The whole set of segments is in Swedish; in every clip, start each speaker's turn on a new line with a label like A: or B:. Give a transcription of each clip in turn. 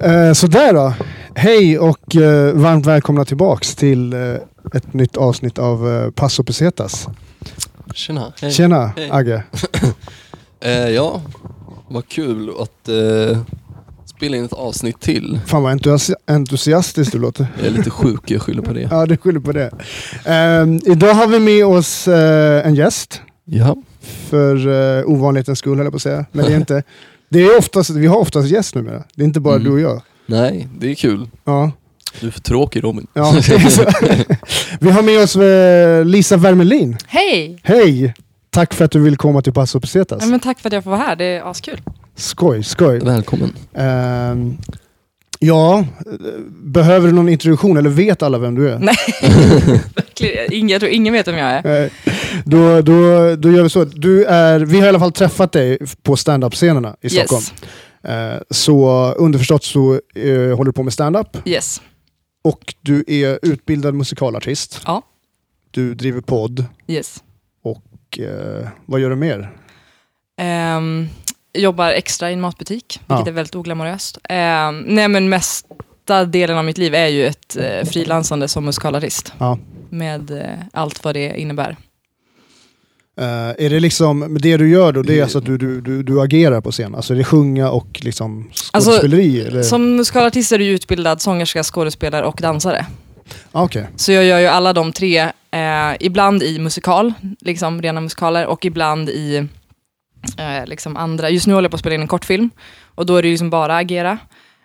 A: Eh, sådär då. Hej och eh, varmt välkomna tillbaks till eh, ett nytt avsnitt av eh, Passo Pesetas.
B: Tjena, hej.
A: Tjena
B: Hej.
A: Agge.
B: Eh, ja, vad kul att eh, spela in ett avsnitt till.
A: Fan vad entusi- entusiastisk du låter.
B: Jag är lite sjuk, jag skyller på det.
A: Ja, du skyller på det. Ehm, idag har vi med oss eh, en gäst.
B: Ja,
A: För eh, ovanlighetens skull höll jag på att säga. Men det är inte. Det är oftast, vi har oftast gäst numera. Det är inte bara
B: Mm.
A: du och jag.
B: nej, det är kul.
A: Ja,
B: Du är för tråkig Robin.
A: ja. det är så. vi har med oss eh, Lisa Wermelin.
C: Hej!
A: Hej! Tack för att du vill komma till Passo Pesetas.
C: Ja, men tack för att jag får vara här, det är askul.
A: Skoj, skoj.
B: Välkommen.
A: Ehm, ja, eh, behöver du någon introduktion eller vet alla vem du är?
C: Nej. Ingen, jag tror ingen vet vem jag är.
A: Eh, Då, då, då gör vi så. Du är, vi har i alla fall träffat dig på stand-up-scenerna i Stockholm.
C: Yes.
A: Eh, Så underförstått så eh, håller du på med stand-up
C: yes.
A: och du är utbildad musikalartist.
C: Ja.
A: Du driver podd
C: yes.
A: och eh, vad gör du mer?
C: Ehm, jobbar extra i en matbutik, vilket
A: Ja.
C: är väldigt oglamoröst. Ehm, nej men mesta delen av mitt liv är ju ett eh, frilansande som musikalartist.
A: Ja.
C: Med eh, allt vad det innebär.
A: Eh, är det liksom, det du gör då, det är alltså att du, du, du, du agerar på scen? Alltså är det sjunga och liksom
C: Alltså,
A: skådespeleri? eller?
C: Som musikalartist är du ju utbildad sångerska, skådespelare och dansare.
A: Ah, Okej.
C: Så jag gör ju alla de tre, eh, ibland i musikal, liksom rena musikaler, och ibland i eh, liksom andra. Just nu håller jag på att spela in en kortfilm, och då är det ju liksom bara agera.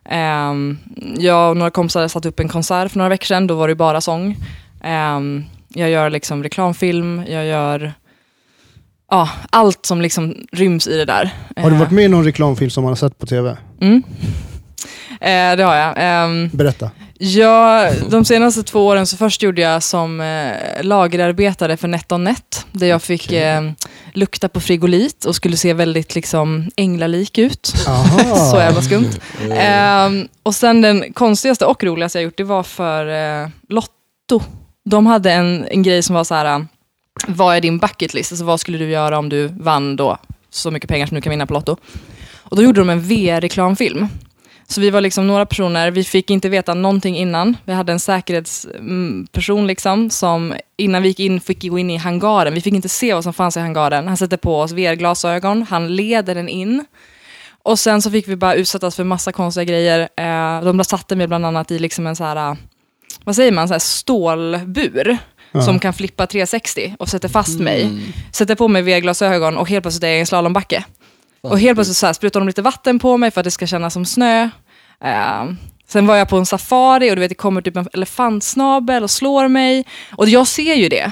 C: Ehm, jag och några kompisar satte upp en konsert för några veckor sedan, då var det ju bara sång. Ehm, jag gör liksom reklamfilm, jag gör ja, allt som liksom ryms i det där.
A: Har du
C: Eh,
A: varit med i någon reklamfilm som man har sett på tv?
C: Mm. Eh, det har jag. Ehm,
A: Berätta.
C: Ja, de senaste två åren så först gjorde jag som eh, lagerarbetare för NetOnNet, där jag fick
B: Okej.
C: eh, lukta på frigolit och skulle se väldigt liksom, änglalik ut.
A: Aha.
C: Så jävla skumt.
B: Mm.
C: Ehm, och sen den konstigaste och roligaste jag gjort, det var för eh, Lotto. De hade en, en grej som var så här, eh, vad är din bucket list? Alltså vad skulle du göra om du vann då så mycket pengar som du kan vinna på Lotto? Och då gjorde de en VR-reklamfilm. Så vi var liksom några personer, vi fick inte veta någonting innan. Vi hade en säkerhetsperson liksom, som innan vi gick in fick gå in i hangaren. Vi fick inte se vad som fanns i hangaren. Han sätter på oss VR-glasögon, han leder den in. Och sen så fick vi bara utsättas för massa konstiga grejer. Eh, de där satte mig bland annat i liksom en så här, eh, vad säger man, så här stålbur.
A: Ja. Mm.
C: Som kan flippa 360 och sätter fast mig.
B: Mm,
C: Sätter på mig VR-glasögon och helt plötsligt är jag i en slalombacke. Och helt plötsligt så här sprutar de lite vatten på mig för att det ska kännas som snö. Eh, sen var jag på en safari och du vet, det kommer typ en elefantsnabel och slår mig. Och jag ser ju det.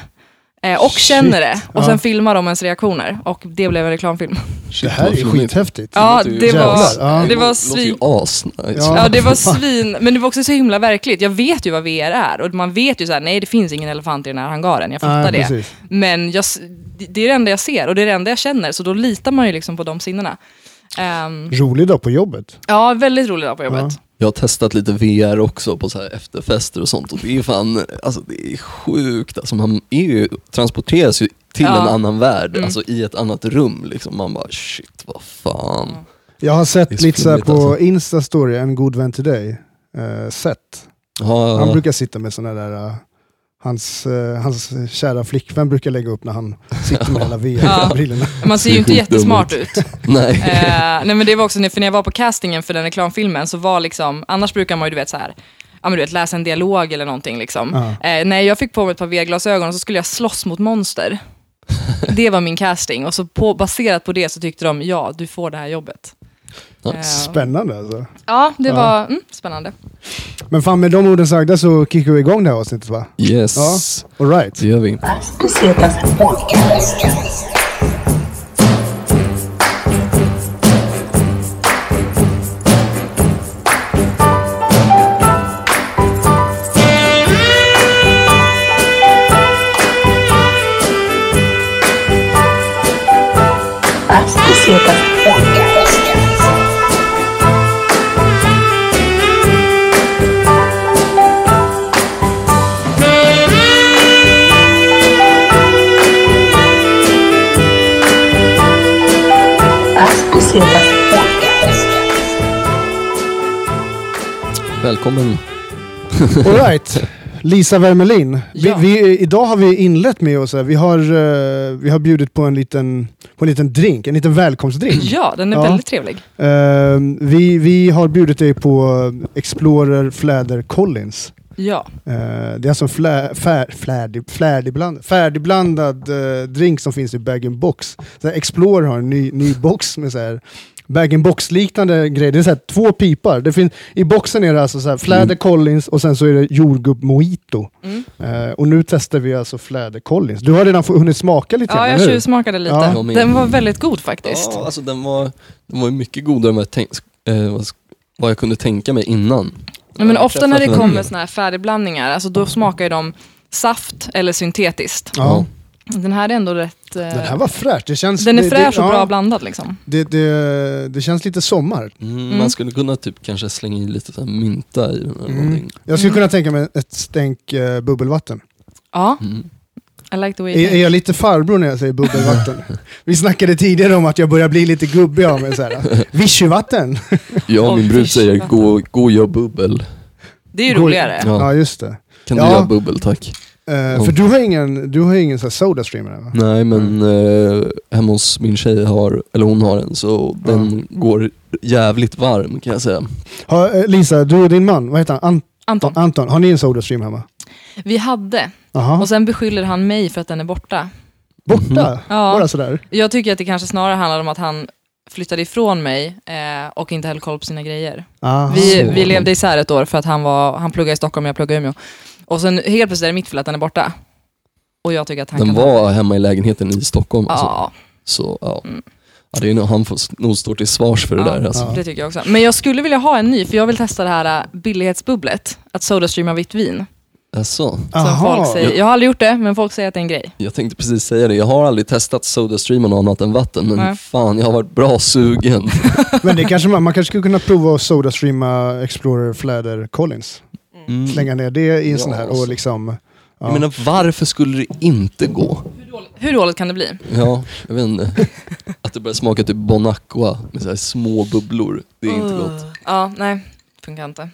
C: Eh, och
A: Shit.
C: känner det. Och sen
A: Ja.
C: filmar de ens reaktioner. Och det blev en reklamfilm.
B: Shit,
A: Det här
B: vad
A: är ju
B: flummigt.
A: skithäftigt.
C: Ja,
B: låter ju-
C: det
A: Jävlar, ja.
C: var, det var
B: låter ju
C: svin...
B: asnice.
A: Ja.
C: Ja, det var svin, men det var också så himla verkligt. Jag vet ju vad VR är och man vet ju så här, nej det finns ingen elefant i den här hangaren, jag fattar
A: Nej,
C: det.
A: precis.
C: Men jag, s- det- det är det enda jag ser och det är det enda jag känner, så då litar man ju liksom på de sinnena. Ehm,
A: Rolig dag på jobbet.
C: ja, väldigt rolig dag på jobbet.
B: Jag har testat lite VR också på så här efterfester och sånt och det är fan, alltså det är sjukt. Alltså man är ju, transporteras ju till
C: Ja.
B: en annan värld,
C: Mm.
B: alltså i ett annat rum liksom. Man bara shit, vad fan.
C: Ja.
A: Jag har
B: Det är
A: sett
B: så
A: lite så här
B: flummigt,
A: på
B: alltså.
A: Insta-story, en god vän till dig, eh, Seth.
B: Ja,
A: Han brukar sitta med sådana där, eh, hans, eh, hans kära flickvän brukar lägga upp när han sitter med alla VR-brillorna.
C: Man ser ju inte
B: Det är skitdumt.
C: jättesmart ut.
B: nej.
C: Eh, nej men det var också, när- för när jag var på castingen för den reklamfilmen så var liksom, annars brukar man ju du vet så här, ja men du vet läsa en dialog eller någonting liksom.
A: Ja.
C: Eh, nej jag fick på mig ett par VR-glasögon och så skulle jag slåss mot monster. Det var min casting och så på, baserat på det så tyckte de, ja du får det här jobbet.
B: Nice.
C: Eh,
A: Spännande alltså.
C: Ja, det
A: Ja.
C: var mm, spännande.
A: Men fan med de orden sagda så kickar vi igång det här avsnittet va?
B: Yes,
A: Ja. All right.
B: det gör vi.
D: Pesetas Podcast. Pesetas Podcast.
B: Välkommen.
A: All right. Lisa Wermelin. Vi,
C: Ja.
A: vi, idag har vi inlett med oss. här. Vi har, eh, vi har bjudit på en liten, på en liten drink, en liten välkomstdrink.
C: Ja, den är
A: Ja.
C: väldigt trevlig.
A: Eh, vi, vi har bjudit dig på Explorer Fläder Collins.
C: Ja,
A: Eh, det är alltså en flä, fär, flärdig, flärdigblandad, färdigblandad eh, drink som finns i bag-in-box. Så här, Explorer har en ny, ny box med så här bag-in-box-liknande grejer. Det är så här, två pipar. Det finns, I boxen är det alltså så här, Fläder
B: Mm.
A: Collins och sen så är det jordgubb mojito.
C: mm.
A: Eh, och nu testar vi alltså Fläder Collins. Du har redan få, hunnit smaka lite
C: ja
A: grann,
C: jag
A: eller hur?
C: tjuvsmakade lite.
A: Ja.
B: Jag med.
C: Den var väldigt god faktiskt.
B: Ja, alltså den var, den var ju mycket godare än vad jag, tänk, eh, vad, sk- vad jag kunde tänka mig innan.
C: Nej, men
B: Jag har
C: ofta när det
B: träffat
C: kommer
B: den.
C: såna här färdigblandningar, alltså då smakar ju de saft eller syntetiskt.
A: Ja.
C: Den här är ändå rätt... eh,
A: Den här var fräsch. Det känns,
C: den är
A: det- det-
C: fräsch och
A: ja,
C: bra blandad liksom.
A: Det, det, det känns lite sommar.
B: Mm,
C: Mm.
B: Man skulle kunna typ kanske slänga i lite så här mynta i den. Eller
A: Mm.
B: någonting.
A: Jag skulle
C: Mm.
A: kunna tänka mig ett stänk eh, bubbelvatten.
C: Ja,
B: Mm.
C: I like the way
A: Är, är
C: it
A: jag lite farbror när jag säger bubbelvatten? Vi snackade tidigare om att jag börjar bli lite gubbig av mig. så här. Vichyvatten!
B: Jag och min
C: Och
B: brud
C: fish.
B: säger gå, gå och gör bubbel.
C: Det är ju
A: Går-
C: roligare.
B: Ja.
A: Ja, just det.
B: Kan du
A: Ja.
B: göra bubbel tack?
A: Eh,
B: Oh. Mm.
A: För du har ingen, du har ingen så här Sodastream? eller?
B: Nej men eh, hemma hos min tjej har, eller hon har en så den går jävligt varm kan jag säga.
A: Har, eh, Lisa, du och din man, vad heter han? Anton?
C: Anton,
A: Anton har ni en Sodastream hemma?
C: vi hade,
A: Aha.
C: och sen beskyller han mig för att den är borta.
A: Borta?
C: Ja.
A: Bara sådär?
C: Jag tycker att det kanske snarare handlar om att han flyttade ifrån mig eh, och inte höll koll på sina grejer.
A: Aha.
C: Vi,
B: Ah, Så.
C: vi levde isär ett år för att han, var, han pluggade i Stockholm och jag pluggade i Umeå. Och sen helt plötsligt är det mitt fel att den är borta. Och jag tycker att han
B: Den
C: kan...
B: var hemma i lägenheten i Stockholm alltså.
C: Ja,
B: Så ja.
C: Mm.
B: ja det är nog, han får nog stå till svars för det
C: Ja.
B: där alltså.
A: Ja.
C: det tycker jag också. Men jag skulle vilja ha en ny, för jag vill testa det här äh, billighetsbubblet. Att sodastreama vitt vin.
B: Alltså,
C: Som
A: Aha.
C: folk säger. Jag har aldrig gjort det, men folk säger att det är en grej.
B: jag tänkte precis säga det, jag har aldrig testat Sodastream och något annat än vatten men
C: Nej. Mm.
B: fan jag har varit bra sugen.
A: Men det kanske man, man kanske skulle kunna prova att Sodastreama Explorer Fläder Collins.
B: Mm.
A: Slänga ner det i en
B: Ja,
A: sån här och
B: alltså.
A: liksom... Ja.
B: Jag menar varför skulle det inte gå?
C: Hur dåligt kan det bli?
B: Ja, jag vet inte. Att det börjar smaka typ Bon Aqua med så här små bubblor, det är inte gott.
C: Ja, nej. Funkar inte.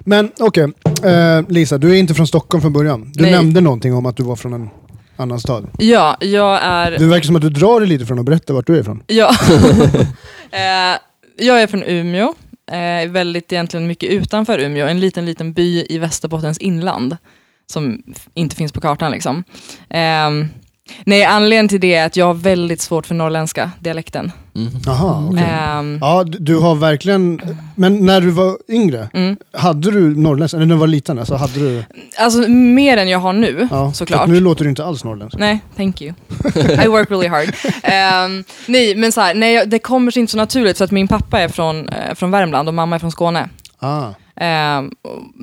A: Men okej, eh, Lisa, du är inte från Stockholm från början. Du
C: Nej.
A: nämnde någonting om att du var från en annan stad.
C: Ja, jag är...
A: Det verkar som att du drar dig lite från att berätta vart du är ifrån.
C: Ja. eh, jag är från Umeå. Eh, väldigt egentligen mycket utanför Umeå. En liten, liten by i Västerbottens inland. Som f- inte finns på kartan liksom. Ehm, nej, anledningen till det är att jag har väldigt svårt för norrländska dialekten.
B: Mm.
A: Jaha, okej.
C: Ehm,
A: Ja, du- du har verkligen... Men när du var yngre,
C: mm.
A: hade du norrländsk? Eller när du var liten, alltså hade du...
C: Alltså mer än jag har nu.
A: Ja,
C: Såklart. Mm.
A: för att Nu låter du inte alls norrländsk.
C: Nej, thank you. I work really hard. Ehm, nej, men så här, nej, jag- det kommer sig inte så naturligt för att min pappa är från, eh, från Värmland och mamma är från Skåne.
A: Ah.
C: Ehm,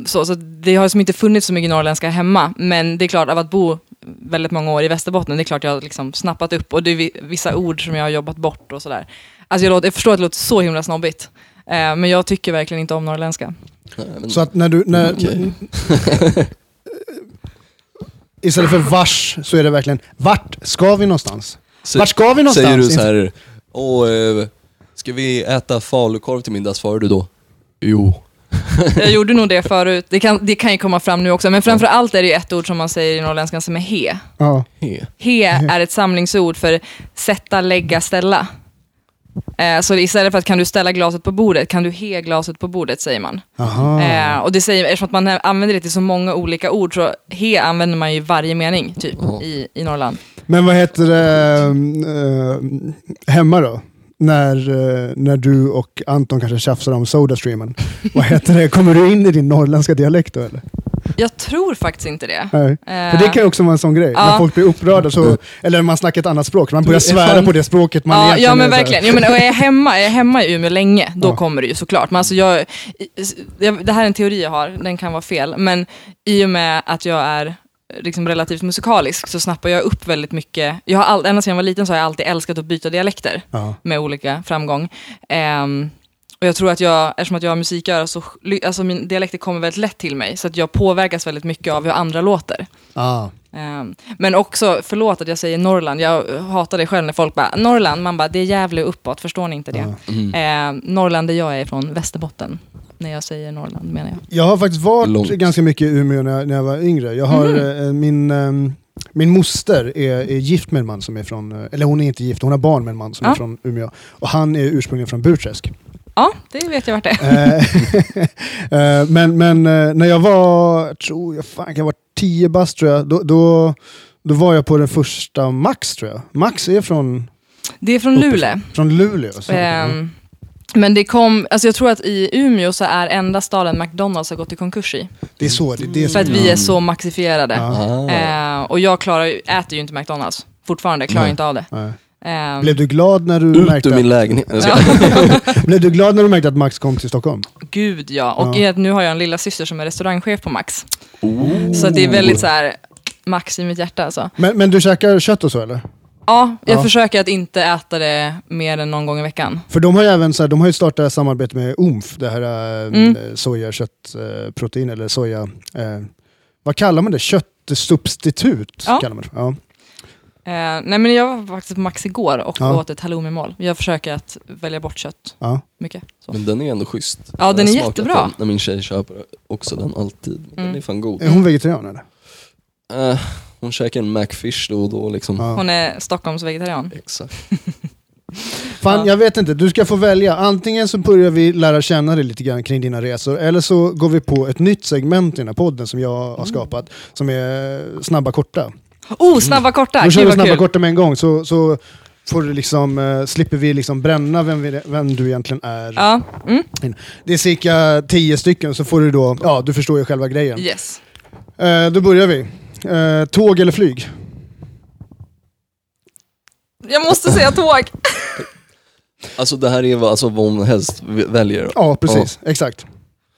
C: och så, så det har som inte funnits så mycket norrländska hemma, men det är klart av att bo väldigt många år i Västerbotten, det är klart jag har liksom snappat upp och det är vi- vissa ord som jag har jobbat bort och sådär. Alltså jag, låter, jag förstår att det låter så himla snobbigt, eh, men jag tycker verkligen inte om norrländska.
B: Nej, men-
A: Så att när du... När,
C: Mm,
B: Okej.
A: Istället för vars så är det verkligen vart ska vi någonstans?
B: Sä-
A: vart ska vi någonstans?
B: Säger du så här, åh, eh, ska vi äta falukorv till middag? Svarar du då, jo.
C: Jag gjorde nog det förut, det kan, det kan ju komma fram nu också, men framför allt är det ju ett ord som man säger i norrländskan som är he.
A: Ja.
B: He.
C: He är ett samlingsord för sätta, lägga, ställa. Eh, så istället för att kan du ställa glaset på bordet, kan du he glaset på bordet, säger man.
A: Aha.
C: Eh, och det säger, eftersom att man använder det till så många olika ord så he använder man ju i varje mening typ
B: Ja.
C: i, i Norrland.
A: Men vad heter det ehm, ehm, hemma då? När, eh, när du och Anton kanske tjafsar om Sodastreamen. Vad heter det? Kommer du in i din norrländska dialekt då eller?
C: Jag tror faktiskt inte det. Eh,
A: Nej. För det kan ju också vara en sån grej. När
C: Ja.
A: folk blir upprörda så, eller man snackar ett annat språk. Man börjar
B: Du är
A: svära
B: fan-
A: på det språket man
C: ja,
A: egentligen
C: ja
A: är
C: men
A: så här-
C: verkligen. Ja, men, och är, jag hemma, är jag hemma i Umeå länge, då
A: Ja.
C: kommer det ju såklart. Men alltså jag, jag, det här är en teori jag har, den kan vara fel. Men i och med att jag är liksom relativt musikalisk så snappar jag upp väldigt mycket. Jag har all, ända sedan jag var liten så har jag alltid älskat att byta dialekter.
A: Ja.
C: med olika framgång. Ehm, och jag tror att jag, eftersom att jag har musiköra, så ly- alltså min dialekter kommer väldigt lätt till mig, så att jag påverkas väldigt mycket av hur andra låter.
A: Ah.
C: Ehm, men också, förlåt att jag säger Norrland, jag hatar det själv när folk bara, Norrland, man bara, det är Gävle uppåt, förstår ni inte det?
B: Mm.
C: Ehm, Norrland där jag är ifrån, Västerbotten. när jag säger Norrland menar jag.
A: Jag har faktiskt varit
B: Långt.
A: ganska mycket i Umeå när jag, när jag var yngre. Jag har,
C: Mhm.
A: eh, min, ehm, min moster är, är gift med en man som är från, eh, eller hon är inte gift, hon har barn med en man som
C: Ja.
A: är från Umeå. Och han är ursprungligen från Burträsk.
C: Ja, det vet jag vart det är.
A: Eh, eh, men men eh, när jag var, tror jag, fan, jag var tio bast tror jag, då, då, då var jag på den första Max tror jag. Max är från,
C: Det är från
A: Uppifrån.
C: Luleå.
A: från Luleå. Så.
C: Ehm, men det kom, alltså jag tror att i Umeå så är enda staden McDonalds har gått i konkurs i.
A: det är så, det, det är så.
C: För att vi är så maxifierade.
A: Ja.
B: Ah.
C: Ehm, och jag klarar ju, äter ju inte McDonalds. Fortfarande, klarar
B: Nej.
C: inte av det.
A: Nej.
C: Ehm,
A: Blev du glad när du
B: Ut
A: märkte
B: ur
A: att
B: min lägenhet. Jag ska-
A: Blev du glad när du märkte att Max kom till Stockholm?
C: Gud ja. Och
A: Ja.
C: i att nu har jag en lilla syster som är restaurangchef på Max.
A: Oh.
C: Så att det är väldigt så här Max i mitt hjärta alltså.
A: Men, men du käkar kött och så eller?
C: Ja, jag
A: Ja.
C: försöker att inte äta det mer än någon gång i veckan.
A: För de har ju även så här, de har ju startat det här samarbete med OMF, det här eh,
C: Mm.
A: sojaköttprotein eller soja... Eh, vad kallar man det? Köttsubstitut
C: Ja.
A: kallar man det. Ja.
C: Eh, nej men jag var faktiskt på Max igår och
A: Ja.
C: åt ett halloumimål. Jag försöker att välja bort kött
A: Ja.
C: mycket. Så.
B: Men den är ändå schysst.
C: Ja, den
B: Jag har
C: är
B: smakat
C: jättebra.
B: Den, när min tjej köper också den alltid. Men Den
C: Mm.
B: är fan god.
A: Är hon vegetarian eller?
B: Eh, hon käkar en Macfish då och då liksom.
A: Ja.
C: Hon är Stockholmsvegetarian.
B: Exakt.
A: Fan,
C: Ja.
A: jag vet inte. Du ska få välja. Antingen så börjar vi lära känna dig lite grann kring dina resor, eller så går vi på ett nytt segment i den här podden som jag
C: Mm.
A: har skapat, som är snabba korta.
C: Oh, snabba korta!
A: Då
C: Gud
A: kör vi
C: vad
A: snabba
C: kul.
A: korta med en gång, så, så får du liksom, eh, slipper vi liksom bränna vem, vi, vem du egentligen är.
C: Ja, mm.
A: Det är cirka tio stycken, så får du då, ja du förstår ju själva grejen.
C: yes.
A: Eh, då börjar vi. Eh, tåg eller flyg?
C: Jag måste säga tåg!
B: Alltså det här är vad, alltså, vad hon helst v- väljer.
A: Ja, precis. Exakt.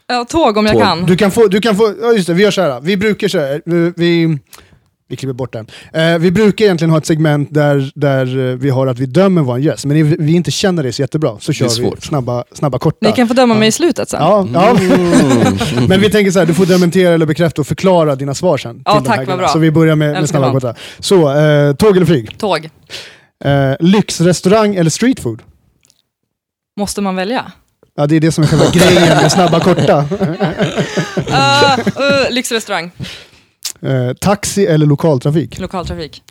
C: Ja, tåg om jag
B: Tåg.
C: kan.
A: Du kan få, du kan få, ja just det, vi gör så här. Vi brukar så här, vi, vi, vi klipper bort den. Eh, vi brukar egentligen ha ett segment där, där eh, vi har att vi dömer vår gäst, men vi, vi inte känner det så jättebra så kör vi
B: svårt.
A: snabba, snabba korta.
C: Ni kan få döma mig i slutet sen.
A: Ja, ja.
B: Mm.
A: men vi tänker så här, du får dementera eller bekräfta och förklara dina svar sen.
C: Ja,
A: till de här
C: tack, vad
A: grejerna.
C: bra.
A: Så vi börjar med, med
C: Älskar
A: snabba
C: sånt.
A: korta. Så, eh, tåg eller flyg?
C: Tåg.
A: Eh, lyxrestaurang eller streetfood?
C: Måste man välja?
A: Ja, det är det som är själva grejen med snabba korta.
C: Eh, eh, lyxrestaurang,
A: Eh, taxi eller lokaltrafik?
C: lokaltrafik.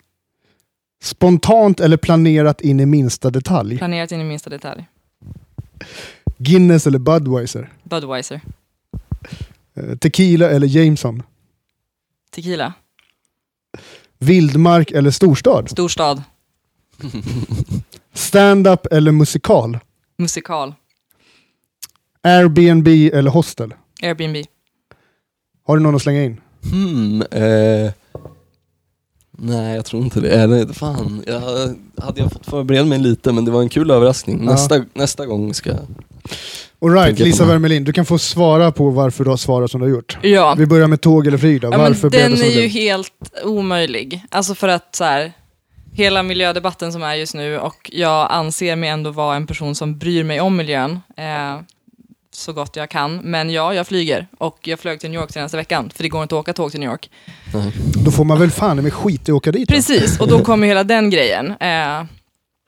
A: Spontant eller planerat in i minsta detalj?
C: Planerat in i minsta detalj.
A: Guinness eller Budweiser?
C: Budweiser.
A: Eh, tequila eller Jameson?
C: Tequila.
A: Vildmark eller storstad?
C: Storstad.
A: Stand-up eller musikal?
C: Musikal.
A: Airbnb eller hostel?
C: Airbnb.
A: Har du någon att slänga in?
B: Hmm, eh, nej, jag tror inte det. Eller fan, jag, hade jag fått förbereda mig lite men det var en kul överraskning.
A: Ja.
B: Nästa, nästa gång ska jag...
A: Alright,
B: Tänker på
A: Lisa
B: mig.
A: Wermelin, du kan få svara på varför du har svarat som du har gjort.
C: Ja.
A: Vi börjar med tåg eller flyg då.
C: ja men
A: Varför blev
C: den
A: det som
C: är
A: det
C: ju
A: blev?
C: helt omöjlig. Alltså för att så här, hela miljödebatten som är just nu och jag anser mig ändå vara en person som bryr mig om miljön eh, så gott jag kan. Men ja, jag flyger och jag flög till New York senaste veckan för det går inte att åka tåg till New York.
A: Då får man väl fan i mig skit i att åka dit. då.
C: Precis, och då kommer ju hela den grejen. Eh,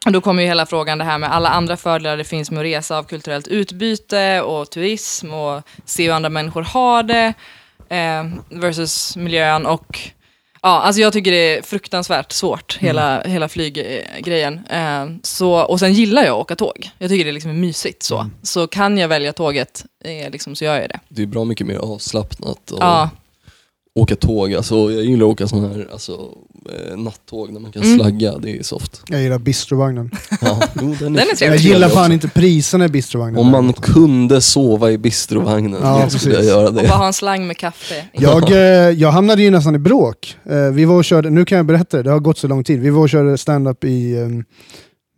C: och då kommer ju hela frågan det här med alla andra fördelar det finns med att resa av kulturellt utbyte och turism och se hur andra människor har det eh, versus miljön och Ja, alltså jag tycker det är fruktansvärt svårt, hela, hela flyggrejen. Eh, så, och sen gillar jag att åka tåg. Jag tycker det är liksom mysigt så. Så kan jag välja tåget eh, liksom, så gör jag det.
B: Det är bra mycket mer avslappnat och
C: Ja,
B: åka tåg. Alltså, jag gillar att åka sådana här alltså, eh, nattåg när man kan
C: Mm.
B: slagga. Det är soft.
A: Jag gillar bistrovagnen.
B: Ja, jo, den
C: Den är
A: Jag
C: trevlig.
A: gillar fan
B: också.
A: inte priserna i bistrovagnen.
B: Om man kunde sova i bistrovagnen
A: Ja,
B: då skulle jag
A: precis.
B: göra
C: och bara
B: det.
C: ha en slang med kaffe.
A: Jag, eh, jag hamnade ju nästan i bråk. Eh, vi var och körde, nu kan jag berätta det, det har gått så lång tid. Vi var och körde stand-up i... ehm,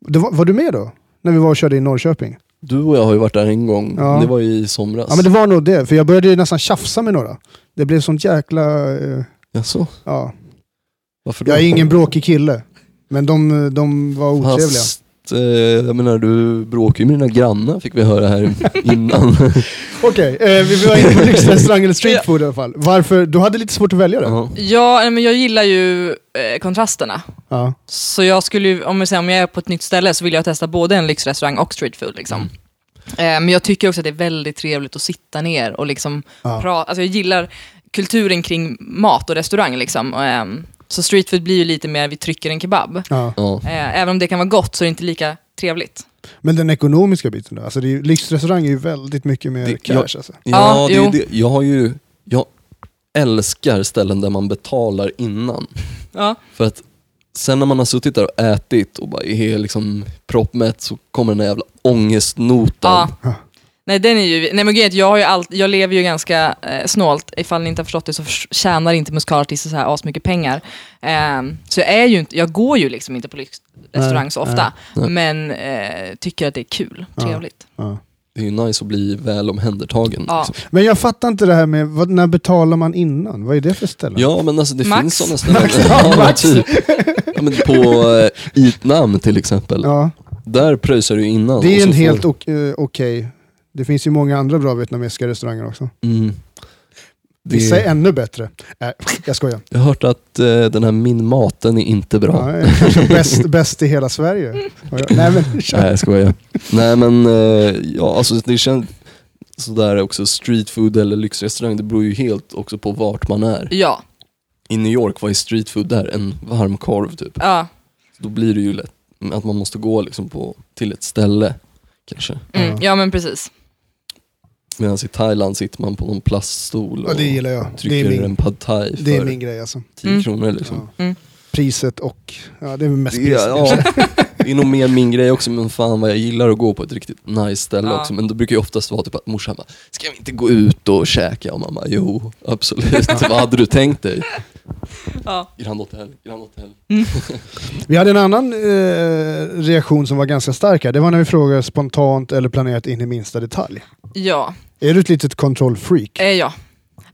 A: det var, var du med då? När vi var och körde i Norrköping?
B: Du och jag har ju varit där en gång.
A: Ja.
B: Det var ju i somras.
A: Ja men det var nog det, för jag började ju nästan tjafsa med några. Det blev sånt jäkla... Eh,
B: Jaså?
A: ja.
B: Varför då?
A: Jag är ingen bråkig kille. Men de, eh, de var otrevliga.
B: Fast, eh, jag menar du bråkar ju med dina grannar fick vi höra här innan.
A: Okej, eh, vi var inne på lyxrestaurang eller streetfood i alla fall. Varför? Du hade lite svårt att välja det.
B: ja.
C: Ja, nej, men jag gillar ju eh, kontrasterna.
A: Ja.
C: Så jag skulle ju, om jag, säger, om jag är på ett nytt ställe så vill jag testa både en lyxrestaurang och streetfood. Liksom. Eh, Men jag tycker också att det är väldigt trevligt att sitta ner och liksom
A: Ja.
C: prata. Alltså jag gillar kulturen kring mat och restaurang. Liksom. Och, ehm, Så street food blir ju lite mer vi trycker en kebab.
A: Ja.
B: Ja.
C: Eh, Även om det kan vara gott så är det inte lika trevligt.
A: Men den ekonomiska biten då? Alltså det är ju, lyxrestaurang är ju väldigt mycket mer
B: Det-
A: cash
B: ja.
A: alltså.
C: Ja,
B: Ja, det är
C: jo.
B: ju det. Jag har ju... Jag älskar ställen där man betalar innan.
C: Ja.
B: För att sen när man har suttit där och ätit och bara är liksom proppmätt så kommer den där jävla ångestnotan.
A: Ja.
C: Ja. Nej, den är ju, nej men grejen är att jag, har ju allt, jag lever ju ganska eh, snålt, ifall ni inte har förstått det så förs- tjänar inte musikalartister så här asmycket pengar. Ehm, så jag, är ju inte, jag går ju liksom inte på lyx- restaurang så
A: nej,
C: ofta,
B: nej.
C: men eh, tycker att det är kul,
A: Ja.
C: trevligt.
A: Ja.
B: Det är ju nice att bli väl omhändertagen.
C: Ja.
B: Liksom.
A: Men jag fattar inte det här med, vad, när betalar man innan? Vad är det för ställe?
B: ja, men alltså det
C: Max.
B: finns sådana ställen. ja, men typ. ja, men på eh, Itnam till exempel.
A: Ja.
B: Där pröjsar du innan.
A: Det
B: och
A: är
B: så
A: en
B: får-
A: helt ok- eh, okej. Det finns ju många andra bra vietnamesiska restauranger också.
B: Mm. Det-
A: Vissa är ännu bättre. Äh, jag skojar.
B: Jag har hört att eh, den här Min maten är inte bra.
A: Ja, jag är kanske bäst, bäst i hela Sverige. Har jag- Nej, men,
B: Nej, jag skojar. Nej, men eh, ja, alltså det känns sådär också street food eller lyxrestaurang, det beror ju helt också på vart man är.
C: Ja,
B: I New York, vad är street food där? En varm korv typ.
C: ja.
B: Då blir det ju lätt att man måste gå liksom på, till ett ställe kanske.
A: Ja.
C: Mm, ja men precis.
B: Medan i Thailand sitter man på någon plaststol
A: ja,
B: och
A: det gillar jag. Det
B: trycker
A: är min,
B: en pad thai
A: det är
B: för
A: min grej alltså.
B: 10
C: Mm.
B: kronor liksom.
A: Ja.
C: Mm.
A: Priset och... Ja, det är mest
B: Det,
A: priset.
B: är- ja, det är nog mer min grej också, men fan vad jag gillar att gå på ett riktigt nice ställe
C: Ja.
B: också. Men då brukar ju oftast vara typ att morsan bara, ska vi inte gå ut och käka? Och mamma, jo absolut, vad hade du tänkt dig?
C: Ja.
B: Grand Hotel, Grand Hotel.
A: Vi hade en annan eh, reaktion som var ganska stark här. Det var när vi frågade spontant eller planerat in i minsta detalj.
C: Ja,
A: Är du ett litet kontrollfreak?
C: eh, ja.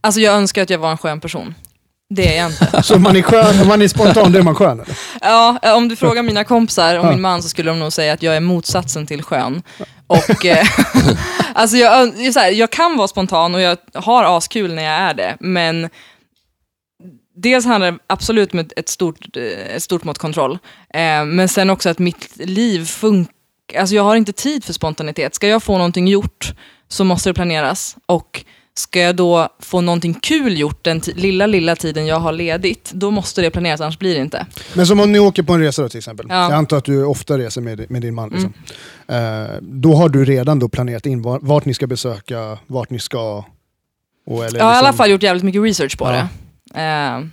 C: Alltså jag önskar att jag var en skön person. Det är jag inte.
A: Så om man är skön, om man är spontan, då är man skön? Eller?
C: Ja, eh, om du frågar mina kompisar och
A: Ja.
C: min man så skulle de nog säga att jag är motsatsen till skön. Och, eh, alltså jag, ö- det är så här, jag kan vara spontan och jag har askul när jag är det, men dels handlar det absolut om ett- ett stort, eh, ett stort mått kontroll, eh, men sen också att mitt liv funkar. Alltså jag har inte tid för spontanitet. Ska jag få någonting gjort så måste det planeras. Och ska jag då få någonting kul gjort den ti- lilla, lilla tiden jag har ledigt, då måste det planeras, annars blir det inte.
A: Men som om ni åker på en resa då till exempel.
C: Ja. Mm.
A: Jag antar att du ofta reser med, med din man. Liksom. Eh, då har du redan då planerat in var, vart ni ska besöka, vart ni ska... Och, eller
C: Jag har i
A: liksom-
C: alla fall gjort jävligt mycket research på
A: Ja.
C: det. Eh,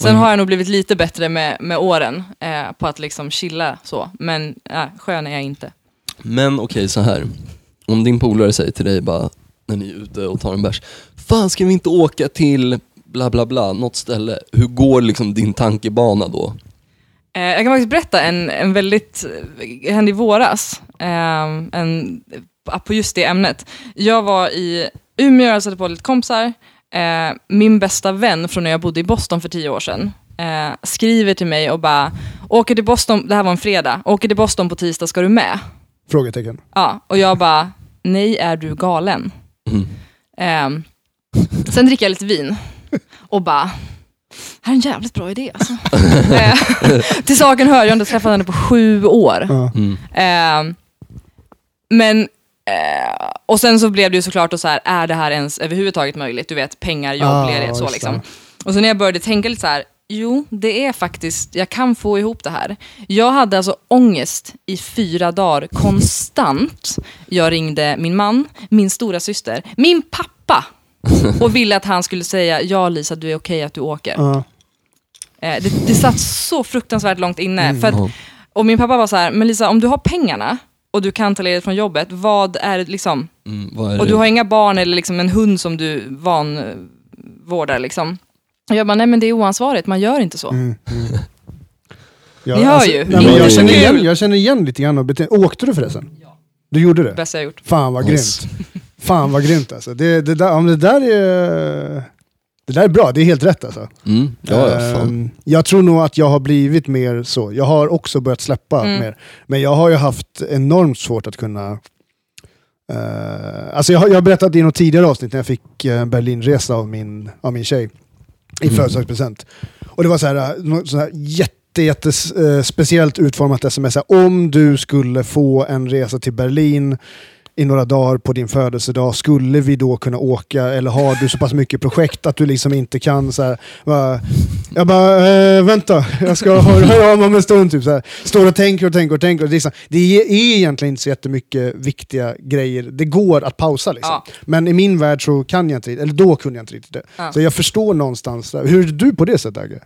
C: sen har jag nog blivit lite bättre med, med åren eh, på att liksom chilla så, men eh, skön är jag inte.
B: Men okej, så här. Om din polare säger till dig bara, när ni är ute och tar en bärs, fan ska vi inte åka till bla bla bla, något ställe. Hur går liksom din tankebana då?
C: Eh, jag kan faktiskt berätta en, en väldigt, det hände i våras, eh, en, på just det ämnet. Jag var i Umeå, jag hälsade på lite kompisar. Eh, min bästa vän från när jag bodde i Boston för tio år sedan eh, skriver till mig och bara, åker till Boston, det här var en fredag, åker till Boston på tisdag, ska du med?
A: Frågetecken.
C: Ja, och jag bara, nej är du galen?
B: Mm.
C: Ehm, sen dricker jag lite vin och bara, här är en jävligt bra idé alltså. Ehm, till saken hör, jag har inte träffat henne på sju år.
A: Ja.
B: Mm.
C: Ehm, men, eh, och sen så blev det ju såklart då så här, är det här ens överhuvudtaget möjligt? Du vet, pengar, jobb,
A: Ah,
C: ledighet, så
A: just
C: liksom.
A: det.
C: Och sen när jag började tänka lite så här, jo, det är faktiskt, jag kan få ihop det här. Jag hade alltså ångest i fyra dagar konstant. Jag ringde min man, min stora syster, min pappa och ville att han skulle säga, ja Lisa, du är okej att du åker.
A: Ja.
C: Eh, Det, det satt så fruktansvärt långt inne. för att,
B: ja.
C: och min pappa var så här, men Lisa, om du har pengarna och du kan ta ledigt från jobbet, vad är det liksom?
B: Mm, vad är
C: Och
B: det?
C: du har inga barn eller liksom en hund som du vanvårdar liksom. Och jag bara, nej men det är oansvarigt, man gör inte så.
A: Mm, mm. Ja,
C: Ni hör
A: alltså,
C: ju.
A: Nej, men
B: Ni hör
A: jag,
B: ju.
A: känner igen,
C: Kul.
A: jag känner igen lite grann av beteendet. Åkte du förresten? Du gjorde det?
C: Bästa jag gjort.
A: Fan vad
B: Nice.
A: grymt. Fan vad grymt alltså. Det, det, där, om det där är... Det där är bra, det är helt rätt alltså.
B: Mm, ja, ja, fan.
A: Ehm, jag tror nog att jag har blivit mer så. Jag har också börjat släppa
C: Mm.
A: mer. Men jag har ju haft enormt svårt att kunna... eh, alltså jag, har, jag har berättat i något tidigare avsnitt när jag fick eh, en Berlinresa av min, av min tjej. I
B: Mm.
A: födelsedagspresent. Och det var så här, eh, något så här jätte, jätte eh, speciellt utformat sms. så här, Om du skulle få en resa till Berlin i några dagar på din födelsedag, skulle vi då kunna åka? Eller har du så pass mycket projekt att du liksom inte kan så här, bara, Jag bara, eh, vänta, jag ska höra, höra av mig om en stund. Typ, så här. Står och tänker och tänker och tänker. Det är, liksom, det är egentligen inte så jättemycket viktiga grejer. Det går att pausa liksom.
C: Ja.
A: Men i min värld så kan jag inte riktigt, eller då kunde jag inte riktigt det.
C: Ja.
A: Så jag förstår någonstans, där. hur är du på det sättet Agge?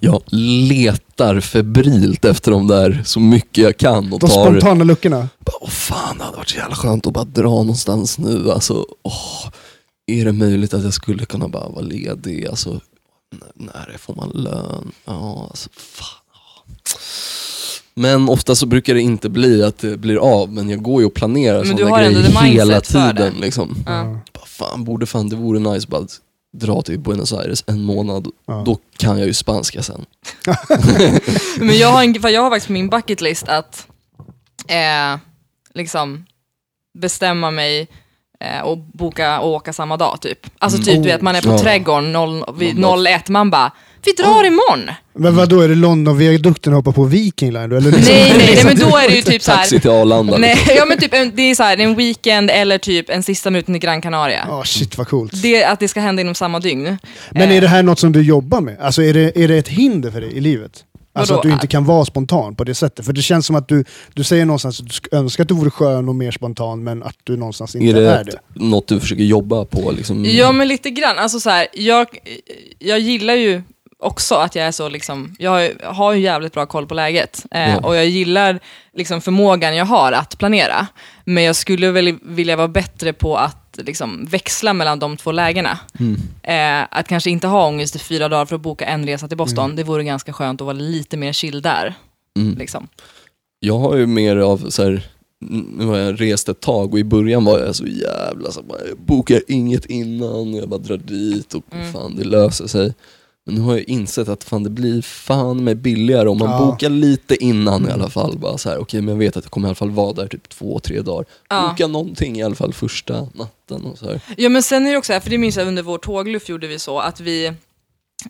B: Jag letar febrilt efter de där så mycket jag kan och
A: De
B: tar...
A: spontana luckorna?
B: Bara, Åh fan, det hade varit så jävla skönt att bara dra någonstans nu. Alltså, åh, är det möjligt att jag skulle kunna bara vara ledig? Alltså, n- när får man lön? Ja, alltså, fan. Men ofta så brukar det inte bli att det blir av, men jag går ju och planerar
C: Men du
B: sådana
C: har ändå
B: grejer
C: the mindset
B: hela
C: för det.
B: tiden. Liksom.
C: Ja.
B: Bara, fan, borde fan, det vore nice bara att dra till Buenos Aires en månad.
A: Ja.
B: Då kan jag ju spanska sen.
C: Men jag har, en, för jag har faktiskt på min bucket list att eh, liksom bestämma mig eh, och boka och åka samma dag typ. Alltså typ du vet, man är på
B: Ja.
C: trädgården noll, vid
B: Mm. Oh. Man bara- Oh."
C: 01, man bara, vi drar imorgon.
A: Men vadå, är det Londonviadukten och hoppa på Viking Line då? Eller liksom,
C: Nej, nej, nej, men då är det ju typ så här.
B: Taxi till Arlanda. liksom."
C: Nej, ja, men typ, en- det är så här, en weekend eller typ en sista minuten i Gran Canaria.
A: Ja, Ah, shit vad coolt.
C: Det, att det ska hända inom samma dygn.
A: Men
C: Eh.
A: är det här något som du jobbar med? Alltså är det, är det ett hinder för dig i livet? Alltså
C: Vadå?
A: att du inte kan vara spontan på det sättet? För det känns som att du, du säger någonstans att du sk- önskar att du vore skön och mer spontan, men att du någonstans
B: Är
A: inte
B: det,
A: är det.
B: något du försöker jobba på? Liksom?
C: Eh, Ja, men lite grann. Alltså, så här, jag, jag gillar ju också att jag är så, liksom, jag har ju jävligt bra koll på läget eh,
B: Ja.
C: och jag gillar liksom, förmågan jag har att planera. Men jag skulle väl vilja vara bättre på att liksom, växla mellan de två lägena.
B: Mm.
C: Eh, att kanske inte ha ångest i fyra dagar för att boka en resa till Boston,
A: Mm.
C: det vore ganska skönt att vara lite mer chill där.
B: Mm.
C: Liksom.
B: Jag har ju mer av så här, nu har jag rest ett tag och i början var jag så jävla så här, bara, jag bokar inget innan, jag bara drar dit och
C: Mm.
B: fan det löser sig. Men nu har jag insett att fan det blir fan mig billigare om man
A: Ja. Mm.
B: bokar lite innan i alla fall. Bara så här, okej men jag vet att jag kommer i alla fall vara där typ två, tre dagar.
C: Ja.
B: Boka någonting i alla fall första natten och så här.
C: Ja men sen är det också, här, för det minns jag under vår tågluff gjorde vi så att vi,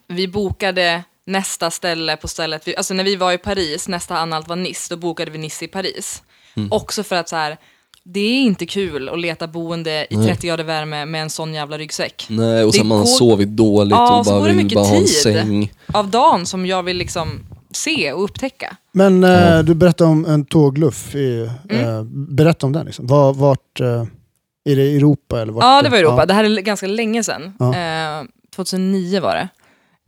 C: vi bokade nästa ställe på stället, vi, alltså när vi var i Paris, nästa anhalt var Nice, då bokade vi Nice i Paris.
A: Mm.
C: Också för att så här, det är inte kul att leta boende i
B: Nej.
C: 30 grader värme med en sån jävla ryggsäck.
B: Nej, och
C: Det
B: sen man har
C: går-
B: sovit dåligt
C: Ja,
B: och
C: så går
B: bara
C: det
B: vill
C: mycket
B: bara ha en
C: tid.
B: säng.
C: Av dagen som jag vill liksom se och upptäcka.
A: Men eh, du berättade om en tågluff. I, eh,
C: Mm.
A: berätta om den. Liksom. Var, vart, eh, är det i Europa? Eller vart,
C: Ja, det var i Europa.
A: Ja.
C: Det här är ganska länge sedan.
A: Ja.
C: Eh, 2009 var det.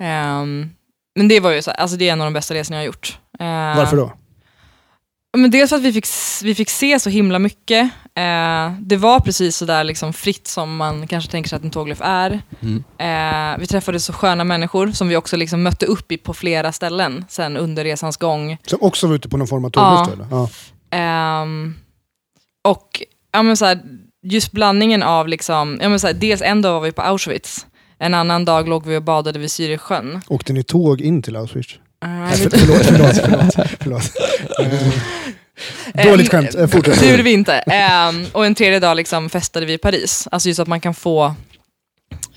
C: Ehm, men det var ju så, här- alltså det är en av de bästa resorna jag har gjort. Eh,
A: Varför då?
C: Men dels för att vi fick, vi fick se så himla mycket. Eh, det var precis så där liksom fritt som man kanske tänker sig att en tågluff är.
B: Mm.
C: Eh, vi träffade så sköna människor som vi också liksom mötte upp i på flera ställen sen under resans gång.
A: Som också var ute på någon form av tågluff?
C: Ja.
A: då, eller? Ja.
C: Ehm, och ja, men så här, just blandningen av, liksom, ja, men så här, dels en dag var vi på Auschwitz, en annan dag låg vi och badade vid Syresjön.
A: Åkte ni tåg in till Auschwitz?
C: Uh,
A: Nej, för, förlåt, förlåt. förlåt, förlåt. Eh, dåligt skämt. Eh, fortsätt.
C: Det gjorde vi inte. Ehm, och en tredje dag liksom festade vi i Paris. Alltså just att man kan få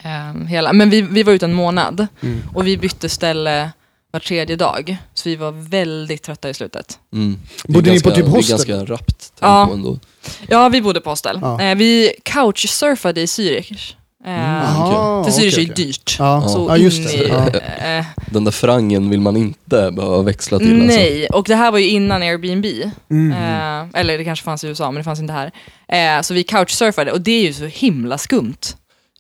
C: ehm, hela. Men vi, vi var ute en månad
A: Mm.
C: och vi bytte ställe var tredje dag. Så vi var väldigt trötta i slutet.
B: Mm. Det är
A: Bodde ni på
B: ganska-
A: typ hostel?
B: Det är ganska rappt tempo
C: Ja.
B: ändå.
C: Ja, vi bodde på hostel.
A: Ja.
C: Eh, vi couchsurfade i Zürich. Ehm,
A: Jaha,
C: För Zürich
A: Mm. okej,
C: är ju
A: okej.
C: dyrt.
A: Ja,
C: Så
A: ja just
C: in
A: det.
C: i,
A: Ja.
C: eh,
B: Den där frangen vill man inte behöva växla till. Alltså.
C: nej, och det här var ju innan Airbnb.
A: Mm.
C: Eh, eller det kanske fanns i USA, men det fanns inte här. Eh, så vi couchsurfade och det är ju så himla skumt.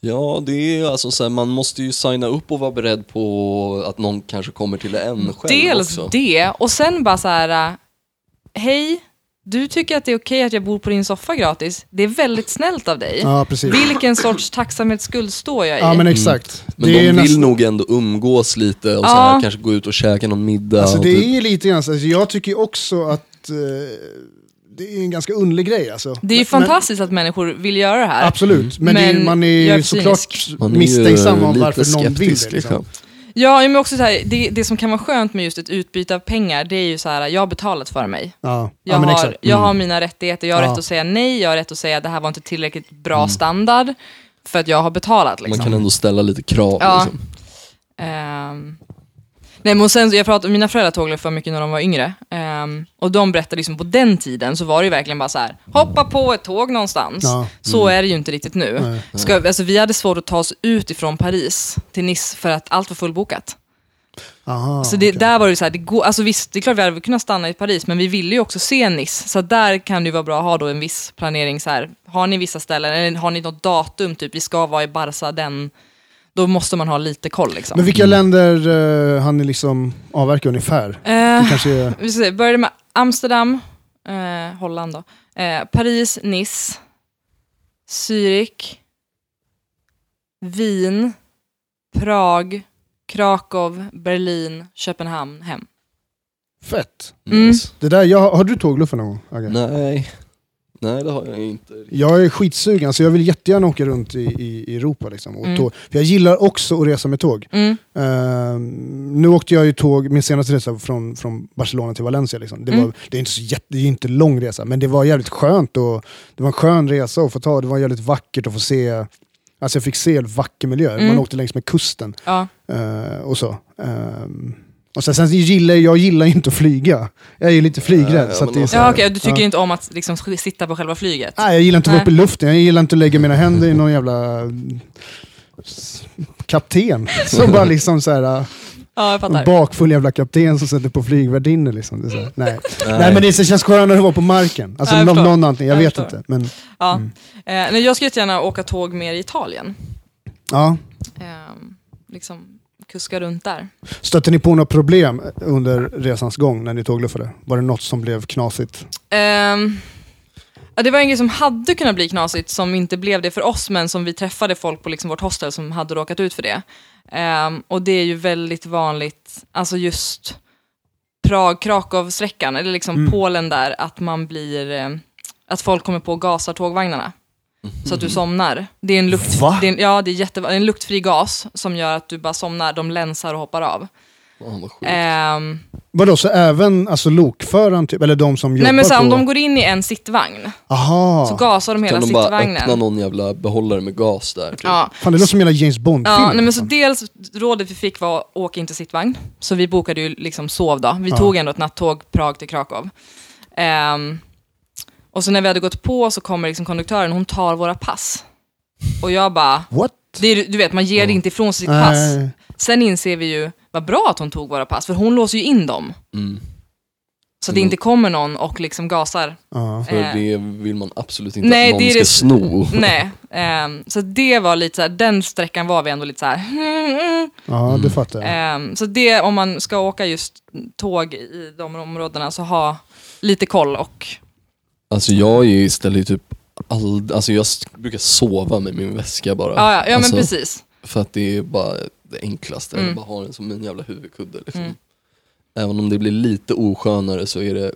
B: Ja, det är ju alltså så här, man måste ju signa upp och vara beredd på att någon kanske kommer till en själv
C: Dels
B: också.
C: det, och sen bara så här, eh, hej, du tycker att det är okej att jag bor på din soffa gratis. Det är väldigt snällt av dig.
A: Ja, precis.
C: Vilken sorts tacksamhetsskuld står jag i?
A: Ja, men exakt.
C: Mm.
B: Men
A: det
B: de
A: är
B: vill
A: nästan-
B: nog ändå umgås lite och så
C: Ja.
B: här, kanske gå ut och käka någon middag.
A: Alltså
B: och
A: det är
B: typ.
A: ju lite grann så, alltså, jag tycker ju också att eh, det är en ganska underlig grej alltså.
C: det är ju fantastiskt att människor vill göra det
A: Men,
C: här.
A: absolut, men, det är ju-
C: Men
A: man är
C: jag
A: ju
C: är
A: såklart
C: cynisk.
B: Man är ju
A: misstänksam om
B: lite
A: varför någon vill det.
B: skeptisk,
A: Liksom.
C: Ja, men också så här, det, det som kan vara skönt med just ett utbyte av pengar, det är ju så här, jag har betalat för mig.
A: Ja,
C: Jag,
A: ja men
C: har,
A: exakt. Mm.
C: jag har mina rättigheter, jag har
A: Ja. Mm.
C: rätt att säga nej, jag har rätt att säga att det här var inte tillräckligt bra standard för att jag har betalat. Liksom.
B: Man kan ändå ställa lite krav.
C: Ja.
B: Liksom.
C: Ehm, Nej, men och sen, så- jag pratade, mina föräldrar tåglade för mycket när de var yngre. Ehm, och de berättade liksom på den tiden så var det ju verkligen bara så här, hoppa på ett tåg någonstans.
A: Ja. Mm.
C: Så är det ju inte riktigt nu.
A: Nej.
C: Ska, alltså, vi hade svårt att ta oss ut ifrån Paris till Nice för att allt var fullbokat.
A: Aha,
C: Så det,
A: okej.
C: där var det så här, det går, alltså visst, det är klart vi hade kunnat stanna i Paris, men vi ville ju också se Nice. Så att där kan det ju vara bra att ha då en viss planering. Så här, har ni vissa ställen, eller har ni något datum, typ vi ska vara i Barca den, då måste man ha lite koll liksom.
A: Men vilka länder uh, han liksom avverka ungefär?
C: Eh,
A: Det kanske är...
C: vi ska se, började med Amsterdam, eh, Holland då, eh, Paris, Nice, Zürich, Wien, Prag, Krakow, Berlin, Köpenhamn, hem.
A: Fett.
C: Mm.
B: Nice.
A: Det där, jag, har du tågluffat någon gång? Agge?
B: Nej. Nej, det har jag inte. riktigt.
A: Jag är skitsugen, så jag vill jättegärna åka runt i, i i Europa. Liksom, och
C: Mm.
A: tåg. För jag gillar också att resa med tåg.
C: Mm.
A: Ehm, nu åkte jag ju tåg, min senaste resa från, från Barcelona till Valencia. Liksom. Det,
C: Mm.
A: var, det är inte så jätte, det är ju inte lång resa, men det var jävligt skönt. Och, det var en skön resa att få ta, det var jävligt vackert att få se. Alltså jag fick se en vacker miljö,
C: Mm.
A: man åkte längs med kusten
C: Ja.
A: eh, och så. Ehm, och sen, sen gillar jag, jag gillar inte att flyga. Jag är ju lite flygrädd.
B: Ja,
A: så att
B: men
A: det är
B: alltså-
A: så
C: Ja,
A: här,
C: okej, du tycker
A: ja.
C: inte om att liksom sk- sitta på själva flyget?
A: Nej, jag gillar inte att vara
C: Nej.
A: uppe i luften. Jag gillar inte att lägga mina händer i någon jävla mm, s- kapten. Som bara liksom så här... äh,
C: Ja, jag fattar.
A: En bakfull jävla kapten som sätter på flygvärdinnor liksom. Det är så här, nej.
B: Nej.
A: nej men det känns skönare att vara på marken. Alltså
C: Ja, jag
A: någon,
C: förstår.
A: någon anledning, jag,
C: Jag
A: vet
C: förstår.
A: inte. Men
C: Ja.
A: Mm.
C: Eh, nej, jag skulle jättegärna åka tåg mer i Italien.
A: ja,
C: Ehm, liksom kuska runt där.
A: stötte ni på några problem under resans gång när ni tågluffade? Var det något som blev knasigt?
C: Ehm, ja, det var en grej som hade kunnat bli knasigt, som inte blev det för oss, men som vi träffade folk på liksom vårt hostel som hade råkat ut för det. Ehm, och det är ju väldigt vanligt, alltså just Prag-Krakow-sträckan, eller liksom
A: Mm.
C: Polen där, att man blir, eh, att folk kommer på och gasar tågvagnarna. Så att du somnar. Det är en, lukt,
A: Va?
C: det är en, ja, det är jätte, en luktfri gas som gör att du bara somnar, de länsar och hoppar av.
B: Fan, vad sjukt.
C: Ehm,
A: Vadå, så även alltså, lokföraren, typ, eller de som
C: nej
A: jobbar
C: men så här,
A: på...
C: om de går in i en sittvagn, så
A: Aha!
C: gasar de hela
B: Kan de bara öppna
C: sittvagnen.
B: någon jävla behållare med gas där? Typ?
C: Ja.
A: Fan det låter som en jävla James Bond-film.
C: Ja, nej, men så
A: liksom.
C: dels rådet vi fick var åk inte sittvagn. Så vi bokade ju liksom sov då. Vi
A: Ja.
C: tog ändå ett nattåg Prag till Krakow. Ehm, och så när vi hade gått på så kommer liksom konduktören, hon tar våra pass. Och jag bara,
A: What?
C: det är, du vet man ger det inte ifrån sig sitt
A: Nej.
C: pass. Sen inser vi ju, vad bra att hon tog våra pass, för hon låser ju in dem.
B: Mm.
C: Så att
A: Mm.
C: det inte kommer någon och liksom gasar.
A: Ja.
B: För
C: Eh.
B: det vill man absolut inte
C: Nej,
B: att någon
C: det är
B: ska
C: det-
B: sno.
C: Nej, ehm, så det var lite så här, den sträckan var vi ändå lite så här, "Hmm,
A: ja, det fattar jag.
C: Ehm, så det, om man ska åka just tåg i de områdena, så ha lite koll och...
B: Alltså jag är ju istället typ all... alltså jag s- brukar sova med min väska bara.
C: Ja, ja, ja
B: alltså,
C: men precis.
B: För att det är bara det enklaste,
C: Mm.
B: jag bara har den som min jävla huvudkudde. Liksom.
C: Mm.
B: Även om det blir lite oskönare så är det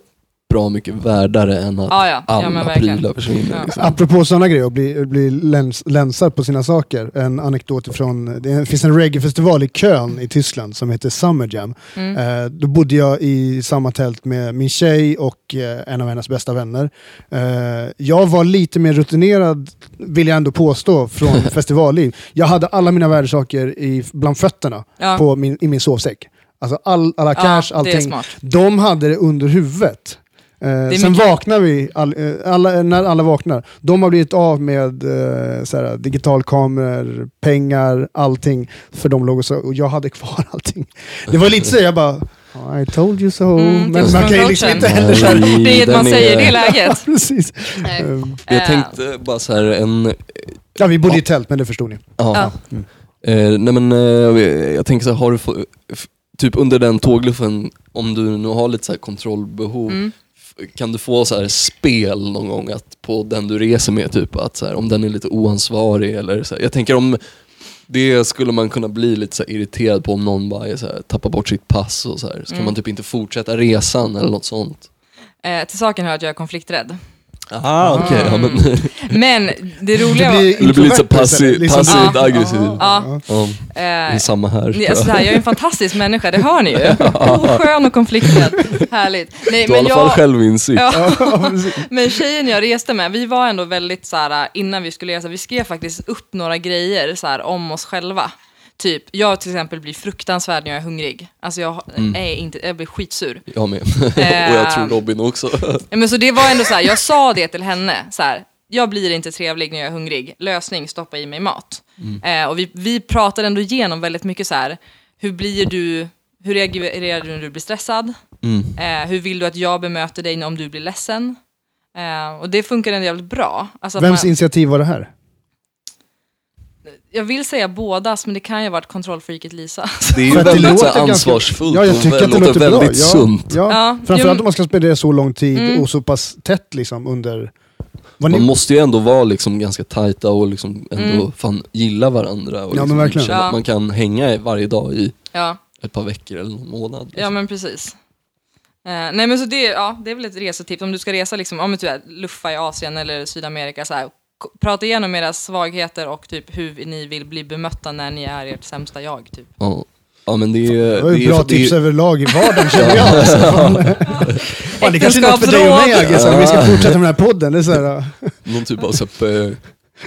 B: bra mycket värdare än att
C: Ja, ja, ja
B: alla
C: men verkligen.
B: prylar försvinner.
C: Ja.
B: Liksom.
A: Apropå sådana grejer, att bli, bli läns, länsad på sina saker. En anekdot från, det finns en reggaefestival i Köln i Tyskland som heter Summer Jam.
C: Mm.
A: Eh, då bodde jag i samma tält med min tjej och eh, en av hennes bästa vänner. Eh, jag var lite mer rutinerad, vill jag ändå påstå, från festivalliv. Jag hade alla mina värdesaker i, bland fötterna
C: Ja.
A: på min, i min sovsäck. Alltså all, alla cash,
C: ja, Det är
A: allting.
C: smart.
A: De hade det under huvudet. Eh,
C: är
A: sen
C: mycket-
A: vaknar vi, all, eh, alla, när alla vaknar. De har blivit av med eh, såhär, digitalkameror, pengar, allting. För de låg och, så, och jag hade kvar allting. Det var lite så, jag bara I told you so.
C: Mm,
A: men
C: tips
A: man
C: från
A: kan ju liksom
C: coachen.
A: inte heller såhär...
B: Nej,
C: Det är inget man
B: den
C: säger i
B: är-
C: det läget.
A: Precis.
C: Nej.
A: Eh,
B: Jag
C: Eh,
B: tänkte bara så här en...
A: Ja, vi bodde i tält, men det förstod ni.
B: Ja.
C: Ja.
B: Eh, nej men eh, jag tänker så här, har du få, f- typ under den tågluffen, om du nu har lite så här kontrollbehov,
C: Mm.
B: f- kan du få så här spel någon gång att på den du reser med, typ att så här, om den är lite oansvarig eller så här. Jag tänker om det skulle man kunna bli lite så här irriterad på om någon bara är så här, tappar bort sitt pass och så här. Så
C: Mm.
B: kan man typ inte fortsätta resan eller något sånt.
C: Eh, till saken hör att jag är konflikträdd.
B: Aha, Ah, okej. ja, men-
C: Mm. Men det roliga var...
A: blir-
B: Eller blir lite så
A: Introvert
B: passi-
A: istället, liksom.
B: passivt
C: Ja.
B: aggressiv. Ja.
C: Ja,
B: det är
C: eh,
B: samma här. tror
C: ni-
B: jag.
C: alltså, så här, jag är en fantastisk människa, det hör ni ju. Oh, skön och konflikträdd. Härligt. Nej,
B: Du har i
C: men
B: alla fall
C: jag,
B: självinsikt.
C: Ja.
A: Ja, precis.
C: Men tjejen jag reste med, vi var eh, ändå väldigt så här, innan vi skulle resa, vi skrev faktiskt upp några grejer så här, om oss själva. Typ, jag till exempel blir fruktansvärd när jag är hungrig. Alltså jag, är inte, jag blir skitsur.
B: Jag med. och jag
C: Eh.
B: tror Robin också.
C: Ja, Men så det var ändå så här, jag sa det till henne, så här, jag blir inte trevlig när jag är hungrig, lösning, stoppa i mig mat. Eh, och vi, vi pratade ändå igenom väldigt mycket så här, hur blir du, hur reagerar du när du blir stressad?
A: Mm.
C: Eh, hur vill du att jag bemöter dig om du blir ledsen? Eh, och det funkar ändå jävligt bra. Alltså att
A: Vems
C: man,
A: initiativ var det här?
C: jag vill säga bådas, men det kan ju ha varit kontrollfreaket Lisa.
B: Det är ju
A: För att det
B: väldigt så
A: låter
B: här
A: ganska-
B: ansvarsfullt
A: Ja, jag tycker
B: och
A: att det låter, bra.
B: väldigt
A: ja,
B: sunt.
A: Ja.
C: Ja, jo, Mm. men-
A: Framförallt om man ska spendera så lång tid och så pass tätt liksom under... Vad ni,
B: Man måste ju ändå vara liksom ganska tajta och liksom ändå fan gilla varandra.
A: Mm.
B: Och
A: Ja,
B: liksom
A: men verkligen.
B: känna
C: Ja.
B: att man kan hänga i- varje dag i
C: ja.
B: ett par veckor eller någon månad.
C: Ja
B: Liksom.
C: men precis. Eh, nej men så det, ja, det är väl ett resetips om du ska resa liksom, om du är luffa i Asien eller Sydamerika så här, k- prata igenom era svagheter och typ hur ni vill bli bemötta när ni är ert sämsta jag typ.
B: Ja. ja men det är
A: det var ju
B: det är-
A: bra
B: det är-
A: tips överlag i vardagen känner jag. Alltså. Fan, det kanske är något för dig och mig
C: Äktenskapsråd.
A: Agge, så här, om vi ska fortsätta med den här podden. Det är så här, ja.
B: Någon typ av så här, eh,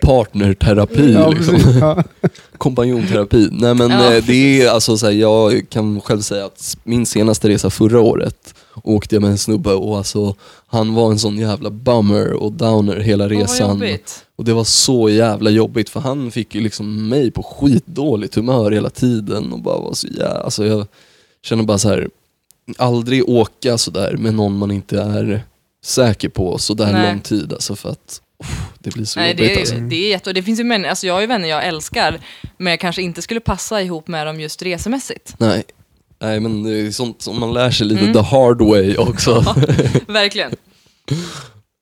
B: partnerterapi
A: ja,
B: liksom.
A: precis. Ja.
B: kompanjonterapi. Nej men
C: Ja.
B: eh, det är alltså så här, jag kan själv säga att min senaste resa förra året åkte jag med en snubbe och alltså han var en sån jävla bummer och downer hela
C: Åh, vad
B: resan.
C: jobbigt.
B: och det var så jävla jobbigt för han fick ju liksom mig på skitdåligt humör hela tiden och bara var så jävla, alltså jag känner bara så här aldrig åka sådär med någon man inte är säker på sådär
C: Nej.
B: lång tid alltså för att uff, det blir så
C: Nej
B: jobbigt
C: det är,
B: alltså.
C: det är jätte, och det finns ju människor, alltså jag har ju vänner jag älskar men jag kanske inte skulle passa ihop med dem just resemässigt.
B: Nej. Nej men det är sånt som man lär sig lite
C: Mm.
B: the hard way också.
C: Verkligen.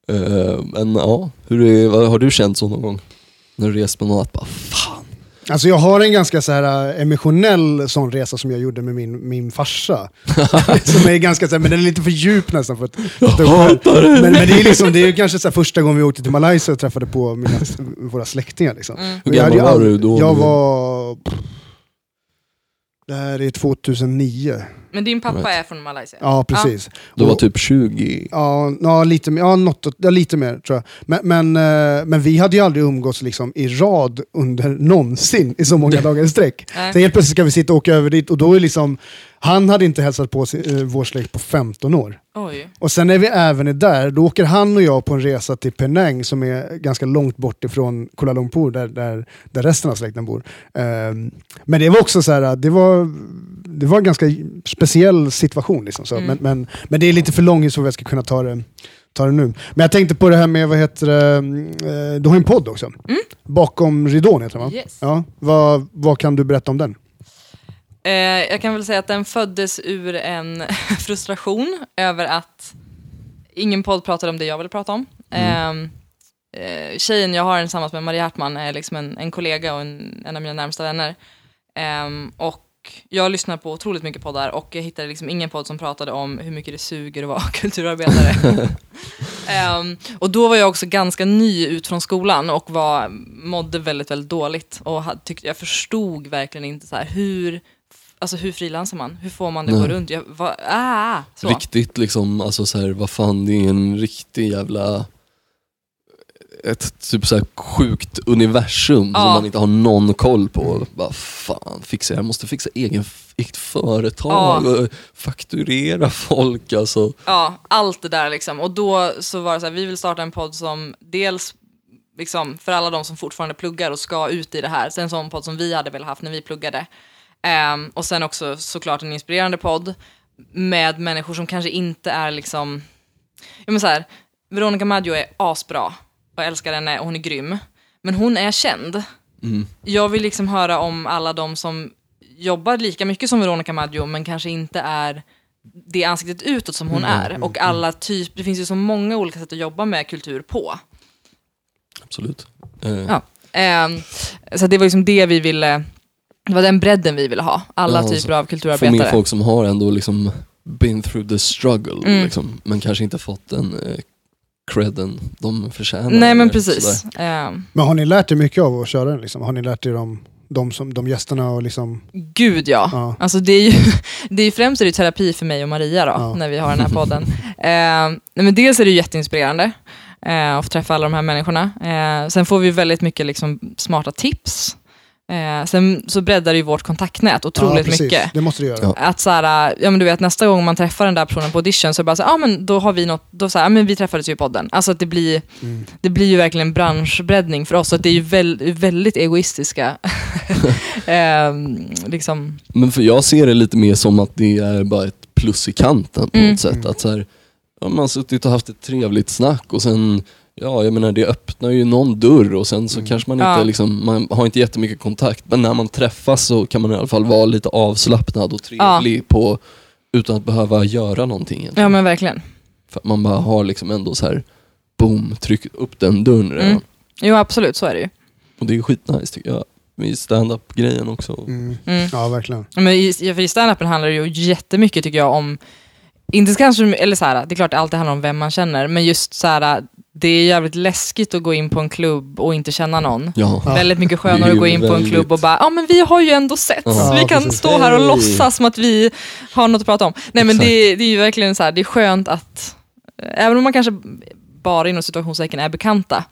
B: Eh, men ja, hur är, vad har du känt så någon gång? När du rest med någon att bara fan.
A: Alltså jag har en ganska så här äh, emotionell sån resa som jag gjorde med min, min farsa. som är ganska så här, men den är lite för djup nästan för att ta upp här. Men, men det är liksom, det är ju kanske så här första gången vi åkte till Malaysia och träffade på mina, våra släktingar liksom.
B: Hur
A: Och jag hade
B: gammal
A: ju
B: var
A: aldrig-
B: du då?
A: Jag var... Det här är 2009.
C: Men din pappa
B: Right.
C: är från Malaysia?
A: Ja, precis.
B: Du
C: Oh.
B: var typ 20.
A: Ja, ja, lite, mer- ja, något, åt- ja, lite mer tror jag. Men, men, eh, men vi hade ju aldrig umgåtts liksom, i rad under någonsin i så många dagar i sträck.
C: Nej.
A: Sen helt plötsligt ska vi sitta och åka över dit och då är liksom, han hade inte hälsat på sin, eh, vår släkt på 15 år.
C: Oj.
A: Och sen när vi även är där, då åker han och jag på en resa till Penang som är ganska långt bort ifrån Kuala Lumpur där, där, där resten av släkten bor. Ehm, men det var också så här, att det var, det var en ganska speciell situation. Liksom, så. Men, men, men det är lite för lång historia, jag ska kunna ta det, ta det nu. Men jag tänkte på det här med, vad heter det, eh, du har en podd också. Bakom ridån heter den va?
C: Yes.
A: Ja, vad, vad kan du berätta om den?
C: Eh, jag kan väl säga att den föddes ur en frustration över att ingen podd pratade om det jag ville prata om. Eh, eh, tjejen jag har den tillsammans med, Maria Hartman, är liksom en, en kollega och en, en av mina närmsta vänner. Ehm, och jag lyssnar på otroligt mycket poddar och jag hittade liksom ingen podd som pratade om hur mycket det suger att vara kulturarbetare. Ehm, och då var jag också ganska ny ut från skolan och var, mådde väldigt, väldigt dåligt. Och ha- tyckte, jag förstod verkligen inte så här, hur, alltså, hur frilansar man? Hur får man det att gå
B: Nej.
C: runt? Jag var, ah, så.
B: Riktigt liksom, alltså så här, vad fan det är en riktig jävla ett typ så här sjukt universum som
C: Ja.
B: man inte har någon koll på. Bara, fan, fixa, jag måste fixa egen, eget företag
C: Ja.
B: och fakturera folk alltså.
C: Ja, allt det där liksom. Och då så var det så här, vi vill starta en podd som dels liksom, för alla de som fortfarande pluggar och ska ut i det här, sen en sån podd som vi hade velat haft när vi pluggade. Ehm, och sen också såklart en inspirerande podd med människor som kanske inte är liksom, jag men så här, Veronica Maggio är asbra och jag älskar henne och hon är grym. Men hon är känd. Jag vill liksom höra om alla de som jobbar lika mycket som Veronica Maggio men kanske inte är det ansiktet utåt som hon är. Och alla typ, det finns ju så många olika sätt att jobba med kultur på.
B: Absolut. Eh,
C: Ja. Ehm, så det var liksom det vi ville, det var den bredden vi ville ha. Alla
B: Ja, och så
C: typer av
B: Få med
C: kulturarbetare.
B: folk som har ändå liksom been through the struggle,
C: Mm.
B: liksom, men kanske inte fått den eh, credden de förtjänar.
C: Nej men
B: eller
C: precis.
B: sådär.
C: Ehm,
A: Men har ni lärt er mycket av att köra den? Liksom? Har ni lärt er om de, som, de gästerna och liksom...
C: Gud ja.
A: Ja.
C: Alltså det är ju det är ju främst är det ju terapi för mig och Maria då,
A: Ja.
C: när vi har den här podden. eh, nej, men dels är det ju jätteinspirerande Ehm, eh, att få träffa alla de här människorna. Eh, sen får vi väldigt mycket liksom, smarta tips. Eh, sen så breddar det ju vårt kontaktnät otroligt
A: precis.
C: mycket.
A: Det måste du göra.
B: Ja.
C: Att så här, ja men du vet nästa gång man träffar den där personen på audition så är det bara så här, ja men då har vi något, då så här, ja men vi träffades ju i podden. Alltså att det blir,
A: Mm,
C: det blir ju verkligen branschbreddning för oss, så att det är ju väl, väldigt egoistiska, eh, liksom,
B: Men för jag ser det lite mer som att det är bara ett plus i kanten på
C: Mm.
B: något sätt. Att så här, ja, man har suttit och haft ett trevligt snack och sen, ja jag menar det öppnar ju någon dörr och sen
A: Mm.
B: så kanske man inte,
C: Ja.
B: liksom, man har inte jättemycket kontakt. Men när man träffas så kan man i alla fall vara lite avslappnad och trevlig på, utan att behöva göra någonting.
C: ja
B: egentligen.
C: men verkligen.
B: För att man bara har liksom ändå så här, boom, tryck upp den dörren redan.
C: Mm. Jo absolut, så är det ju.
B: Och det är skitnice tycker jag. I stand-up-grejen också.
A: Mm.
C: Mm.
A: Ja, verkligen.
C: Men i, i- för i standupen handlar det ju jättemycket tycker jag om, inte kanske, eller så här, det är klart det alltid handlar om vem man känner, men just så här, det är jävligt läskigt att gå in på en klubb och inte känna någon.
B: Ja.
A: Ja.
C: Väldigt mycket
B: Det
C: skönare
B: är
C: att gå
B: ju
C: in på en
B: väldigt-
C: klubb och bara, ja men vi har ju ändå sett,
B: Ja,
C: vi kan
A: precis.
C: stå här och
B: Hej.
C: låtsas som att vi har något att prata om. Nej men det, det är ju verkligen så här, det är skönt att, även om man kanske bara inom situationstecken är bekanta,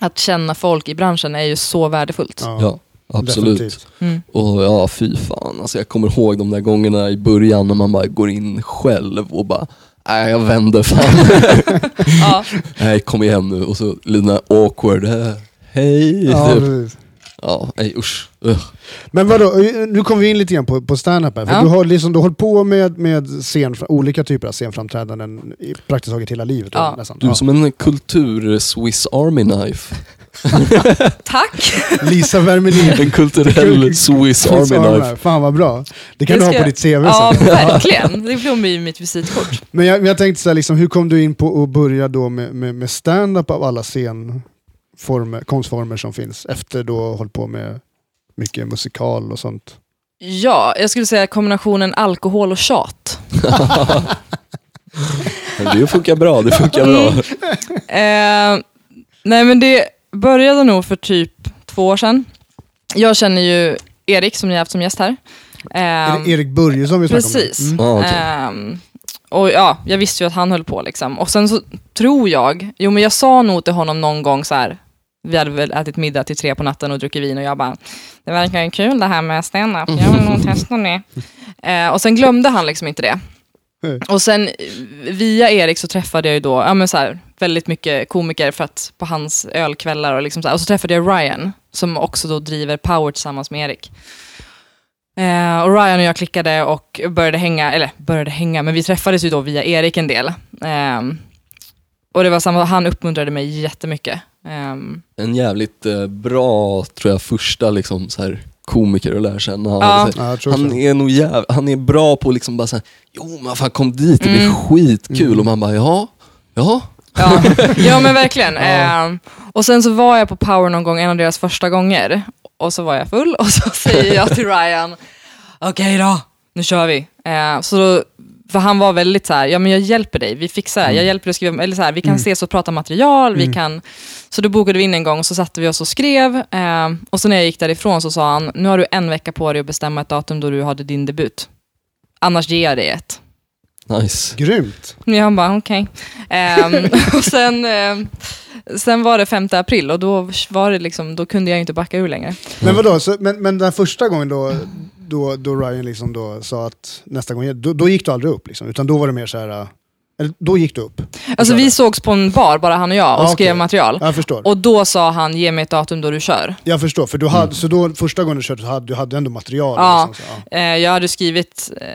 C: att känna folk i branschen är ju så värdefullt.
A: Ja,
B: ja, absolut.
A: definitivt.
C: Mm.
B: Och ja, fy fan. Alltså jag kommer ihåg de där gångerna i början när man bara går in själv och bara Nej jag vänder fan.
C: Ja.
B: Nej kom igen nu. Och så lite awkward. eh, Hej.
A: Ja,
B: typ.
A: precis.
B: ja nej usch. Ugh.
A: Men vadå, nu kommer vi in lite grann på, på stand-up här. För
C: Ja.
A: du har liksom, du har hållit på med, med scen, olika typer av scenframträdanden i praktiskt taget hela livet.
C: Ja.
A: Nästan.
B: Du är
A: Ja.
B: som en kultur-Swiss Army Knife.
C: Tack!
A: Lisa Wermelin.
B: En kulturell Swiss Army Knife.
A: Fan vad bra. Det kan
C: Det
A: du ha
C: ska
A: på
C: jag-
A: ditt CV
C: Ja,
A: sen.
C: verkligen. Det blir ju mitt visitkort.
A: Men jag, jag tänkte så här, liksom, hur kom du in på att börja då med, med, med stand-up av alla scenformer, konstformer som finns? Efter då att ha hållit på med mycket musikal och sånt.
C: Ja, jag skulle säga kombinationen alkohol och tjat.
B: Det funkar bra, det funkar bra.
C: Eh, nej men det började nog för typ två år sedan. Jag känner ju Erik som ni har haft som gäst här. Ehm,
A: Är det Erik Börjesson vi snackar om? nu?
C: precis.
A: Mm.
B: Ja, okej.
C: Ehm, och ja, jag visste ju att han höll på liksom. Och sen så tror jag, jo men jag sa nog till honom någon gång så här, vi hade väl ätit middag till tre på natten och druckit vin och jag bara, det verkar ju kul det här med stand-up, jag vill nog testa det. Eh, och sen glömde han liksom inte det.
A: Nej.
C: Och sen eh, via Erik så träffade jag ju då, ja men så här, väldigt mycket komiker för att på hans ölkvällar och liksom så här. Och så träffade jag Ryan, som också då driver Power tillsammans med Erik. Eh, och Ryan och jag klickade och började hänga, eller började hänga, men vi träffades ju då via Erik en del. Ehm, och det var samma, han uppmuntrade mig jättemycket. Ehm,
B: En jävligt eh, bra, tror jag, första liksom, så här, komiker att lära känna.
C: Ja.
A: Ja, jag tror
B: Han
A: så.
B: är nog jäv... han är bra på liksom bara såhär, jo men fan kom dit, det blir
C: Mm.
B: skitkul.
A: Mm.
B: Och man bara, ja, ja.
C: ja. ja men verkligen. Ehm, och sen så var jag på Power någon gång, en av deras första gånger. Och så var jag full och så säger jag till Ryan, okej då, nu kör vi. Ehm, så då, för han var väldigt så här, ja men jag hjälper dig, vi fixar det här. jag hjälper dig att skriva, eller så här, vi kan ses och prata material, vi kan... Så då bokade vi in en gång, så satte vi oss och skrev. Ehm, och så när jag gick därifrån så sa han, nu har du en vecka på dig att bestämma ett datum då du hade din debut. Annars ger jag dig ett.
B: Nice.
A: Grymt.
C: Ja, han bara okej. Ehm, och sen, ehm, sen var det 5 april och då, var det liksom, då kunde jag ju inte backa ur längre.
A: Men vadå, så, men, men den första gången då, då, då Ryan liksom då sa att nästa gång, då, då gick du aldrig upp liksom, utan då var det mer så här, äh, eller då gick du upp.
C: Alltså
A: Och
C: vi
A: körde.
C: sågs på en bar, bara han och jag, och
A: Ah, okej.
C: skrev material.
A: Jag förstår.
C: Och då sa han, ge mig ett datum då du kör.
A: jag förstår, för du hade, så då första gången du körde, så hade, du hade ändå material.
C: Ja.
A: Liksom, så, ja.
C: Eh, jag hade skrivit eh,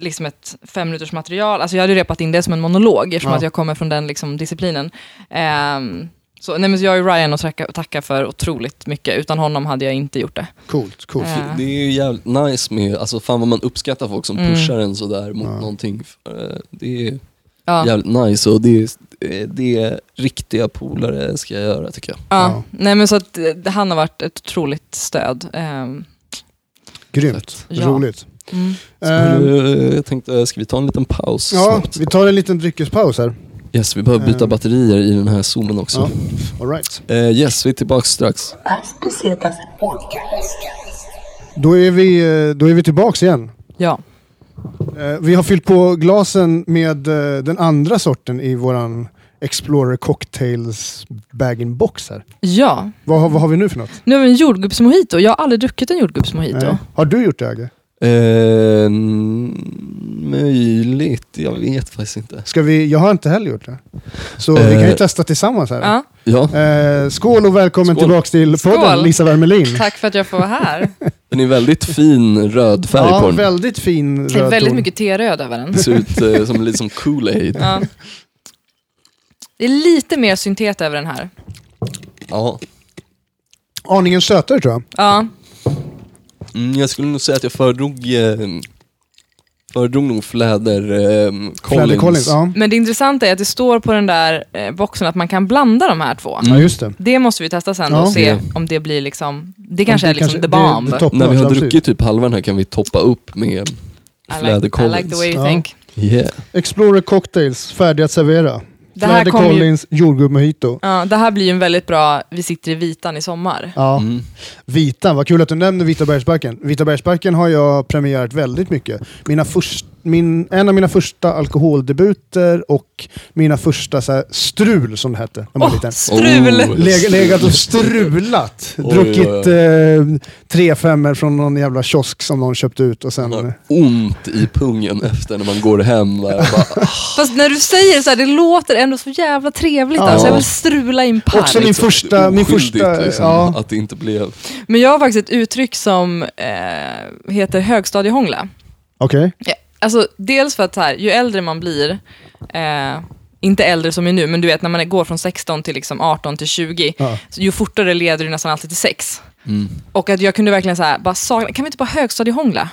C: liksom ett fem minuters material, alltså jag hade ju repat in det som en monolog eftersom
A: Ja.
C: att jag kommer från den liksom, disciplinen. Ehm, så, nej, men jag är Ryan och tacka, tacka för otroligt mycket, utan honom hade jag inte gjort det.
A: Coolt, coolt.
C: Ja.
B: Det är ju jävligt nice med, alltså fan vad man uppskattar folk som
C: Mm.
B: pushar en sådär mot
A: Ja.
B: någonting. Eh, Det är
C: Ja.
B: jävligt nice och det är, det är riktiga polare ska jag göra tycker jag.
C: Ja,
A: Ja.
C: nej men så att eh, han har varit ett otroligt stöd. Ehm,
A: Grymt,
C: Ja.
A: roligt.
C: mm.
A: Ehm,
B: Eh, Jag tänkte, ska vi ta en liten paus
A: ja,
B: snabbt?
A: vi tar en liten dryckespaus här.
B: Yes, vi behöver byta
A: Ehm.
B: batterier i den här zoomen också.
A: All right.
B: Eh, yes, vi är tillbaka strax.
D: As pesetas podcast.
A: Då är vi, eh, då är vi tillbaks igen.
C: Ja.
A: Eh, Vi har fyllt på glasen med eh, den andra sorten i våran Explorer Cocktails bag-in-boxar.
C: Ja,
A: Vad, har- vad har vi nu för något?
C: nu har vi en jordgubbsmojito. Jag har aldrig druckit en jordgubbsmojito.
A: Nej. Har du gjort det Agge?
B: Eh, n- möjligt, jag vet faktiskt inte.
A: Ska vi, jag har inte heller gjort det. Så vi kan ju
B: Eh.
A: testa tillsammans här.
C: Ja,
B: Ja,
A: Eh, skål och välkommen
B: Skål.
A: tillbaka till podden
C: Skål.
A: Lisa Wermelin.
C: tack för att jag får vara här.
B: den är väldigt fin röd färg
A: Ja,
B: på den.
A: väldigt fin
C: Det är
A: röd
C: väldigt
A: ton.
C: mycket T-röd över den.
B: Den ser ut eh, som lite som Kool-Aid.
C: Ja. Det är lite mer syntet över den här.
B: Ja.
A: Aningen sötare tror jag.
C: Ja,
B: Mm, jag skulle nog säga att jag föredrog, eh, föredrog nog Fläder eh, Collins. Mm.
A: Fladder Collins. Ja.
C: men det intressanta är att det står på den där eh, boxen att man kan blanda de här två.
A: ja, just det.
C: Det måste vi testa sen
A: Mm. Ja.
C: och se
B: Ja.
C: om det blir liksom, det kanske
A: Det
C: är liksom
A: kanske-
C: the bomb.
A: Det, det toppar,
B: När vi
A: ja,
B: har
A: precis.
B: druckit typ halva den här kan vi toppa upp med
C: I,
B: Fläder
C: like, I
B: Collins.
C: like the way you
A: Ja.
C: think.
B: yeah.
A: Explorer Cocktails, färdiga att servera.
C: Det här
A: Fläder
C: kommer ju-
A: Collins, jordgubb-mojito.
C: Ja, det här blir ju en väldigt bra, vi sitter i vitan i sommar.
A: Ja.
B: Mm.
A: Vitan, vad kul att du nämner Vita bergsbacken. Vita bergsbacken har jag premierat väldigt mycket. Mina först, min, en av mina första alkoholdebuter och mina första så här, strul som det hette. när man var
C: Åh,
A: liten.
C: strul!
B: Oh.
A: Leg, legat och strulat.
B: Oj,
A: druckit
B: oj,
A: eh, tre femmor från någon jävla kiosk som någon köpte ut och sen... eh,
B: Man har ont i pungen efter när man går hem. Där, och bara, ah,
C: Fast när du säger så här, det låter ändå så jävla trevligt.
A: Ja.
C: Alltså, jag vill strula in park.
A: Också min första- min
B: liksom, oskyldigt,
A: första-
B: liksom,
A: ja.
B: Att det inte blev...
C: Men jag har faktiskt ett uttryck som eh, heter högstadiehångla.
A: Okej.
C: Ja, Alltså, dels för att så här, ju äldre man blir, eh, inte äldre som är nu, men du vet när man går från 16 till liksom 18 till 20,
A: Ja.
C: så ju fortare leder det nästan alltid till sex.
B: Mm.
C: Och att jag kunde verkligen så här, bara sakna, kan vi inte bara högstadiehångla?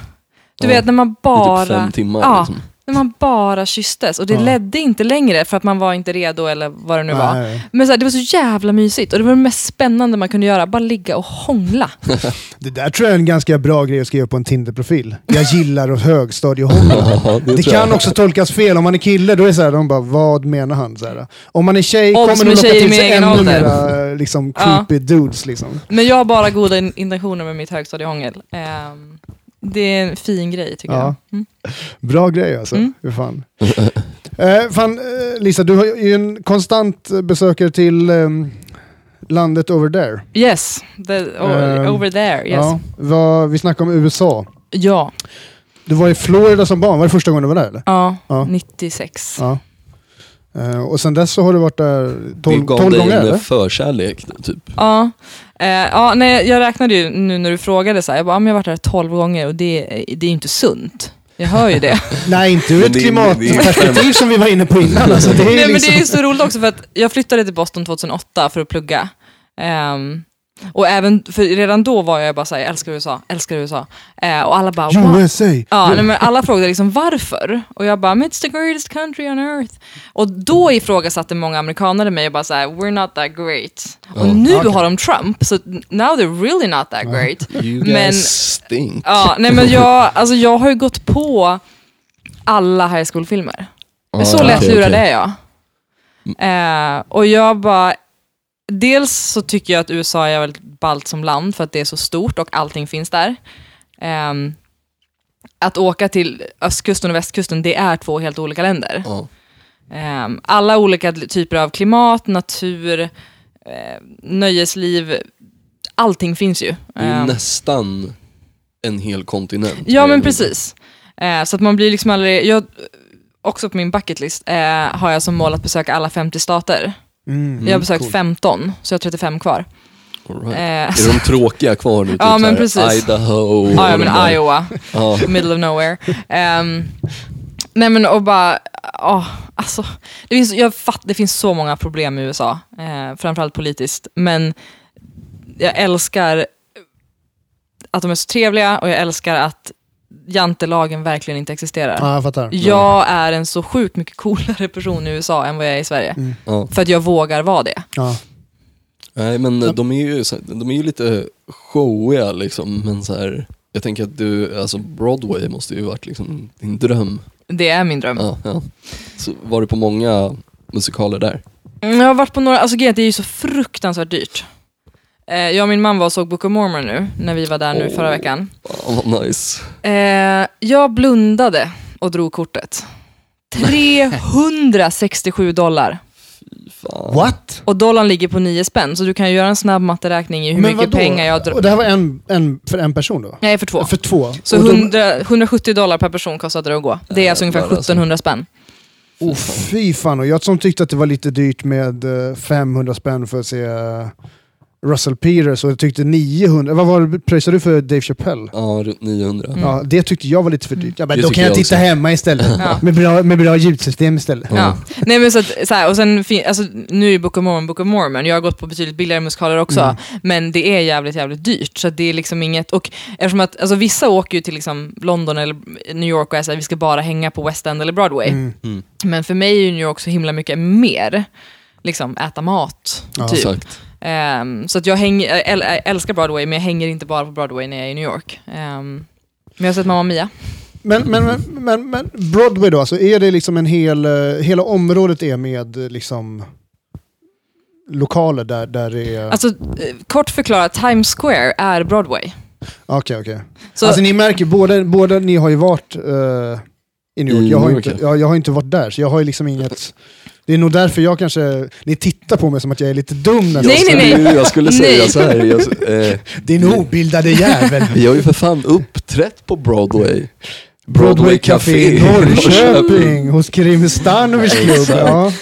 C: Du
B: Ja,
C: vet när man
B: Det
C: bara...
B: är typ fem timmar.
C: Ja,
B: Liksom.
C: när man bara kysstes och det
A: Ja.
C: ledde inte längre för att man var inte redo eller vad det nu var.
A: Nej.
C: Men så här, det var så jävla mysigt och det var det mest spännande man kunde göra, bara ligga och hångla.
A: Det där tror jag är en ganska bra grej att skriva på en Tinder-profil. Jag gillar att högstadiehångla.
B: Ja, det,
A: Det
B: tror jag.
A: kan också tolkas fel. Om man är kille, då är det så här, de bara, vad menar han? Så här. Om man är tjej
C: Odds
A: kommer
C: med
A: de locka
C: tjejer
A: till
C: i
A: sig
C: min egen
A: ännu
C: ålder.
A: mera eh, liksom,
C: Ja.
A: creepy dudes. Liksom.
C: Men jag har bara goda in- intentioner med mitt högstadiehångel. Ehm, det är en fin grej tycker
A: Ja.
C: jag. Mm.
A: Bra grej alltså.
C: Mm.
A: Hur fan. eh, fan eh, Lisa, du har ju- är ju en konstant eh, besökare till ehm, landet over there.
C: Yes, the, o-
A: Ehm,
C: over there. Yes. Ja.
A: Ja, vad, vi snackade om USA.
C: Ja,
A: Du var i Florida som barn, var det första gången du var där eller? Ja.
C: 96.
A: Ja. Eh, och sen dess så har du varit där
B: det
A: tolv
B: gav
A: tolv
B: dig
A: gånger
B: en
A: eller?
B: förkärlek. Typ.
C: Ja. Eh, ja, nej, jag räknade ju nu när du frågade, så här, jag bara, ja, men jag har varit där 12 gånger och det, det är ju inte sunt. Jag hör ju det.
A: Nej, inte ur
B: Men
A: ett
B: det är-
A: klimatperspektiv som vi var inne på innan. Alltså, det är ju
C: Nej, men
A: liksom...
C: det är ju så roligt också för att jag flyttade till Boston 2008 för att plugga. Ehm, och även, för redan då var jag bara såhär, jag älskar USA, älskar USA. Eh, och alla bara, wow.
A: USA!
C: Ja, nej, men alla frågade liksom varför. Och jag bara, "Men it's the greatest country on earth. Och då ifrågasatte många amerikanare mig och bara såhär, we're not that great. Och
B: Ja,
C: nu
A: okej.
C: har de Trump, så now they're really not that great.
B: You guys
C: Men-
B: stink.
C: Ja, nej men jag, alltså jag har ju gått på alla high school-filmer.
B: Ah,
C: så lätt
B: okej,
C: lurad
B: okej.
C: är jag. Eh, och jag bara, dels så tycker jag att USA är väldigt ballt som land för att det är så stort och allting finns där. Ehm, att åka till östkusten och västkusten, det är två helt olika länder.
B: Ja.
C: Ehm, alla olika typer av klimat, natur, eh, nöjesliv, allting finns ju.
B: Det är ju
C: Ehm,
B: nästan en hel kontinent.
C: Ja men precis. Eh, så att man blir liksom aldrig, jag, också på min bucketlist eh, har jag som mål att besöka alla 50 stater.
A: Mm.
C: jag har besökt
A: coolt.
C: 15, så jag har 35 kvar.
B: All right.
C: Eh,
B: Är de tråkiga kvar nu? Typ
C: Ja, men
B: så här
C: precis.
B: Idaho.
C: ja, ja,
B: och de
C: men
B: där.
C: Iowa,
B: Ja.
C: middle of nowhere. Ehm, nej men och bara, oh, alltså, det, finns, jag fatt, det finns så många problem i USA, eh, framförallt politiskt. Men jag älskar att de är så trevliga och jag älskar att jantelagen verkligen inte existerar.
A: Ja, jag fattar.
C: Jag är en så sjukt mycket coolare person i USA än vad jag är i Sverige.
B: Ja.
C: För att jag vågar vara det.
A: Ja.
B: Nej men eh, de är ju, så- de är ju lite showiga liksom, men så här, jag tänker att du, alltså Broadway måste ju varit liksom din dröm.
C: Det är min dröm.
B: Ja, ja. Så var du på många musikaler där?
C: Mm, Jag har varit på några, alltså grejen är att det är ju så fruktansvärt dyrt. Eh, jag och min man var och såg Book of Mormon nu, när vi var där nu
B: Åh.
C: förra veckan.
B: Ja, vad nice.
C: Eh, jag blundade och drog kortet. 367 dollar.
B: fy fan.
A: What?
C: Och dollarn ligger på 9 spänn, så du kan ju göra en snabb matteräkning i hur mycket
A: vadå?
C: pengar jag drar.
A: Och det här var en, en, för en person då?
C: Nej, för två.
A: För två?
C: Så
A: Och de-
C: 100, 170 dollar per person kostade det att gå. Det är alltså ungefär
B: Jävlar, alltså.
C: 1700 spänn.
A: Oh, fy fan, och jag som tyckte att det var lite dyrt med eh, 500 spänn för att se eh, Russell Peters och jag tyckte 900, vad var det, pröjsade du för Dave Chappelle?
C: Mm.
B: Ja, runt 900.
A: Ja, det tyckte jag var lite för dyrt. Ja, men
B: Det
A: då
B: tycker
A: kan jag,
B: jag
A: titta
B: också.
A: hemma istället.
C: Ja.
A: med, bra, med bra ljudsystem istället.
C: Ja. Nej, men så att, så här, och sen, fin- alltså, nu är ju Book of Mormon Book of Mormon. Jag har gått på betydligt billigare muskaler också,
A: Mm.
C: men det är jävligt, jävligt dyrt. Så att det är liksom inget... Och eftersom att, alltså, vissa åker ju till liksom, London eller New York och är så här, vi ska bara hänga på West End eller Broadway.
A: Mm.
B: Mm,
C: Men för mig är ju New York så himla mycket mer. Liksom äta mat,
A: Ja,
C: typ.
B: Exakt.
C: Ehm, så att jag hänger, jag äl, jag älskar Broadway, men jag hänger inte bara på Broadway när jag är i New York. Ehm, men jag har sett Mamma Mia.
A: Men, men, men, men, men Broadway då, alltså, är det liksom en hel, eh, hela området är med eh, liksom lokaler där, där det är...
C: Alltså, eh, kort förklara, Times Square är Broadway.
A: Ah, Okej, okej.
C: Så,
A: Alltså ni märker, båda, båda ni har ju varit eh, i New York.
B: I
A: Jag har,
B: New
A: inte,
B: York,
A: jag, jag har inte varit där, så jag har ju liksom inget... Det är nog därför jag kanske... Ni tittar på mig som att jag är lite dum. När
C: Nej,
A: jag-
C: nej, nej.
B: Jo, Jag skulle säga
C: Nej.
B: så här. Jag, eh,
A: Din obildade jävel.
B: vi har ju för fan uppträtt på Broadway.
A: Broadway Café i Norrköping, hos Krim Stanovic
B: Ja,
A: klubb.
B: exakt.
A: Ja.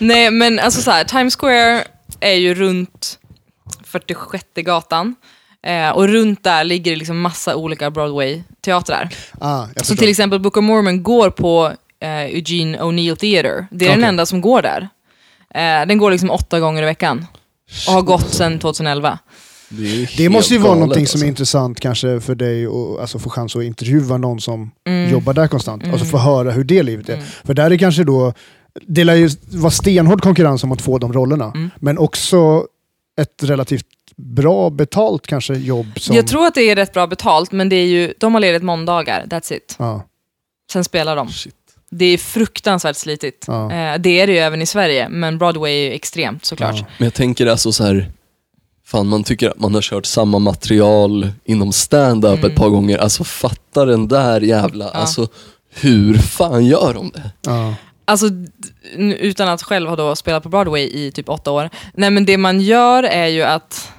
C: nej, men alltså så här, Times Square är ju runt 46 gatan. Eh, och runt där ligger det liksom massa olika Broadway-teatrar.
A: Ah, jag
C: Så
A: förstår.
C: till exempel Book of Mormon går på eh, Eugene O'Neill Theater. Det är den
A: Okej.
C: enda som går där. Eh, den går liksom åtta gånger i veckan. Och har gått sedan 2011.
B: Det, är
A: Det
B: helt
A: måste ju vara
B: galet,
A: någonting som
B: alltså.
A: är intressant kanske för dig att alltså, få chans att intervjua någon som
C: Mm.
A: jobbar där konstant. Alltså få höra hur det livet är. För där är kanske då, det lär ju vara stenhård konkurrens om att få de rollerna.
C: Mm.
A: Men också ett relativt bra betalt kanske jobb som...
C: Jag tror att det är rätt bra betalt, men det är ju, de har ledigt måndagar, that's it.
A: Ja,
C: Sen spelar de.
B: Shit.
C: Det är fruktansvärt slitigt.
A: Ja.
C: Eh, det är det ju även i Sverige, men Broadway är ju extremt såklart.
A: Ja.
B: Men jag tänker alltså så här, fan man tycker att man har kört samma material inom stand-up ett par gånger. Alltså fatta den där jävla, alltså hur fan gör de det?
A: ja.
C: Alltså, d- nu- utan att själv ha då spelat på Broadway i typ åtta år. Nej, men det man gör är ju att...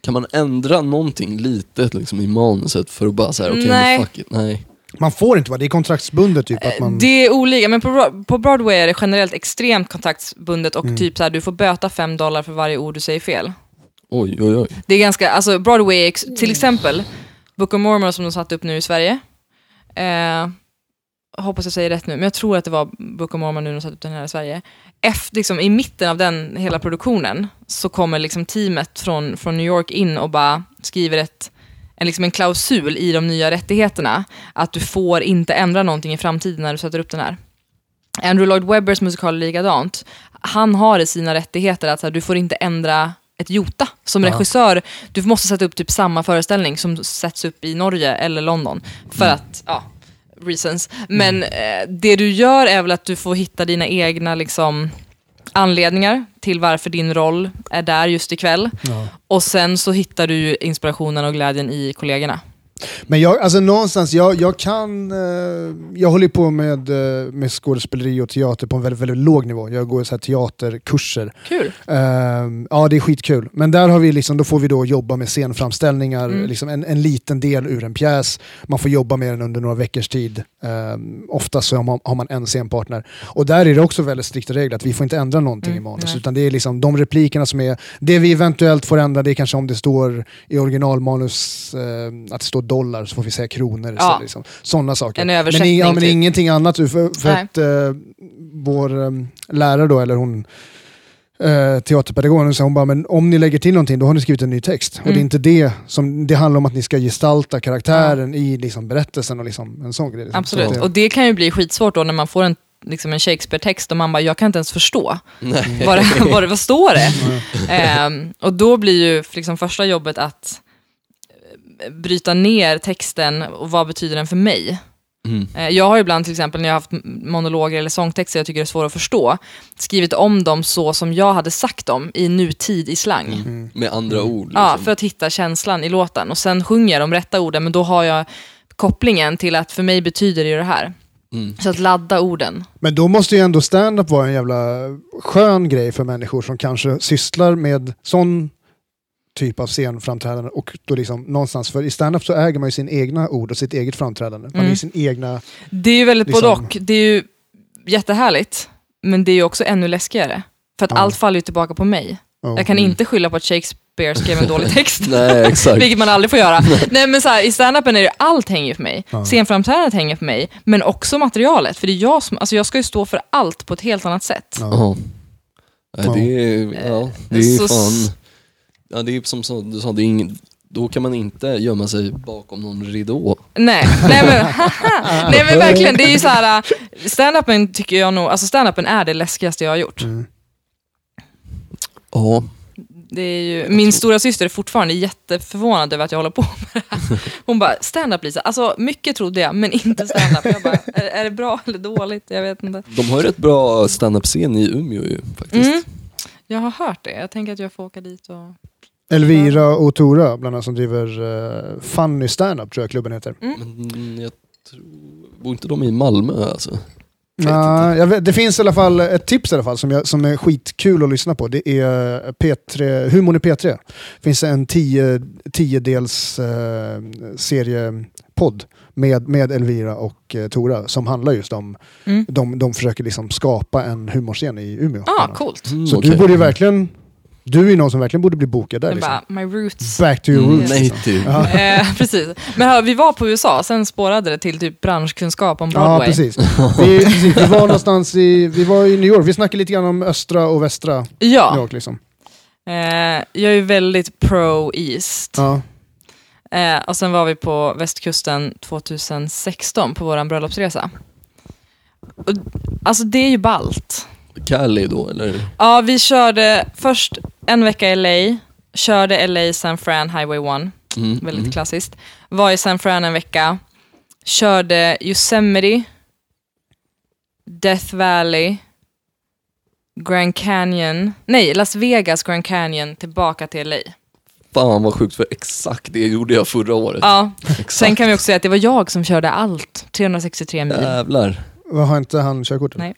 B: Kan man ändra någonting litet liksom, i manuset för att bara säga okej,
C: Nej.
B: men fuck it, nej.
A: Man får inte vara, det är kontraktsbundet typ. Att man,
C: Eh, Det är olika, men på, Bro- på Broadway är det generellt extremt kontaktsbundet och typ så här, du får böta fem dollar för varje ord du säger fel.
B: Oj, oj, oj.
C: Det är ganska, alltså Broadway, är ex- till exempel Book of Mormon som de satte upp nu i Sverige. Eh, hoppas jag säger rätt nu, men jag tror att det var Book of Mormon nu de satte upp den här i Sverige. Efter, liksom, I mitten av den hela produktionen så kommer liksom teamet från, från New York in och bara skriver ett en, liksom en klausul i de nya rättigheterna att du får inte ändra någonting i framtiden när du sätter upp den här. Andrew Lloyd Webbers musikal är likadant. Han har i sina rättigheter att så här, du får inte ändra ett jota som regissör. Du måste sätta upp typ samma föreställning som sätts upp i Norge eller London. För att, ja, reasons. Men eh, det du gör är väl att du får hitta dina egna liksom, anledningar till varför din roll är där just ikväll. Och sen så hittar du ju inspirationen och glädjen i kollegorna.
A: Men jag, alltså någonstans, jag, jag kan... Eh, jag håller ju på med, eh, med skådespeleri och teater på en väldigt, väldigt låg nivå. Jag går så här teaterkurser.
C: Kul.
A: Ehm, ja, det är skitkul. Men där har vi liksom, då får vi då jobba med scenframställningar,
C: Mm.
A: liksom en, en liten del ur en pjäs. Man får jobba med den under några veckors tid. Um, oftast så har man, har man en scenpartner. Och där är det också väldigt strikta regler att vi får inte ändra någonting i manus.
C: Mm, nej.
A: Utan det är liksom de replikerna som är... Det vi eventuellt får ändra det är kanske om det står i originalmanus ehm, att det står dollar så får vi säga kronor.
C: Ja.
A: istället, liksom. Sådana saker.
C: En
A: men, i-
C: översättning,
A: ja, men
C: typ.
A: ingenting annat. För, för
C: Nej.
A: att, eh, vår ehm, lärare då, eller hon eh, teaterpedagogen så hon bara, men om ni lägger till någonting då har ni skrivit en ny text. Och
C: Mm.
A: det är inte det som, det handlar om att ni ska gestalta karaktären i liksom berättelsen och liksom en sån grej. Liksom. Så
C: Absolut.
A: att det-
C: Och det kan ju bli skitsvårt då när man får en, liksom en Shakespeare-text och man bara, jag kan inte ens förstå.
B: nej.
C: Vad, det, vad, det, vad står det? Ehm, och då blir ju liksom första jobbet att eh, bryta ner texten och vad betyder den för mig?
B: Mm.
C: Eh, Jag har ibland till exempel när jag har haft m- monologer eller sångtexter jag tycker är svåra att förstå, skrivit om dem så som jag hade sagt dem i nutid i slang.
B: Med andra ord. Liksom.
C: Mm. Ja, för att hitta känslan i låten. Och sen sjunger jag de rätta orden, men då har jag kopplingen till att för mig betyder det ju det här.
B: Mm.
C: Så att ladda orden.
A: Men då måste ju ändå stand-up vara en jävla skön grej för människor som kanske sysslar med sån typ av scenframträdande och då liksom någonstans, för i stand-up så äger man ju sin egna ord och sitt eget framträdande. Man är
C: Mm.
A: ju sin egna,
C: Det är ju väldigt både
A: Liksom-
C: och. Det är ju jättehärligt, men det är ju också ännu läskigare. För att
A: Ja.
C: allt faller ju tillbaka på mig.
A: Ja.
C: Jag kan
B: Mm.
C: inte skylla på att Shakespeare skrev en dålig text.
B: Nej, exakt.
C: Vilket man aldrig får göra. Nej men så här, i standupen är det allt hänger ju på mig.
A: Ja.
C: Scenframträdandet hänger på mig, men också materialet. För det är jag som, alltså jag ska ju stå för allt på ett helt annat sätt.
A: Ja.
B: Ja. Nej,
A: Ja.
B: det är, ja, det är
C: så-
B: fan... Ja, det är som så- du sa, det är ingen, då kan man inte gömma sig bakom någon ridå.
C: Nej, nej men, haha. nej men verkligen. Det är ju så här, äh, standupen tycker jag nog, alltså standupen är det läskigaste jag har gjort.
A: Mm.
B: Ja.
C: Det är ju, min stora syster är fortfarande jätteförvånad över att jag håller på med det här. Hon bara, standup Lisa, alltså mycket trodde jag, men inte standup. Jag bara, är, är det bra eller dåligt? Jag vet inte.
B: De har ju rätt bra standup-scen i Umeå ju, faktiskt.
C: Mm. Jag har hört det, jag tänker att jag får åka dit och...
A: Elvira och Tora, bland annat som driver eh, Funny Stand-up tror jag klubben heter.
C: Mm.
B: Men jag tror... Bor inte de i Malmö alltså? vet
A: Nej, Ah, jag vet, det finns i alla fall ett tips i alla fall som, jag, som är skitkul att lyssna på. Det är eh, P3, Humorn i P3. Det finns en tio, tiodels eh, seriepodd med, med Elvira och eh, Tora som handlar just om,
C: Mm.
A: de, de försöker liksom skapa en humorscen i Umeå.
C: Ah, coolt.
B: Mm,
A: Så du
B: okej.
A: borde ju verkligen, du är ju någon som verkligen borde bli bokad där.
C: Jag
A: Liksom.
C: bara, my roots.
A: Back to your
B: Mm,
A: roots.
B: Nej,
A: liksom.
B: typ.
A: Ja.
C: Eh, precis. Men hör, vi var på USA, sen spårade det till typ branschkunskap om
A: Ja,
C: Broadway.
A: precis. Vi, precis. Vi var någonstans i, vi var i New York, vi snackade lite grann om östra och västra
C: Ja,
A: New York. Liksom.
C: Eh, jag är ju väldigt pro-East.
A: Ja.
C: Eh, och sen var vi på västkusten 2016 på vår bröllopsresa. Och, alltså det är ju ballt.
B: Cali då, eller?
C: Ja, vi körde först en vecka i LA, körde LA San Fran Highway 1,
B: Mm,
C: väldigt
B: mm.
C: klassiskt. Var i San Fran en vecka, körde Yosemite, Death Valley, Grand Canyon, nej Las Vegas Grand Canyon tillbaka till LA.
B: Fan vad sjukt, för exakt det gjorde jag förra året.
C: Ja,
B: exakt.
C: sen kan vi också säga att det var jag som körde allt, 363 mil.
B: Jävlar.
A: Vad har inte han körkortet?
C: Nej.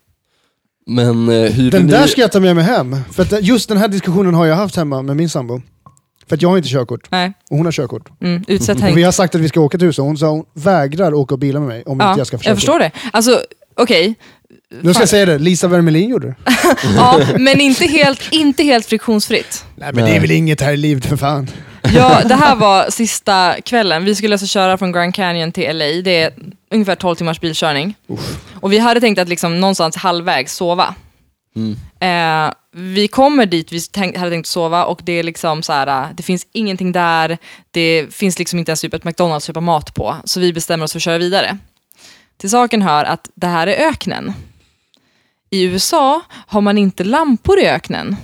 B: Men eh, hyrde
A: Den
B: ni...
A: där ska jag ta med mig hem. För att just den här diskussionen har jag haft hemma med min sambo. För att jag har inte körkort
C: Nej,
A: och hon har körkort.
C: mm, utsätt
A: Och vi
C: Henk.
A: har sagt att vi ska åka till USA och hon sa hon vägrar åka och bila med mig om
C: Ja,
A: inte jag ska få
C: jag förstår det. Alltså, okej.
A: Nu ska jag säga det, Lisa Wermelin gjorde det.
C: Ja, men inte helt, inte helt friktionsfritt.
A: Nej
B: men det är väl
A: inget här i livet för fan.
C: Ja, det här var sista kvällen. Vi skulle alltså köra från Grand Canyon till LA. Det är ungefär 12 timmars bilkörning. Och vi hade tänkt att liksom någonstans halvvägs sova.
B: Mm.
C: Eh, vi kommer dit vi tänk, hade tänkt sova och det är liksom så här, eh, det finns ingenting där. Det finns liksom inte ens typ ett McDonalds att köpa mat på. Så vi bestämmer oss för att köra vidare. Till saken hör att det här är öknen. I USA har man inte lampor i öknen.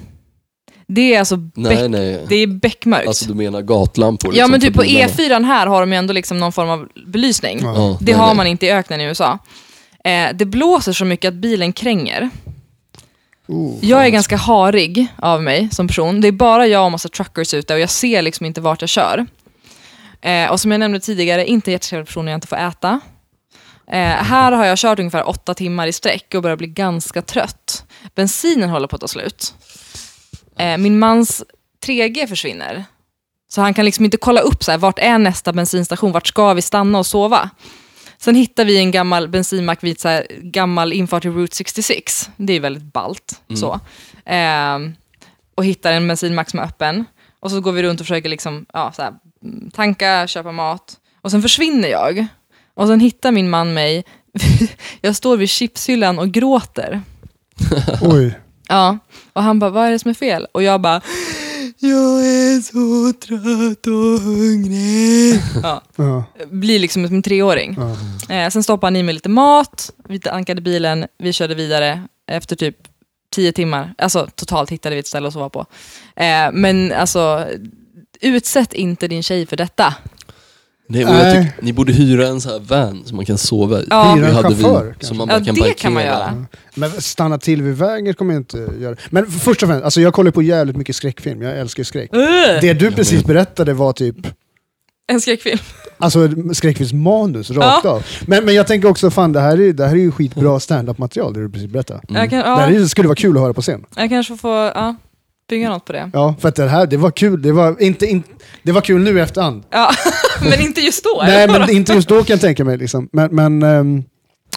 C: Det är alltså
B: Nej,
C: bäck-
B: nej.
C: det är bäckmörkt.
B: Alltså du menar gatlampor?
C: ja
B: liksom,
C: men
B: för
C: typ på
B: bilarna.
C: E4 här har de ju ändå liksom någon form av belysning.
A: Ja.
B: Ja,
C: Det
B: nej,
C: har
B: nej.
C: man inte i öknen i USA. Eh, det blåser så mycket att bilen kränger.
A: Oh.
C: Jag är ganska harig av mig som person. Det är bara jag och massa truckers ute och jag ser liksom inte vart jag kör. Eh, och som jag nämnde tidigare, inte en jättetrevlig person när jag inte får äta. Eh, här har jag kört ungefär åtta timmar i sträck och börjar bli ganska trött. Bensinen håller på att ta slut. Eh, min mans 3G försvinner. Så han kan liksom inte kolla upp så här, vart är nästa bensinstation, vart ska vi stanna och sova? Sen hittar vi en gammal bensinmack vid så här, gammal infart till Route 66. Det är väldigt ballt. Så. Ehm, och hittar en bensinmack som är öppen. Och så går vi runt och försöker liksom, ja, så här, mm, tanka, köpa mat. Och sen försvinner jag. Och sen hittar min man mig. jag står vid chipshyllan och gråter.
A: Oj.
C: Ja, och han bara, vad är det som är fel? Och jag bara, jag är så trött och hungrig. Ja,
A: Ja.
C: blir liksom som en treåring.
A: Ja.
C: Eh, sen stoppade han i mig lite mat, vi ankade bilen, vi körde vidare efter typ tio timmar. Alltså totalt hittade vi ett ställe att sova på. Eh, men alltså, utsätt inte din tjej för detta.
B: Nej, och jag
C: Äh.
A: Nej.
B: tycker, ni borde hyra en sån här van som man kan sova i.
C: Ja.
A: Hyra en
B: Det hade vi,
A: chaufför, kanske.
B: som man bara
C: Ja,
B: kan
C: det
B: parkera.
C: kan man göra.
A: Men stanna till vid vägen kommer jag inte göra. Men först och främst,
B: Mm.
A: alltså jag kollar på jävligt mycket skräckfilm. Jag älskar skräck.
C: Uh!
A: Det du precis berättade var typ
C: en skräckfilm.
A: Alltså skräckfilmsmanus rakt
C: Ja.
A: av. Men, men jag tänker också, fan det här är, det här är ju skitbra stand-up material det du precis berättade.
B: Mm.
C: Jag, kan,
A: Det här
C: ja,
A: är, skulle vara kul att höra på scen.
C: jag kanske får ja, bygga något på det.
A: Ja, för att det här, det var kul. Det var, inte, in, det var kul nu i efterhand.
C: Ja, men inte just då.
A: Nej,
C: eller
A: men
C: vadå?
A: inte just då kan jag tänka mig. Liksom. Men, men, ehm,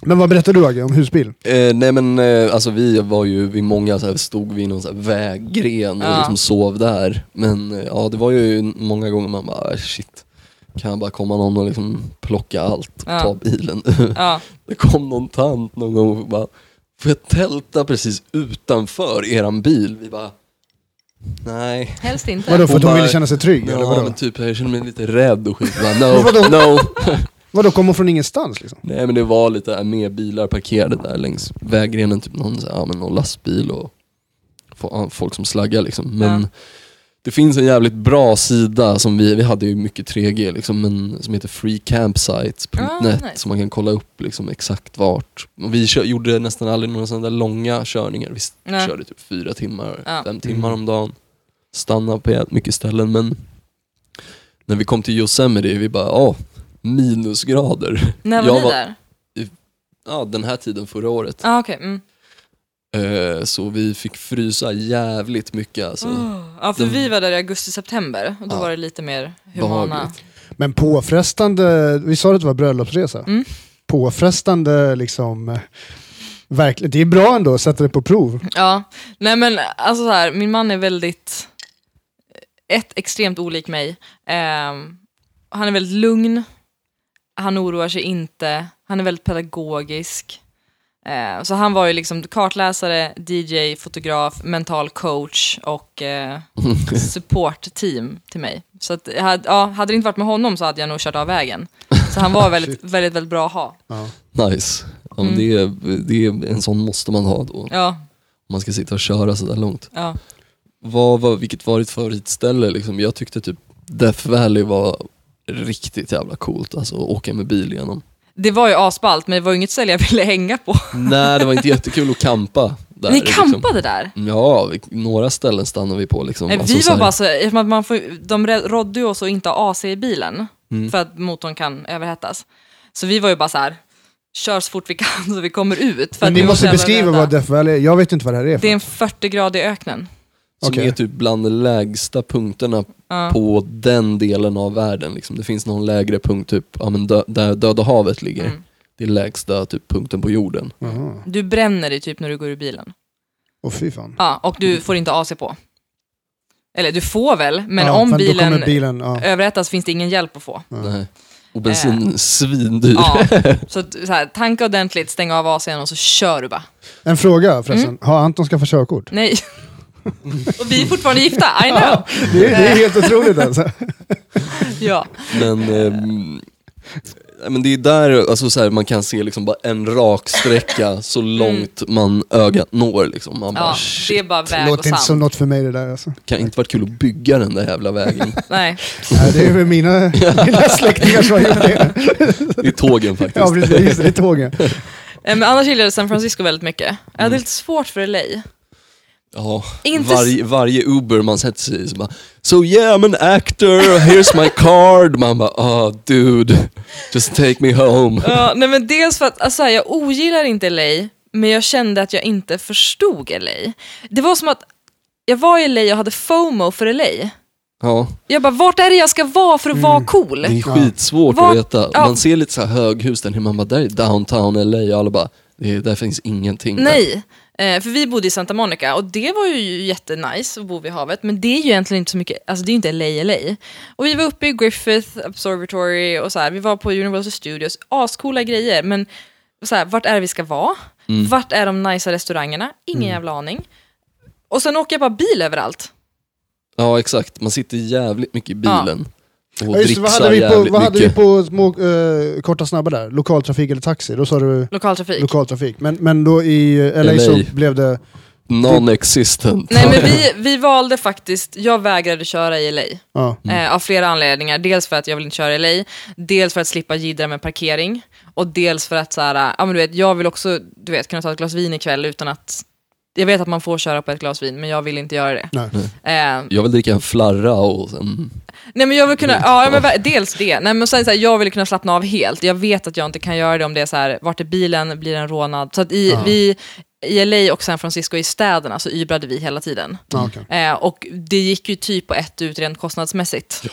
A: men vad berättade du Agge om husbil?
B: Eh, nej men eh, alltså vi var ju, vi många så här, stod vid någon så här väggren och
C: Ja.
B: liksom sov där. Men eh, ja det var ju många gånger man bara "Ah, shit, kan bara komma någon och liksom plocka allt och
C: Ja.
B: ta bilen.
C: Ja,
B: det kom någon tant någon gång och bara, får jag tälta precis utanför eran bil? Vi bara, nej.
C: helst inte.
A: Vadå, för
B: Hon
A: att hon
B: bara-
A: ville känna sig trygg? eller
B: Ja
A: vadå?
B: men typ jag känner mig lite rädd och skit. Bara, no,
A: Vadå?
B: no.
A: vadå, kom hon från ingenstans liksom?
B: Nej men det var lite här med bilar parkerade där längs vägrenen, typ någon, så här, ja, men någon lastbil och fo- ja, folk som slaggar liksom. Men
C: Ja.
B: det finns en jävligt bra sida som vi, vi hade ju mycket 3G liksom, men som heter freecampsites.net
C: Ah, nice.
B: som man kan kolla upp liksom exakt vart. Och vi kö- gjorde nästan aldrig några sådana där långa körningar. Vi s-
C: Nej.
B: körde typ fyra timmar,
C: Ja.
B: fem timmar om dagen. Stannade på jävligt mycket ställen men när vi kom till Yosemite, vi bara, ja, minusgrader.
C: När
B: Jag
C: var ni
B: var-
C: där?
B: ja, den här tiden förra året.
C: Ja, ah, okej. Mm.
B: Eh, så vi fick frysa jävligt mycket alltså.
C: Oh. Ja, för
B: Den-
C: vi var där i augusti-september och då
B: Ja.
C: var det lite mer humana.
B: Behagligt.
A: Men påfrestande, vi sa att det var bröllopsresa.
C: Mm.
A: Påfrestande liksom, eh, verkligen. Det är bra ändå att sätta det på prov.
C: Ja, nej men alltså så här, min man är väldigt, eh, ett extremt olik mig. Ehm, han är väldigt lugn, han oroar sig inte, han är väldigt pedagogisk. Ehm, så han var ju liksom kartläsare, DJ, fotograf, mental coach och eh, supportteam till mig. Så att, jag hade- ja, hade det inte varit med honom så hade jag nog kört av vägen. Så han var väldigt, väldigt, väldigt bra att ha.
B: Nice. Ja, men det,
C: Mm.
B: är, det är, en sån måste man ha då.
C: Ja,
B: Om man ska sitta och köra sådär långt.
C: ja.
B: Vad var, vilket var ditt favoritställe? Liksom? Jag tyckte typ Death Valley var riktigt jävla coolt. Alltså att åka med bil igenom.
C: Det var ju asballt, men det var ju inget ställe jag ville hänga på.
B: Nej, det var inte jättekul att kampa där.
C: Ni
B: liksom.
C: kampade där?
B: Ja, vi, några ställen stannade vi på. Liksom.
C: Nej,
B: Alltså,
C: vi
B: så
C: var
B: här-
C: bara så, eftersom att man får, de rä- rådde ju oss att inte ha AC i bilen
A: Mm.
C: för att motorn kan överhettas. Så vi var ju bara så här, kör så fort vi kan så vi kommer ut. För
A: Men
C: att
A: ni
C: vi var så
A: måste
C: jävla
A: beskriva
C: rädda.
A: vad Death Valley är. Jag vet inte vad det här är. För.
C: Det är en 40-grad i öknen.
B: Som
A: Okej.
B: är typ bland de lägsta punkterna
C: Ja.
B: på den delen av världen. Liksom. Det finns någon lägre punkt, typ, ja, men dö- där Döda havet ligger.
C: Mm.
B: Det är lägsta typ, punkten på jorden.
A: Jaha.
C: Du bränner dig typ när du går ur bilen.
A: Åh fy fan.
C: Ja, och du får inte AC på. Eller du får väl, men
A: Ja,
C: om
A: fan, Då
C: bilen,
A: kommer bilen ja.
C: överhettas finns det ingen hjälp att få.
A: Ja.
B: Nej. Och bensin, svindyr.
C: Äh. Ja. Så, att- så här, tanka ordentligt, stäng av ACn och så kör du bara.
A: En fråga förresten.
C: Mm.
A: Har Anton skaffat körkort?
C: Nej. och vi är fortfarande gifta, I know.
A: Det, är- det är helt otroligt alltså.
C: Ja.
B: Men, ehm, nej, men det är där alltså, så här, man kan se liksom, bara en rak sträcka så långt man ögat når. Liksom. Man bara,
C: Mm. Ja,
B: shit,
C: det är bara väg och
A: Låter inte som
C: sand.
A: något för mig det där alltså.
B: kan inte varit kul att bygga den där jävla vägen.
C: Nej. Eh,
A: Nej, det är väl mina, mina släktingar som har gjort det.
B: det är tågen faktiskt.
A: Ja, precis. Just det, det är tågen.
C: Eh, Men annars gillade jag San Francisco väldigt mycket. Jag hade lite svårt för LA.
B: Ja,
C: Inte s-
B: Mm. varje, varje Uber man sätter sig i så bara So yeah I'm an actor, here's my card. Man bara ah dude, just take me home.
C: Ja, nej men dels för att alltså, här, jag ogillar inte LA, men jag kände att jag inte förstod LA. Det var som att jag var i LA och hade FOMO för LA.
B: Ja,
C: Jag bara, vart är det jag ska vara för att vara cool?
B: Mm. det är skitsvårt
C: Vad-
B: att veta.
C: ja.
B: Man ser lite så här höghus där nere, man bara där är downtown LA och alla bara det, är- där finns ingenting. där."
C: Nej, eh, för vi bodde i Santa Monica och det var ju jättenice att bo vid havet, men det är ju egentligen inte så mycket, alltså det är ju inte LA LA. Och vi var uppe i Griffith Observatory och så här, vi var på Universal Studios, ascoola grejer, men så här, vart är det vi ska vara? Vart är de nicea restaurangerna? Ingen jävla aning. Och sen åker jag bara bil överallt.
B: Ja exakt, man sitter jävligt mycket i
C: Ja.
B: bilen. Och
A: Ja, just, det, vad hade
B: dricksar
A: vi på,
B: jävligt
A: vad hade vi
B: mycket.
A: på små, eh, korta snabba där? Lokaltrafik eller taxi? Då sa du
C: Lokaltrafik.
A: lokaltrafik. Men, men då i eh, LA, så
B: LA.
A: blev det...
B: Non-existent.
C: Nej men vi, vi valde faktiskt, jag vägrade köra i LA.
B: Mm.
A: Ja.
C: Eh, av flera anledningar. Dels för att jag vill inte köra i LA, dels för att slippa jiddra med parkering och dels för att så här, ja, men du vet, jag vill också du vet, kunna ta ett glas vin ikväll utan att jag vet att man får köra på ett glas vin, men jag vill inte göra det.
B: Mm.
A: Nej.
C: Eh,
B: Jag vill dricka en flarra och sen...
C: nej men jag vill kunna, ja men ver- dels det, nej men sen så här, jag vill kunna slappna av helt. Jag vet att jag inte kan göra det om det är så här, vart är bilen, blir den rånad? Så att i, vi, i LA och San Francisco, i städerna, så ybrade vi hela tiden.
A: Ja, okej.
C: Eh, och det gick ju typ på ett ut rent kostnadsmässigt.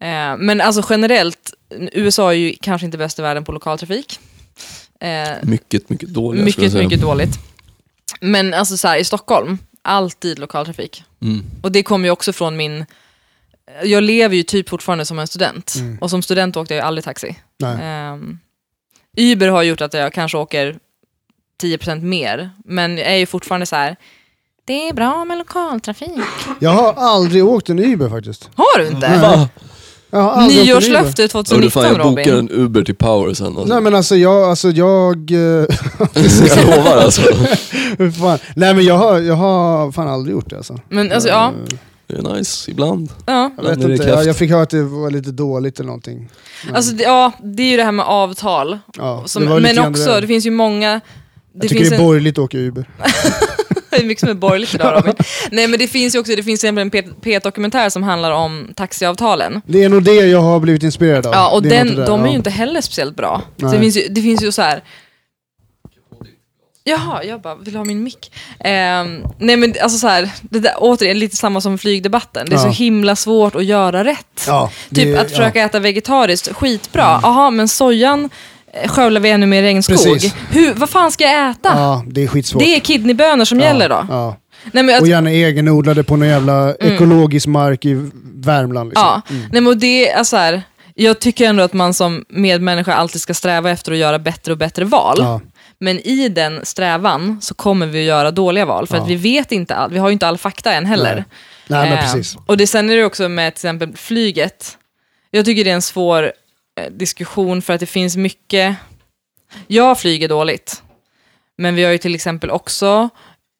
C: Eh, men alltså generellt, USA är ju kanske inte bäst i världen på lokaltrafik. Eh,
B: Mycket, mycket dåliga skulle jag
C: mycket,
B: säga.
C: mycket dåligt. Men alltså så här, i Stockholm, alltid lokaltrafik.
B: Mm.
C: Och det kommer ju också från min... Jag lever ju typ fortfarande som en student.
B: Mm.
C: Och som student åkte jag ju aldrig taxi.
A: Nej.
C: Um, Uber har gjort att jag kanske åker 10% mer, men jag är ju fortfarande så här... Det är bra med lokaltrafik.
A: Jag har aldrig åkt en Uber faktiskt.
C: Har du
A: Mm.
C: inte?
B: Va?
A: Jag har aldrig åkt en Uber.
C: Nyårslöfte
B: Hörru fan,
C: 2019
B: jag bokar
C: Robin.
B: en Uber till Power sen. Alltså.
A: Nej men alltså jag, alltså jag... eh,
B: jag lovar alltså.
A: hur fan. Nej men jag har, jag har fan aldrig gjort det alltså.
C: Men alltså ja,
B: Det är nice ibland.
C: ja.
A: Jag
B: Men
A: vet
B: är det
A: inte,
B: kraft?
A: jag, jag fick höra att det var lite dåligt eller någonting.
C: Alltså, det, ja, det är ju det här med avtal.
A: Ja,
C: Som,
A: det var lite
C: men
A: grann
C: också,
A: där.
C: det finns ju många...
A: jag
C: Det
A: tycker
C: finns
A: det är borgerligt att åka Uber.
C: Det är mycket som är borgerligt idag Robin. Nej men det finns ju också, det finns till exempel en P- P1-dokumentär som handlar om taxiavtalen.
A: Det är nog det jag har blivit inspirerad av.
C: Ja, och
A: Det
C: den,
A: något där,
C: de är
A: ja.
C: ju inte heller speciellt bra. Så
A: Nej.
C: det, finns ju, det finns ju så här. Jaha, jag bara, vill du ha min mick? Ehm, nej men alltså så här, det där, återigen lite samma som flygdebatten. Det är
A: Ja.
C: så himla svårt att göra rätt.
A: Ja, det-
C: typ att
A: ja.
C: försöka äta vegetariskt, skitbra. Jaha, men sojan eh, skövlar vi ännu mer regnskog.
A: Precis.
C: Hur, vad fan ska jag äta?
A: Ja, det är skitsvårt.
C: Det är kidneybönor som gäller då.
A: Ja.
C: Nej, men att-
A: Och gärna egenodlade på någon jävla ekologisk mark i Värmland. Liksom.
C: Mm. Ja, nej men och det är så här, jag tycker ändå att man som medmänniska alltid ska sträva efter att göra bättre och bättre val.
A: Ja.
C: Men i den strävan så kommer vi att göra dåliga val, för att vi vet inte allt, vi har ju inte all fakta än heller.
A: Nej. Nej, men
C: Eh,
A: precis.
C: Och det, sen är det också med till exempel flyget. Jag tycker det är en svår eh, diskussion för att det finns mycket... Jag flyger dåligt, men vi har ju till exempel också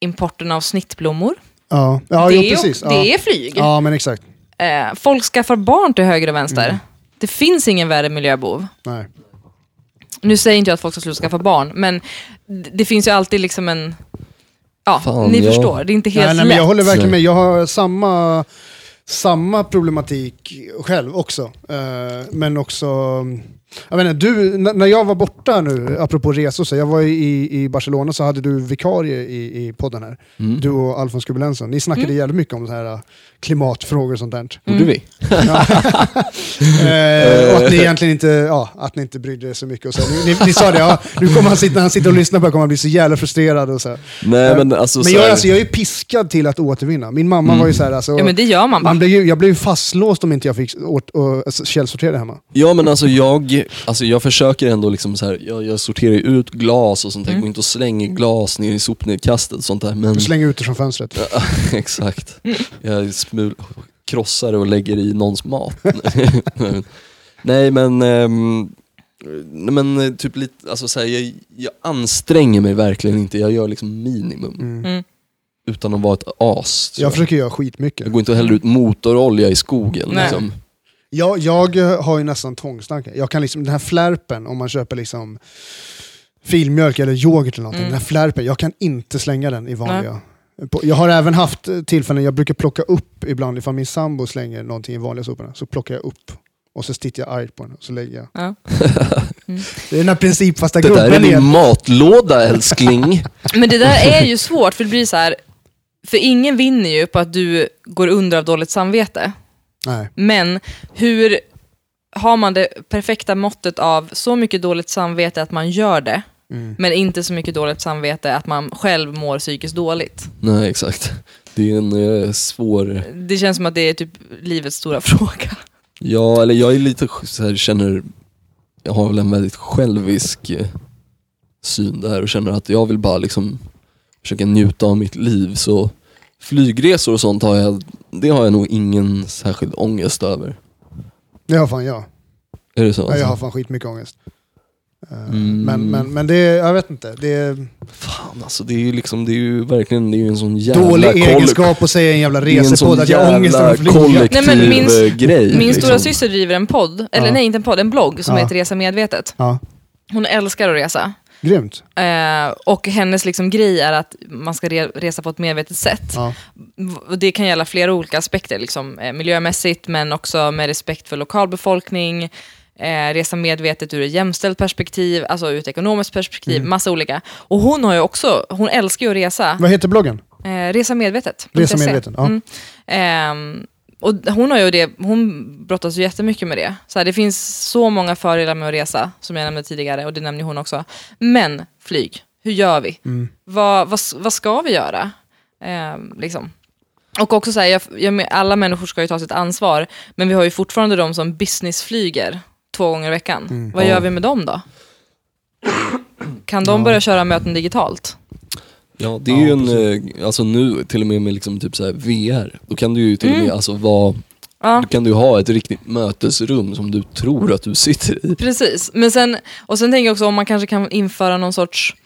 C: importen av snittblommor.
A: Ja, ja
C: det,
A: jo,
C: är, ju-
A: precis.
C: det
A: ja.
C: är flyg.
A: ja, men exakt.
C: Eh, folk skaffar barn till höger och vänster.
A: Mm.
C: Det finns ingen värre miljöbov.
A: Nej.
C: Nu säger inte jag att folk ska sluta skaffa barn, men d- det finns ju alltid liksom en... Ja,
B: Fan,
C: ni
B: ja.
C: förstår. Det är inte helt
A: Nej, nej,
C: lätt.
A: men jag håller verkligen med.
B: Nej.
A: Jag har samma, samma problematik själv också. Eh, men också... Jag vet inte, du, n- när jag var borta nu, apropå resor, så jag var i, i Barcelona så hade du vikarie i, i podden här. Du och Alfons Kubelensen. Ni snackade
C: Mm.
A: jävligt mycket om så här eh, klimatfrågor och sånt där.
B: Gjorde vi?
A: Eh, och att ni egentligen inte, ja, att ni inte brydde er så mycket. Och så. här. Ni, ni, ni sa det, ja, nu kommer han sitta, när han sitter och lyssnar på det här kommer han bli så jävla frustrerad. Och så. här.
B: Nej men alltså,
A: Men
B: så
A: jag,
B: här-
A: alltså, jag är ju piskad till att återvinna. Min mamma var ju så här, alltså,
C: Ja, men det gör man bara.
A: man blev ju, jag blev ju fastlåst om inte jag fick åt, och, alltså, källsortera hemma.
B: Ja men alltså jag, alltså jag försöker ändå liksom så här, jag, jag sorterar ju ut glas och sånt
A: Mm.
B: där, går inte och slänger glas ner i sopnedkastet och sånt där. Men,
A: Du slänger ut det från fönstret.
B: exakt. Jag smul, krossar det och lägger i någons mat. Nej men, ehm, nej, men eh, typ lite, alltså så här, jag, jag anstränger mig verkligen inte, jag gör liksom minimum.
C: Mm.
B: Utan att vara ett as. typ. tror
A: Jag
B: jag.
A: försöker göra skitmycket.
B: Jag går inte och häller ut motorolja i skogen.
C: Nej.
B: Liksom.
A: Jag, jag eh, har ju nästan tvångstankar. Jag kan liksom, den här flärpen, om man köper liksom filmjölk eller yoghurt eller någonting. Den här flärpen, jag kan inte slänga den i vanliga. På- Jag har även haft eh, tillfällen, jag brukar plocka upp ibland, ifall min sambo slänger någonting i vanliga soporna, så plockar jag upp. Och så tittar jag argt på den och så lägger jag.
C: Ja.
A: Det är den här principfasta
B: Det där är
A: gubben
B: min
A: igen.
B: matlåda älskling.
C: Men det där är ju svårt, för det blir så här... För ingen vinner ju på att du går under av dåligt samvete.
A: Nej.
C: Men hur har man det perfekta måttet av så mycket dåligt samvete att man gör det,
A: Mm.
C: men inte så mycket dåligt samvete att man själv mår psykiskt dåligt?
B: Nej, exakt. Det är en eh, svår...
C: Det känns som att det är typ livets stora fråga.
B: Ja, eller jag är lite sj- så här, känner... Jag har väl en väldigt självisk eh, syn där och känner att jag vill bara liksom försöka njuta av mitt liv. Så flygresor och sånt har jag, det har jag nog ingen särskild ångest över.
A: Det har fan jag.
B: Är det så?
A: Ja, Jag har
B: alltså?
A: fan skitmycket ångest. Eh,
B: Mm.
A: Men, men, men det, jag vet inte. Det är
B: Fan alltså, det är ju liksom, det är ju verkligen, det är ju en sån jävla
A: dålig
B: koll-
A: egenskap att säga i en jävla
B: Det är en
A: resepodd
B: sån
A: att jag har ångest över
B: jävla
A: att flyga.
B: kollektiv
C: Nej, men min-
B: eh, grej.
C: Min
B: liksom.
C: stora syster driver en podd, eller
A: Ja.
C: nej inte en podd, en blogg som
A: Ja.
C: heter Resa Medvetet.
A: Ja.
C: Hon älskar att resa.
A: Grymt.
C: Eh, och hennes liksom grej är att man ska re- resa på ett medvetet sätt.
A: Ja.
C: V- och Det kan gälla flera olika aspekter, liksom, eh, miljömässigt men också med respekt för lokalbefolkning, eh, resa medvetet ur ett jämställt perspektiv, alltså ur ett ekonomiskt perspektiv, massa olika. Och hon har ju också, hon älskar ju att resa,
A: Vad heter bloggen?
C: eh, resa medvetet. E.
A: Resa medveten, ja.
C: Mm. Ehm, och hon, har ju det, hon brottas ju jättemycket med det. Så här, det finns så många fördelar med att resa, som jag nämnde tidigare, och det nämnde ju hon också. Men flyg, hur gör vi? Vad, vad, s- vad ska vi göra? Ehm, liksom. Och också så här, jag, jag, men- alla människor ska ju ta sitt ansvar, men vi har ju fortfarande de som businessflyger två gånger i veckan. Vad
B: Ja.
C: gör vi med dem då? Kan de börja köra möten digitalt?
B: Ja, det är ju en, eh, alltså nu till och med med liksom typ så här VR, då kan du ju till och med alltså vara,
C: Mm. Ja.
B: då kan du ha ett riktigt mötesrum som du tror att du sitter i.
C: Precis, men sen, och sen tänker jag också om man kanske kan införa någon sorts,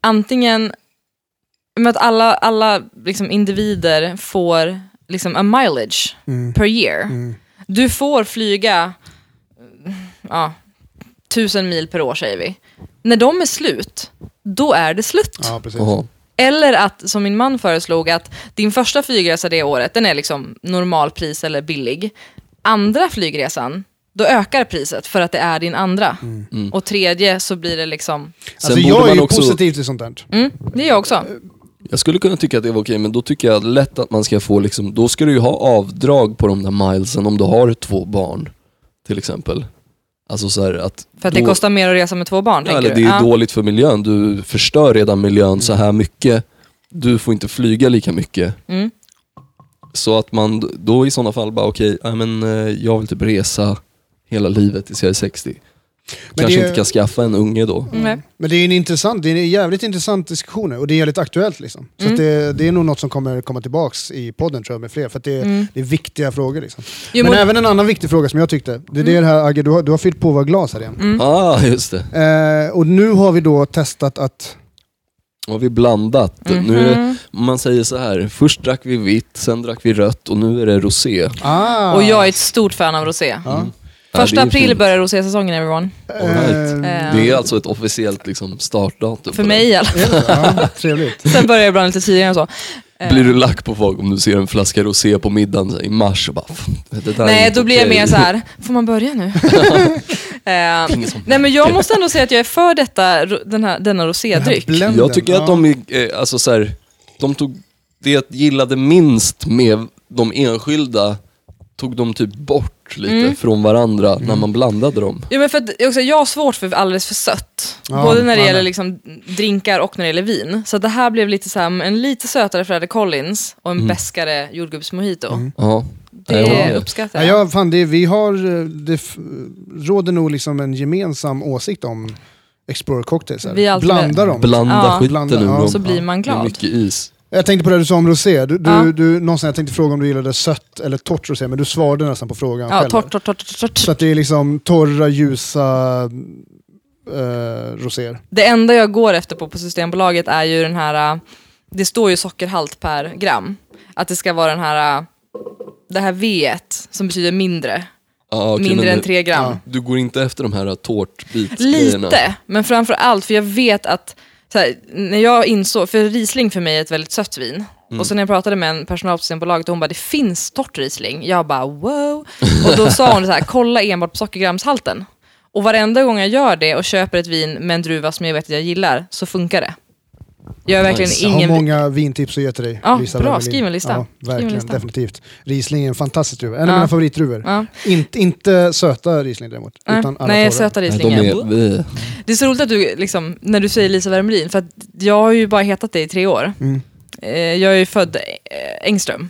C: antingen med att alla, alla liksom individer får liksom a mileage per year. Du får flyga eh, ja, tusen mil per år säger vi. När de är slut, då är det slut.
A: Ja, precis.
B: Jaha.
C: Eller att, som min man föreslog, att din första flygresa det året, den är liksom normalpris eller billig. Andra flygresan, då ökar priset för att det är din andra.
B: Mm.
C: Och tredje så blir det liksom,
A: Alltså,
B: borde
A: jag är
B: man
A: ju
B: också-
A: positiv till sånt där.
C: mm, det är jag också.
B: Jag skulle kunna tycka att det var okej, men då tycker jag lätt att man ska få liksom, då ska du ju ha avdrag på de där milesen om du har två barn, till exempel. Alltså så här att...
C: För att det
B: då-
C: kostar mer att resa med två barn,
B: Ja,
C: tänker
B: eller
C: du?
B: det är
C: Ja.
B: dåligt för miljön, du förstör redan miljön så här mycket. Du får inte flyga lika mycket.
C: Mm.
B: Så att man då i sådana fall bara, okej, nej, men eh, jag vill typ resa hela livet tills jag är 60. Kanske
A: det är-
B: inte kan skaffa en unge då.
C: Nej.
A: Men det är en intressant, det är en jävligt intressant diskussion och det är jävligt aktuellt. Liksom. Så
B: Mm.
A: att det, det är nog något som kommer komma tillbaks i podden tror jag med fler, för att det,
B: Mm.
A: det är viktiga frågor. Liksom.
C: Jo,
A: men,
C: men-
A: även en annan viktig fråga som jag tyckte, det är
B: Mm.
A: det här Agge, du har, du har fyllt på våra glas här igen.
C: Mm.
B: Ah, just det.
A: Eh, och nu har vi då testat att,
B: Nu har vi blandat.
C: Mm-hmm.
B: Nu är, man säger så här, först drack vi vitt, sen drack vi rött och nu är det rosé.
A: ah,
C: Och jag är ett stort fan av rosé. Första
B: Ja, det är
C: april
B: fint.
C: börjar rosésäsongen everyone.
B: All right.
A: eh,
C: Eh,
B: Det är alltså ett officiellt liksom, startdatum.
C: för
B: på
C: mig i alla fall.
A: eh, ja, trevligt.
C: Sen börjar jag ibland lite tidigare och så. Eh.
B: den. Blir du lack på folk om du ser en flaska rosé på middagen så här, i mars och bara, "Fan, det där är
C: Nej,
B: inte
C: då blir jag
B: okej."
C: mer så här, får man börja nu? eh, nej, men jag måste ändå säga att jag är för detta, ro- den här, denna rosédryck.
A: Blenden,
B: Jag tycker att
A: ja.
B: de, eh, alltså så här, de tog, det jag gillade minst med de enskilda, tog de typ bort lite
C: Mm.
B: från varandra
A: Mm.
B: när man blandade dem.
C: Ja, men för att, också, jag har svårt för alldeles för sött.
A: Ja,
C: Både när det
A: fan.
C: gäller liksom, drinkar och när det gäller vin. Så det här blev lite så här, en lite sötare Fredde Collins och en bäskare jordgubbsmojito.
B: Mm. Ja.
C: Det
B: jag håller med.
C: uppskattar
A: Ja,
C: jag.
A: ja, fan, det, vi har, eh, det f- råder nog liksom en gemensam åsikt om Explorer Cocktails.
C: Vi är
A: här.
C: alltid-
A: Blanda dem.
B: Blanda
C: Ja.
B: skiten
A: Blanda,
B: ur
A: ja.
B: dem.
C: Så blir man
B: Det är
C: glad.
B: mycket is.
A: Jag tänkte på det du sa om rosé. Du, du,
C: Ja.
A: du, någonstans, jag tänkte fråga om du gillade sött eller torrt rosé, men du svarade nästan på frågan
C: Ja,
A: själv.
C: torrt, torrt, torrt, torrt, torrt.
A: Så att det är liksom torra, ljusa eh, roséer.
C: Det enda jag går efter på, på Systembolaget är ju den här, äh, det står ju sockerhalt per gram. Att det ska vara den här, äh, det här V som betyder mindre.
B: Ja, okej,
C: mindre
B: men
C: än
B: det-
C: tre gram.
B: Du går inte efter de här tårtbitsgrejerna?
C: Lite, men framför allt för jag vet att så här, när jag insåg, för Riesling för mig är ett väldigt sött vin.
A: Mm.
C: Och sen när jag pratade med en personal på Systembolaget och hon bara det finns torrt Riesling. Jag bara wow. Och då sa hon så här, kolla enbart på sockergramshalten. Och varenda gång jag gör det och köper ett vin med en druva som jag vet att jag gillar så funkar det. Jag är verkligen
B: Nice.
A: Jag har
C: ingen...
A: många vintips att ge till dig.
C: Ja,
A: Lisa
C: bra.
A: Wevelin.
C: Skriv en lista.
A: Ja,
C: Skriv en
A: verkligen,
C: lista.
A: definitivt. Riesling är en fantastisk druva. En
C: Ja.
A: av mina favoritdruvor.
C: Ja.
A: Inte- inte söta Riesling däremot.
C: Nej,
A: Utan alla
C: Nej
A: torra.
C: söta
B: Nej,
C: Riesling.
B: de
C: är-
B: är, vi,
C: Det är så roligt att du, liksom, när du säger Lisa Wermelin, för att jag har ju bara hetat dig i tre år.
A: Mm.
C: Eh, Jag är ju född eh, Engström.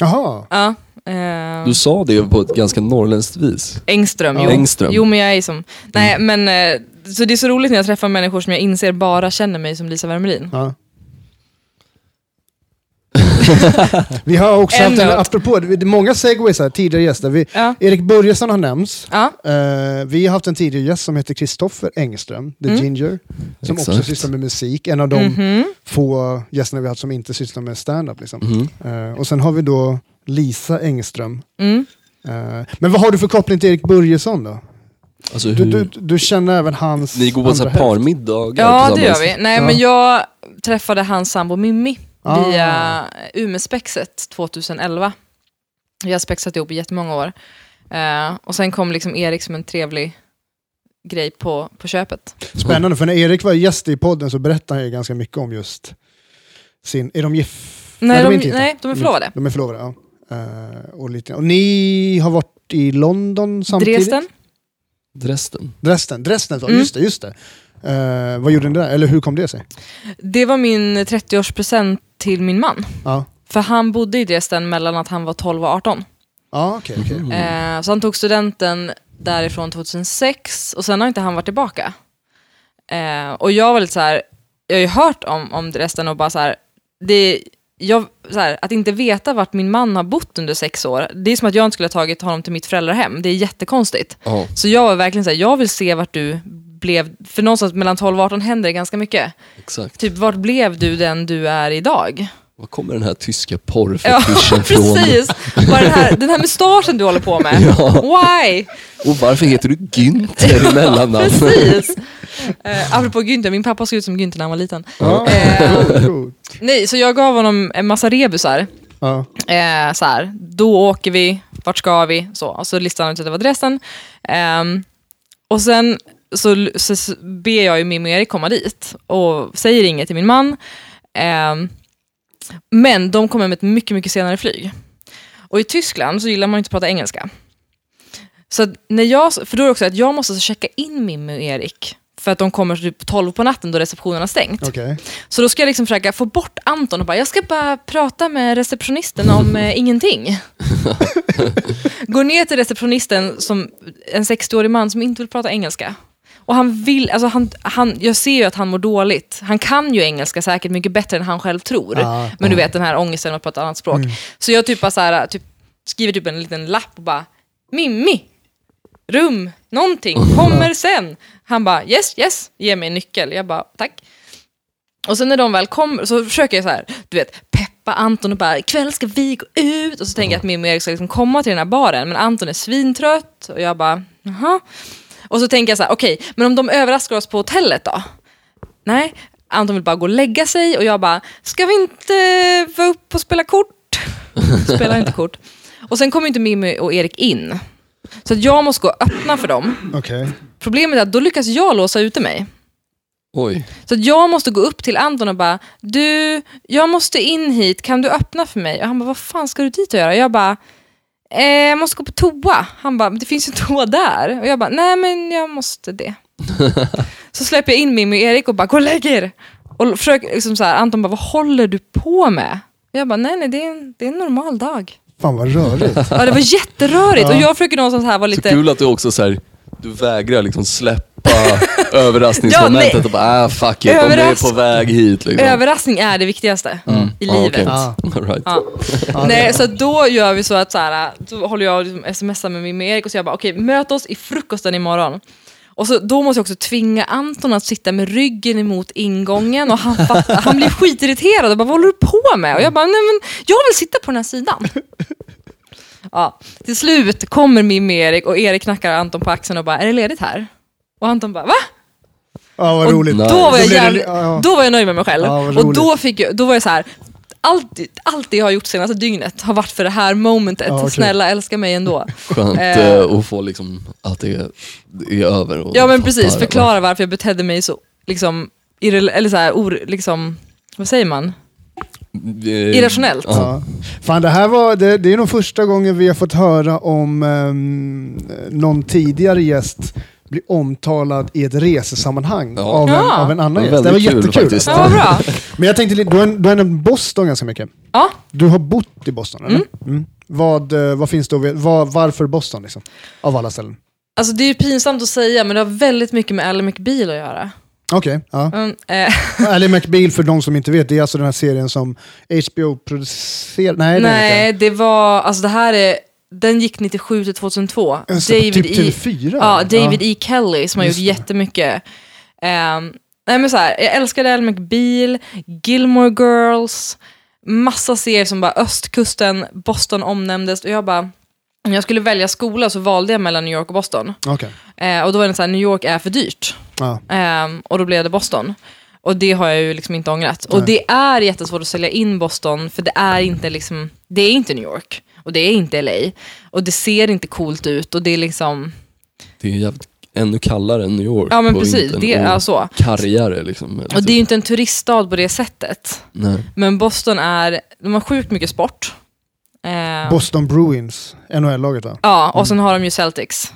A: Jaha.
C: Ja. eh,
B: du sa det på ett ganska norrländskt vis.
C: Engström,
A: Ja.
C: jo.
B: Engström.
C: Jo, men jag är som... Nej, men... eh, Så det är så roligt när jag träffar människor som jag inser bara känner mig som Lisa Wermelin.
A: Ja. vi har också
C: En
A: haft en,
C: låt.
A: apropå, det det är många segways här, tidigare gäster. Vi,
C: Ja.
A: Erik Börjesson har nämnts.
C: Ja.
A: Eh, vi har haft en tidigare gäst som heter Kristoffer Engström, The
C: Mm.
A: Ginger, som också
B: Exakt.
A: sysslar med musik. En av de
C: Mhm.
A: få gästerna vi har haft som inte sysslar med stand-up. Liksom.
B: Mhm.
A: Eh, och sen har vi då Lisa Engström.
C: Mm.
A: Eh, men vad har du för koppling till Erik Börjesson då?
B: Alltså
A: Du,
B: hur...
A: du, du känner även hans
B: ni går på så här
A: andra hälft.
B: parmiddagar
C: Ja, det
B: tillsammans.
C: gör vi. Nej,
A: Ja.
C: men jag träffade hans sambo Mimmi
A: Ah.
C: via Umespexet 2011. Vi har spexat ihop i jättemånga år. Eh, och sen kom liksom Erik som en trevlig grej på, på köpet.
A: Spännande, för när Erik var gäst i podden så berättade han ju ganska mycket om just sin... Är de gift?
C: Nej, de,
A: inte Mm. gifta.
C: nej, de är förlovade.
A: De är förlovade, ja. Eh, och, lite, och ni har varit i London samtidigt?
C: Dresden.
B: Dresden.
A: Dresden, Dresden, så,
C: Mm.
A: just det, just det. Eh, vad gjorde ni där? Eller hur kom det sig?
C: Det var min 30-årspresent till min man.
A: Ja,
C: För han bodde i Dresden mellan att han var 12 och 18.
A: ja okej. okej.
C: Eh, så han tog studenten därifrån 2006 och sen har inte han varit tillbaka. Eh, och jag var lite så här, jag har ju hört om, om resten och bara så här, det, jag, så här, att inte veta vart min man har bott under sex år, det är som att jag inte skulle ha tagit honom till mitt föräldrahem, det är jättekonstigt.
B: Ja.
C: Så jag var verkligen så här, jag vill se vart du blev, för någonstans mellan 12 och 18 händer det ganska mycket.
B: Exakt.
C: Typ vart blev du den du är idag?
B: Var kommer den här tyska porrfetischen från?
C: precis. Bara den här, den här mustaschen du håller på med, why?
B: Och varför heter du Günther i mellannamn?
C: Precis. Eh, apropå Günther, min pappa såg ut som Günther när han var liten. Eh,
A: Ja, coolt.
C: Nej, så jag gav honom en massa rebusar.
A: Ja.
C: Eh, så här, då åker vi, vart ska vi? Så, och så listade han ut att det var Dresden. Ehm, och sen så, så, så ber jag ju Mimmi och Erik komma dit och säger inget till min man. Ehm, men de kommer med ett mycket, mycket senare flyg. Och i Tyskland så gillar man ju inte att prata engelska. Så att när jag, för då är det också att jag måste så checka in Mimmi och Erik för att de kommer typ 12 på natten då receptionen har stängt.
A: Okej.
C: Så då ska jag liksom försöka få bort Anton och bara, jag ska bara prata med receptionisten om eh, ingenting. Går ner till receptionisten som en 60-årig man som inte vill prata engelska. Och han vill, alltså han, han, jag ser ju att han mår dåligt. Han kan ju engelska säkert mycket bättre än han själv tror.
A: Ja, Mm.
C: Men du vet den här ångesten att prata annat språk. Så jag typ bara så här, typ, skriver typ en liten lapp och bara, Mimmi, rum, någonting, kommer sen. Han bara, yes, yes, ge mig en nyckel. Jag bara, tack. Och sen när de väl kommer så försöker jag så här, du vet, peppa Anton och bara ikväll ska vi gå ut. Och så tänker jag att Mimmi och Erik ska liksom komma till den här baren, men Anton är svintrött och jag bara, jaha. Och så tänker jag så här, okej, men om de överraskar oss på hotellet då? Nej, Anton vill bara gå och lägga sig och jag bara, ska vi inte vara uppe och spela kort? Spelar inte kort. Och sen kommer inte Mimmi och Erik in. Så att jag måste gå och öppna för dem.
A: Okej.
C: Problemet är att då lyckas jag låsa ute mig.
B: Oj.
C: Så att jag måste gå upp till Anton och bara, du, jag måste in hit, kan du öppna för mig? Och han bara, vad fan ska du dit och göra? Jag bara, eh, jag måste gå på toa. Han bara, men det finns ju toa där. Och jag bara, nej men jag måste det. så släpper jag in Mimmi och Erik och bara, gå och lägg er. Och försöker, liksom så här, Anton bara, vad håller du på med? Och Jag bara, nej nej det är en, det är en normal dag.
A: Fan vad rörigt.
C: Ja, det var jätterörigt och jag försöker någonstans här vara
B: Så
C: lite...
B: kul att du också så här, du vägrar liksom släppa överraskningsmomentet
C: Ja, nej.
B: och bara, ah, fuck it, de är
C: Överrask-
B: på väg hit. Liksom.
C: Överraskning är det viktigaste i
B: Mm. Ja,
C: livet.
B: okej.
A: Ja.
B: All right.
C: Ja. Nej, så då gör vi så att så här, då håller jag och liksom smsar med min med Erik och så jag bara okej, möt oss i frukosten imorgon. Och så, då måste jag också tvinga Anton att sitta med ryggen emot ingången och han, fattar, han blir skitirriterad och bara vad håller du på med? Och jag bara nej men jag vill sitta på den här sidan. Ja, till slut kommer min med Erik och Erik knackar Anton på axeln och bara är det ledigt här? Och Anton bara va?
A: Ja, vad
C: Och
A: roligt.
C: Då var, jag
A: blev det-
C: jävligt,
A: ja, ja.
C: då var jag nöjd med mig själv.
A: Ja, vad
C: och då,
A: roligt.
C: fick jag, då var jag så här, allt, allt det jag har gjort senaste dygnet har varit för det här momentet.
A: Ja, okej.
C: Snälla älska mig ändå.
B: Skönt
C: Eh.
B: eh, att få liksom att det är, det är över. Och
C: Ja
B: de
C: men
B: fattar
C: precis,
B: det.
C: förklara varför jag betedde mig så, liksom, irre, eller så här, or, liksom, vad säger man?
B: Eh,
C: Irrationellt.
A: Ja. Fan, det här var, det, det är nog första gången vi har fått höra om um, någon tidigare gäst bli omtalad i ett resesammanhang
B: Ja.
A: av, en,
C: Ja.
A: av en annan
B: Det var
A: gäst. Det var
B: väldigt kul
A: jättekul.
B: faktiskt.
C: Ja, vad bra.
A: Men jag tänkte lite, du har, du har nämnt Boston ganska mycket.
C: Ja.
A: Du har bott i Boston, eller? Mm. Vad, eh, vad finns det att veta? Vad- Varför Boston, liksom? Av alla ställen.
C: Alltså det är ju pinsamt att säga, men det har väldigt mycket med Ally McBeal att göra.
A: Okej, ja.
C: Mm, eh,
A: Ally McBeal, för de som inte vet, det är alltså den här serien som HBO producerar. Nej, det är det
C: nej,
A: inte.
C: det var, alltså det här är, den gick 97 till 2002.
A: Alltså, på typ
C: E.
A: TV4?
C: Ja, David E. Kelly som har gjort jättemycket. Um, nej men så här, jag älskade Elle McBeal, Gilmore Girls, massa serier som bara östkusten, Boston omnämndes och jag bara, om jag skulle välja skola så valde jag mellan New York och Boston.
A: Okej.
C: Eh, och då var det så här, New York är för dyrt.
A: Ja.
C: Ehm, och då blev det Boston. Och det har jag ju liksom inte ångrat. Och
A: Nej.
C: det är jättesvårt att sälja in Boston för det är inte liksom, det är inte New York. Och det är inte LA. Och det ser inte coolt ut och det är liksom,
B: Det är jävligt ännu kallare än New York.
C: ja men
B: på
C: precis,
B: vintern Oh.
C: det är
B: och
C: så.
B: Kargare liksom. eller
C: Och det är ju
B: typ.
C: inte en turiststad på det sättet.
B: Nej.
C: Men Boston är, de har sjukt mycket sport. Ehm,
A: Boston Bruins, NHL-laget va?
C: Ja, och sen har de ju Celtics.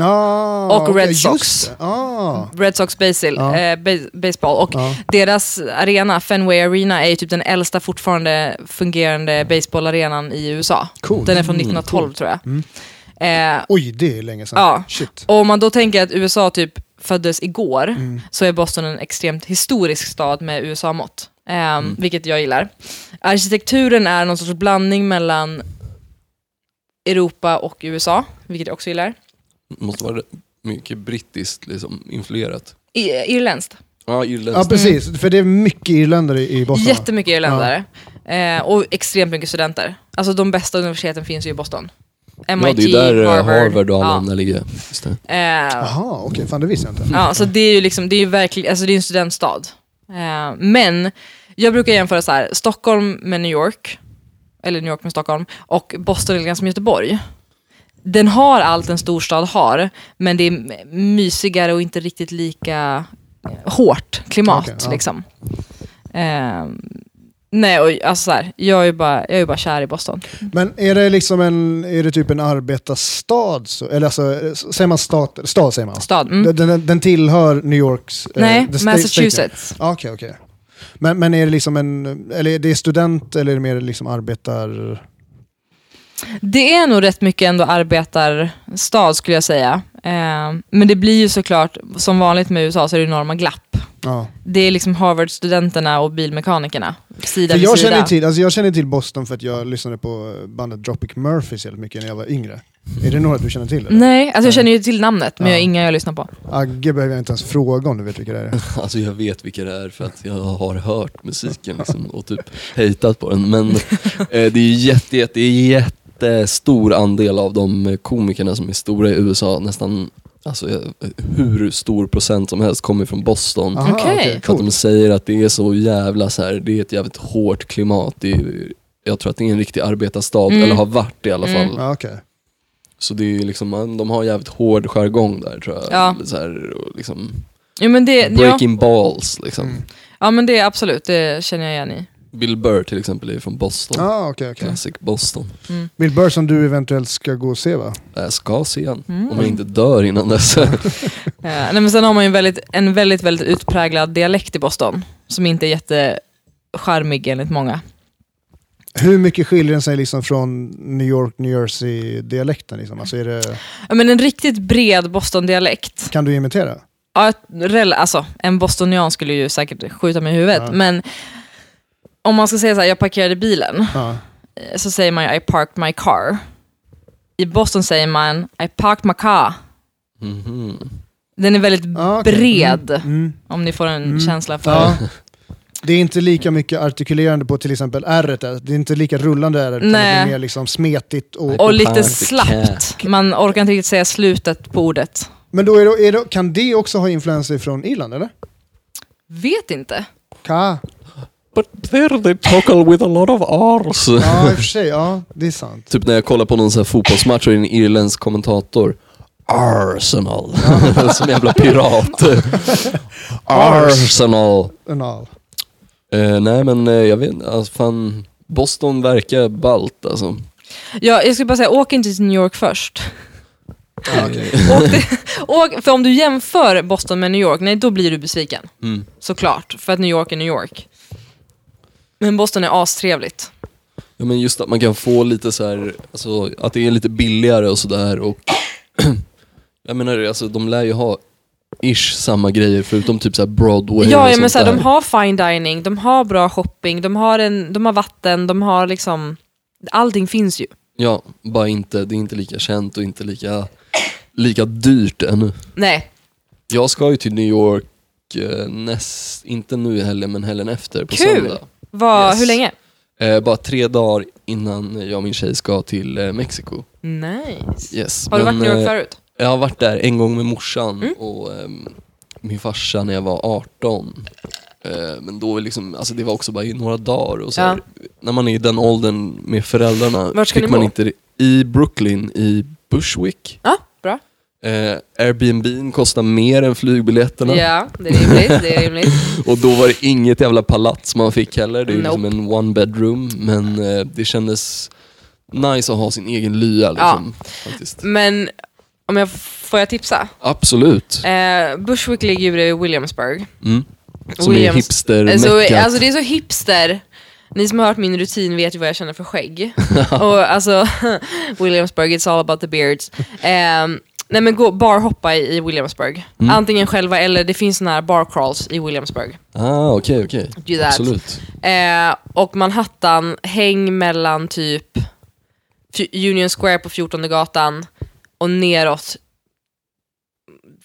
A: Ah,
C: Och
A: okej,
C: Red
A: just
C: Sox.
A: det. Ah,
C: Red Sox Basil,
A: Ja.
C: eh, bas- baseball. Och
A: ja.
C: deras arena, Fenway Arena, är ju typ den äldsta fortfarande fungerande baseballarenan i USA.
A: Coolt.
C: Den är från
B: Mm,
C: 1912 tror jag. Eh,
A: Oj, det är länge sedan.
C: Ja.
A: Shit.
C: och om man då tänker att USA typ föddes igår,
A: Mm.
C: så är Boston en extremt historisk stad med USA-mått. Ehm,
B: Mm.
C: Vilket jag gillar. Arkitekturen är någon sorts blandning mellan Europa och USA, vilket jag också gillar.
B: Måste vara mycket brittiskt liksom, influerat.
C: I, irländskt.
B: Ja,
A: Ja,
C: Mm.
B: irländskt.
A: precis. För det är mycket irländare i Boston. va?
C: Jättemycket irländare. Eh, och extremt mycket studenter. Alltså de bästa universiteten finns ju i Boston. MIT,
B: ja, det är där eh,
C: Harvard.
B: Harvard och alla
C: ja.
B: andra ligger. Just det.
C: Eh,
A: Jaha, okej. Fan, det visste jag inte.
C: ja, så det är ju liksom, det är ju verkligen, alltså det är en studentstad. Eh, men jag brukar jämföra så här, Stockholm med New York, eller New York med Stockholm, och Boston är ganska som Göteborg. Den har allt en storstad har, men det är m- mysigare och inte riktigt lika hårt klimat.
A: Okej, ja.
C: liksom. Eh, nej, och alltså så här, jag är ju bara, jag är ju bara kär i Boston.
A: Men är det liksom en, är det typ en arbetarstad? Så, eller alltså, säger man stat? Stad säger man.
C: Stad. Mm.
A: Den, den, den tillhör New Yorks... eh,
C: nej,
A: the state-
C: Massachusetts.
A: state. Ja, Okej, okej. Men, men är det liksom en, eller är det student eller är det mer liksom arbetar...
C: Det är nog rätt mycket ändå arbetarstad skulle jag säga. Eh, men det blir ju såklart, som vanligt med USA, så är det enorma glapp.
A: Ja.
C: Det är liksom Harvard-studenterna och bilmekanikerna, sida
A: För
C: vid
A: jag,
C: sida.
A: känner till, alltså jag känner till Boston för att jag lyssnade på bandet Dropkick Murphys jävligt mycket när jag var yngre. Är det några du känner till? Eller?
C: Nej, alltså jag känner ju till namnet, men
A: Ja.
C: jag är inga jag lyssnar på.
A: Agge behöver jag inte ens fråga om du vet vilka det är.
B: Alltså jag vet vilka det är för att jag har hört musiken liksom, och typ hejtat på den. Men eh, det är ju jätte, jätte, jättestor andel av de eh, komikerna som är stora i USA. Nästan alltså, eh, hur stor procent som helst kommer från Boston.
A: Aha,
C: Okej.
B: För att
A: cool.
B: de säger att det är så jävla så här, det är ett jävligt hårt klimat. Det är, jag tror att det är en riktig arbetarstad,
C: Mm.
B: eller har varit det i alla fall.
C: Mm.
A: Ja, okej.
B: Så det är liksom, man- de har jävligt hård jargong där tror jag.
C: Ja.
B: Så här, och liksom,
C: Ja men, det, ja,
B: breaking balls liksom.
A: Mm.
C: ja, men det är absolut, det känner jag igen i.
B: Bill Burr till exempel är från Boston.
A: Ah, okej, okej.
B: Classic Boston.
A: Bill Burr som du eventuellt ska gå och se va?
B: Jag ska se han.
C: Mm.
B: Om jag inte dör innan dess.
C: Eh, nej, men sen har man ju en väldigt, en väldigt, väldigt utpräglad dialekt i Boston, som inte är jättecharmig enligt många.
A: Hur mycket skiljer den sig liksom från New York, New Jersey-dialekten? Liksom? Alltså är det,
C: Ja, men en riktigt bred Boston-dialekt
A: kan du imitera?
C: Ja, ett rel- alltså, en bostonian skulle ju säkert skjuta mig i huvudet,
A: Ja.
C: men om man ska säga så här, jag parkerade bilen,
A: Ja.
C: eh, så säger man ju I parked my car. I Boston säger man I parked my car.
B: Mhm.
C: Den är väldigt
A: Ah, okej.
C: bred,
A: Mm. Mm.
C: om ni får en
A: Mm.
C: känsla för
A: Ja. Det är inte lika mycket artikulerande på till exempel r där. Det är inte lika rullande r utan det
C: Nej.
A: blir mer liksom smetigt. Och,
C: Och lite
B: Parked
C: slappt. Man orkar inte riktigt säga slutet på ordet.
A: Men då är det, är det, kan det också ha influenser från Irland eller?
C: Vet inte.
A: Ka.
B: But there they talk with a lot of R's.
A: Ja, i och för sig. Ja, det är sant.
B: Typ när jag kollar på någon sån här fotbollsmatch och det är en irländsk kommentator. Arsenal. Som jävla pirat. Arsenal.
A: And all.
B: Eh, nej men eh, jag vet inte, alltså, fan. Boston verkar ballt alltså.
C: Ja, jag skulle bara säga, åk inte till New York först.
B: Ah,
A: Ja, okej.
C: åk till, åk, för om du jämför Boston med New York, nej då blir du besviken.
B: Mm.
C: Såklart, för att New York är New York. Men Boston är astrevligt.
B: Ja men just att man kan få lite så här, alltså att det är lite billigare och sådär och Jag menar alltså de lär ju ha ish samma grejer förutom typ så här Broadway
C: Ja,
B: och
C: ja men
B: sånt
C: så här, de
B: där.
C: har fine dining, de har bra shopping, de har, en, de har vatten, de har liksom... Allting finns ju.
B: Ja, bara inte, det är inte lika känt och inte lika, lika dyrt ännu.
C: Nej,
B: Jag ska ju till New York eh, näst, inte nu i helgen men helgen efter på
C: Kul!
B: söndag.
C: vad,
B: Yes.
C: hur länge?
B: Eh, bara tre dagar innan jag och min tjej ska till eh, Mexiko.
C: Nice.
B: Yes.
C: Har du varit i
B: men,
C: New York
B: eh,
C: förut? Mm.
B: Jag har varit där en gång med morsan och ehm, min farsa när jag var 18. Eh, men då var liksom, alltså det var också bara i några dagar. Och så här, När man är i den åldern med föräldrarna,
C: Vart ska
B: fick
C: ni
B: man
C: bo?
B: inte i Brooklyn, i Bushwick.
C: Ja, bra.
B: Eh, Airbnb kostar mer än flygbiljetterna.
C: Ja, det är rimligt. Det är rimligt.
B: Och då var det inget jävla palats man fick heller. Det är
C: Nope.
B: liksom en one bedroom. Men eh, det kändes nice att ha sin egen lya. Liksom, faktiskt.
C: Men om jag, får jag tipsa?
B: Absolut.
C: Eh, Bushwick ligger ju bredvid Williamsburg.
B: Mm. Som är
C: Williams-
B: hipster
C: Alltså, alltså det är så hipster. Ni som har hört min rutin vet ju vad jag känner för skägg. och alltså, Williamsburg, it's all about the beards. Ehm, nej men gå barhoppa i, i Williamsburg.
B: Mm.
C: Antingen själva eller det finns såna här bar crawls i Williamsburg.
B: Ah, okej, okej.
C: Do that.
B: Absolut.
C: Eh, och Manhattan, häng mellan typ F- Union Square på 14 gatan och neråt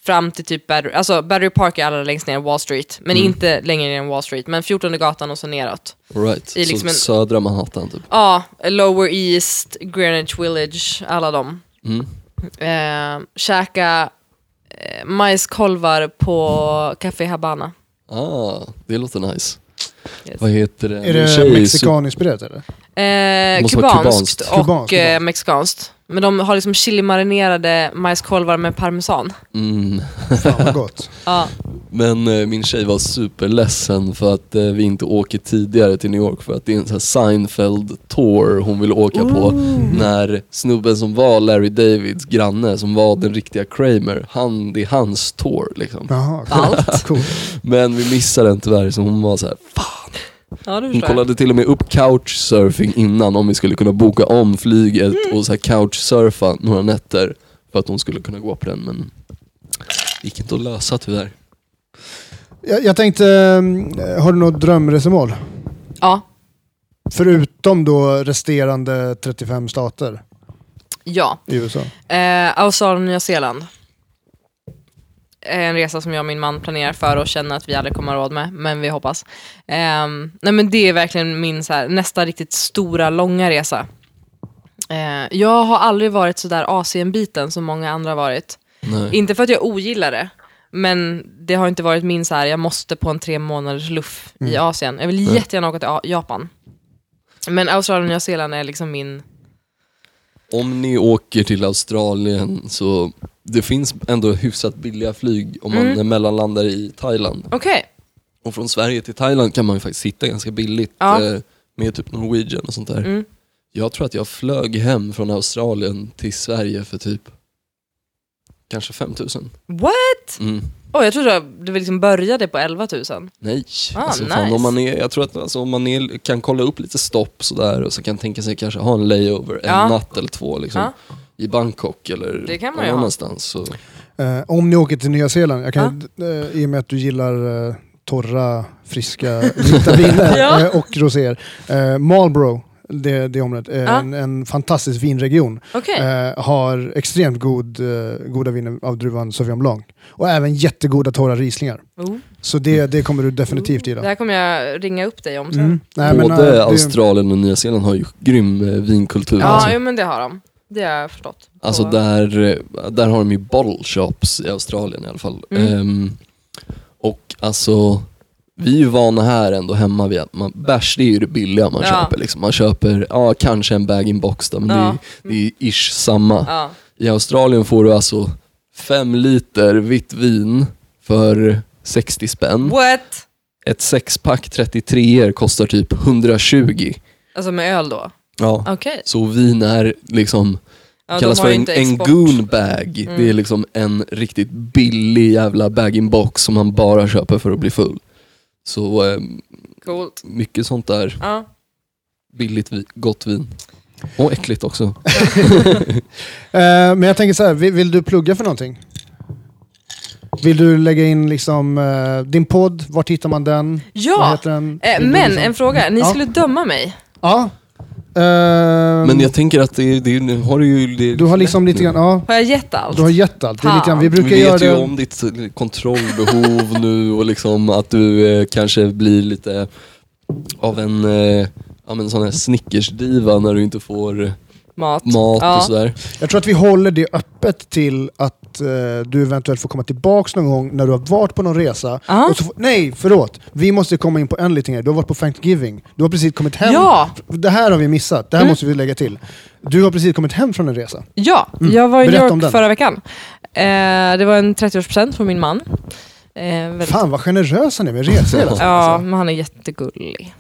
C: fram till typ Battery, alltså Battery Park är allra längst ner än Wall Street, men inte längre ner än Wall Street, men 14 gatan och så neråt.
B: All right.
C: I liksom
B: så
C: en-
B: södra Manhattan typ.
C: Ja, Lower East, Greenwich Village, alla dem.
B: Mm.
C: Eh, käka eh, majskolvar på Café Habana.
B: Ah, det låter nice.
C: Yes.
B: Vad heter det?
A: Är det
B: Tjej-
A: mexikaninspirerat eller?
C: Eh,
B: Måste vara
C: kubanskt
B: kubanskt.
C: och
A: Kubanskt,
C: eh,
A: kubanskt.
C: mexikanskt. Men de har liksom chilimarinerade majskolvar med parmesan.
B: Mm.
A: Fan vad gott.
C: Ja,
B: Men eh, min tjej var superledsen för att eh, vi inte åker tidigare till New York för att det är en sån här Seinfeld-tour hon vill åka på. När snubben som var Larry Davids granne, som var den riktiga Kramer, han, det är hans tour liksom.
A: Jaha,
C: Allt.
A: Cool.
B: Men vi missade den tyvärr så hon var så här, fan.
C: ja det
B: Hon
C: förstår jag.
B: kollade till och med upp couchsurfing innan om vi skulle kunna boka om flyget och så här couchsurfa några nätter för att hon skulle kunna gå på den men det gick inte att lösa tyvärr.
A: Jag, jag tänkte, eh, har du något drömresemål?
C: Ja,
A: Förutom då resterande 35 stater
C: ja.
A: i USA.
C: Eh, Australien och Nya Zeeland. En resa som jag och min man planerar för och känner att vi aldrig kommer ha råd med, men vi hoppas. Ehm, nej men det är verkligen min så här, nästa riktigt stora, långa resa. Eh, jag har aldrig varit så där Asienbiten som många andra har varit.
B: Nej.
C: Inte för att jag ogillar det, men det har inte varit min så här, jag måste på en tre månaders luff i
A: Mm.
C: Asien. Jag vill jättegärna åka till A- Japan. Men Australien och Nya Zeeland är liksom min...
B: Om ni åker till Australien så det finns ändå hyfsat billiga flyg om man
C: Mm.
B: mellanlandar i Thailand.
C: Okej,
B: Och från Sverige till Thailand kan man ju faktiskt sitta ganska billigt
C: Ja. Mm.
B: eh, med typ Norwegian och sånt där. Jag tror att jag flög hem från Australien till Sverige för typ kanske 5000.
C: what?
B: Mm.
C: Åh, jag trodde att det liksom började på 11 000.
B: Nej,
C: Ah,
B: alltså,
C: nice.
B: fan, om man är, jag tror att alltså, om man är, kan kolla upp lite stopp sådär och så kan tänka sig kanske ha en layover
C: Ja.
B: en natt eller två liksom,
C: Ja.
B: i Bangkok eller
C: Det kan man
B: någon
C: ju ha.
B: annanstans. Så.
A: Eh, om ni åker till Nya Zeeland, jag kan, eh, i och med att du gillar eh, torra, friska, vita viner
C: Ja.
A: eh, och roséer. Eh, Marlborough, det, det området, eh,
C: Ja.
A: en, en fantastisk vinregion.
C: Okej,
A: Eh, har extremt god, eh, goda viner av druvan Sauvignon Blanc. Och även jättegoda torra rislingar.
C: Oh.
A: Så det, det kommer du definitivt
C: det
A: gilla.
C: här kommer jag ringa upp dig om sen.
A: Mm. Nej, men,
B: Både
A: eh, det-
B: Australien och Nya Zeeland har ju grym eh, vinkultur.
C: Ja,
B: alltså
C: jo, men det har de. Det har jag förstått.
B: alltså
C: Och-
B: där, eh, där har de ju bottle shops i Australien i alla fall.
C: Mm.
B: Ehm, och alltså, vi är ju vana här ändå hemma vid att man, bärs det är ju det billiga man
C: Ja.
B: köper. Liksom. Man köper ja, kanske en bag-in-box då, men det,
C: Ja.
B: är, det är ish samma.
C: Ja.
B: I Australien får du alltså fem liter vitt vin för 60 spänn.
C: What?
B: Ett sexpack 33 kostar typ 120.
C: Alltså med öl då?
B: Ja.
C: Okej.
B: Så vin är liksom,
C: Ja, de
B: kallas
C: har
B: för
C: ju
B: en,
C: inte
B: en
C: export. Mm.
B: goon bag. Det är liksom en riktigt billig jävla bag-in-box som man bara köper för att bli full. Så eh,
C: Coolt.
B: mycket sånt där
C: Ja.
B: billigt, vi- gott vin. Och äckligt också.
A: Mm. Eh, men jag tänker så här, vill, vill du plugga för någonting? Vill du lägga in liksom, eh, din podd, vart hittar man den? Vad
C: ja.
A: heter den?
C: Eh,
A: Vill du
C: men
A: liksom-
C: en fråga, ni
A: Ja.
C: skulle döma mig.
A: Ja. Ehm,
B: Men jag tänker att det, det, nu har du ju... Det,
A: du har liksom lite grann, ja.
C: Har jag gett allt?
A: Du har gett allt. Det är lite grann, vi
B: Vi
A: brukar göra
B: vet ju
A: det.
B: om ditt eh, kontrollbehov nu och liksom att du eh, kanske blir lite av en eh, ja, men sån här snickersdiva när du inte får
C: mat.
B: mat
C: ja.
B: och sådär.
A: Jag tror att vi håller det öppet till att eh, du eventuellt får komma tillbaks någon gång när du har varit på någon resa.
C: Ja.
A: Och så får, nej, förlåt. Vi måste komma in på en liten grej. Du har varit på Thanksgiving. Du har precis kommit hem.
C: Ja. Mm.
A: Det här har vi missat. Det här måste vi lägga till. Du har precis kommit hem från en resa.
C: Ja, jag var i
A: Mm. Berätta
C: New
A: om den.
C: York förra veckan. Eh, det var en 30-årspresent från min man. Eh, väldigt-
A: Fan vad generös han är med resor alltså. hela tiden.
C: ja, men han är jättegullig.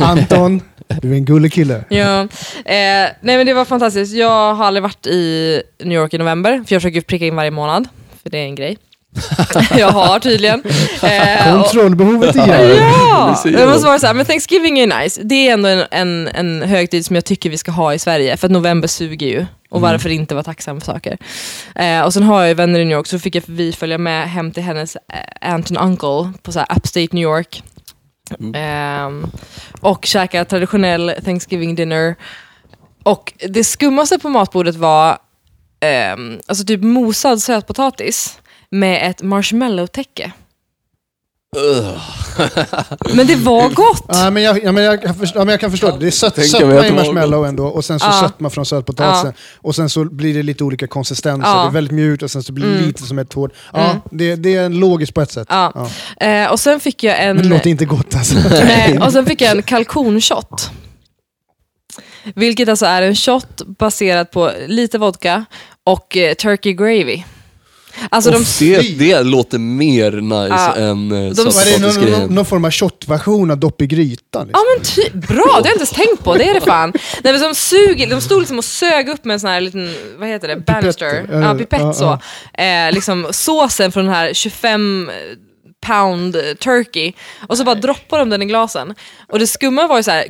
A: Anton, du är en gullig kille.
C: Ja. Eh, nej men det var fantastiskt. Jag har aldrig varit i New York i november, för jag försöker pricka in varje månad. För det är en grej. jag har tydligen. Eh, och-
A: Kontrollbehovet igen.
C: Ja!
B: Det vill
C: Jag
B: säga.
C: måste vara så här, men Thanksgiving är ju nice. Det är ändå en, en, en högtid som jag tycker vi ska ha i Sverige, för att november suger ju. Och varför inte vara tacksam för saker. Eh, och sen har jag ju vänner i New York, så fick jag, vi följa med hem till hennes eh, aunt and uncle på så här upstate New York. Ehm, och käka traditionell Thanksgiving dinner. Och det skummaste på matbordet var ehm, alltså typ mosad sötpotatis med ett marshmallow-täcke.
B: Ugh.
C: Men det var gott!
A: Ja, men jag, ja, men jag, jag förstår, ja, men jag kan förstå det. Det är sött,
B: Tänker mig
A: sötma
B: att
A: i
B: det var
A: marshmallow ändå och sen så
C: Ja.
A: sötma från sötpotatisen. Och sen så blir det lite olika konsistenser.
C: Ja.
A: Det är väldigt mjukt och sen så blir det lite som ett hårt. Ja,
C: Mm.
A: det, det är logiskt på ett sätt.
C: Ja.
A: Ja.
C: Eh, och sen fick jag en...
A: Men det låter inte gott alltså.
C: Nej, och sen fick jag en kalkonshot. Vilket alltså är en shot baserad på lite vodka och eh, turkey gravy. Alltså
B: Och
C: de...
B: det, det låter mer nice
C: Ja.
B: än uh,
A: Var det någon, någon,
B: sötpotatisgrejen.
A: någon form av shotversion av dopp i grytan?
C: Ja
A: Liksom?
C: men ty- bra, det har jag inte ens tänkt på. Det är det fan. Nej, men de, suger, de stod liksom och sög upp med en sån här liten, vad heter det, banister.
A: eh,
C: Ja, pipett
A: ja,
C: så. Eh, liksom såsen från den här 25 pound turkey. Och så bara droppar de den i glasen. Och det skumma var ju så här,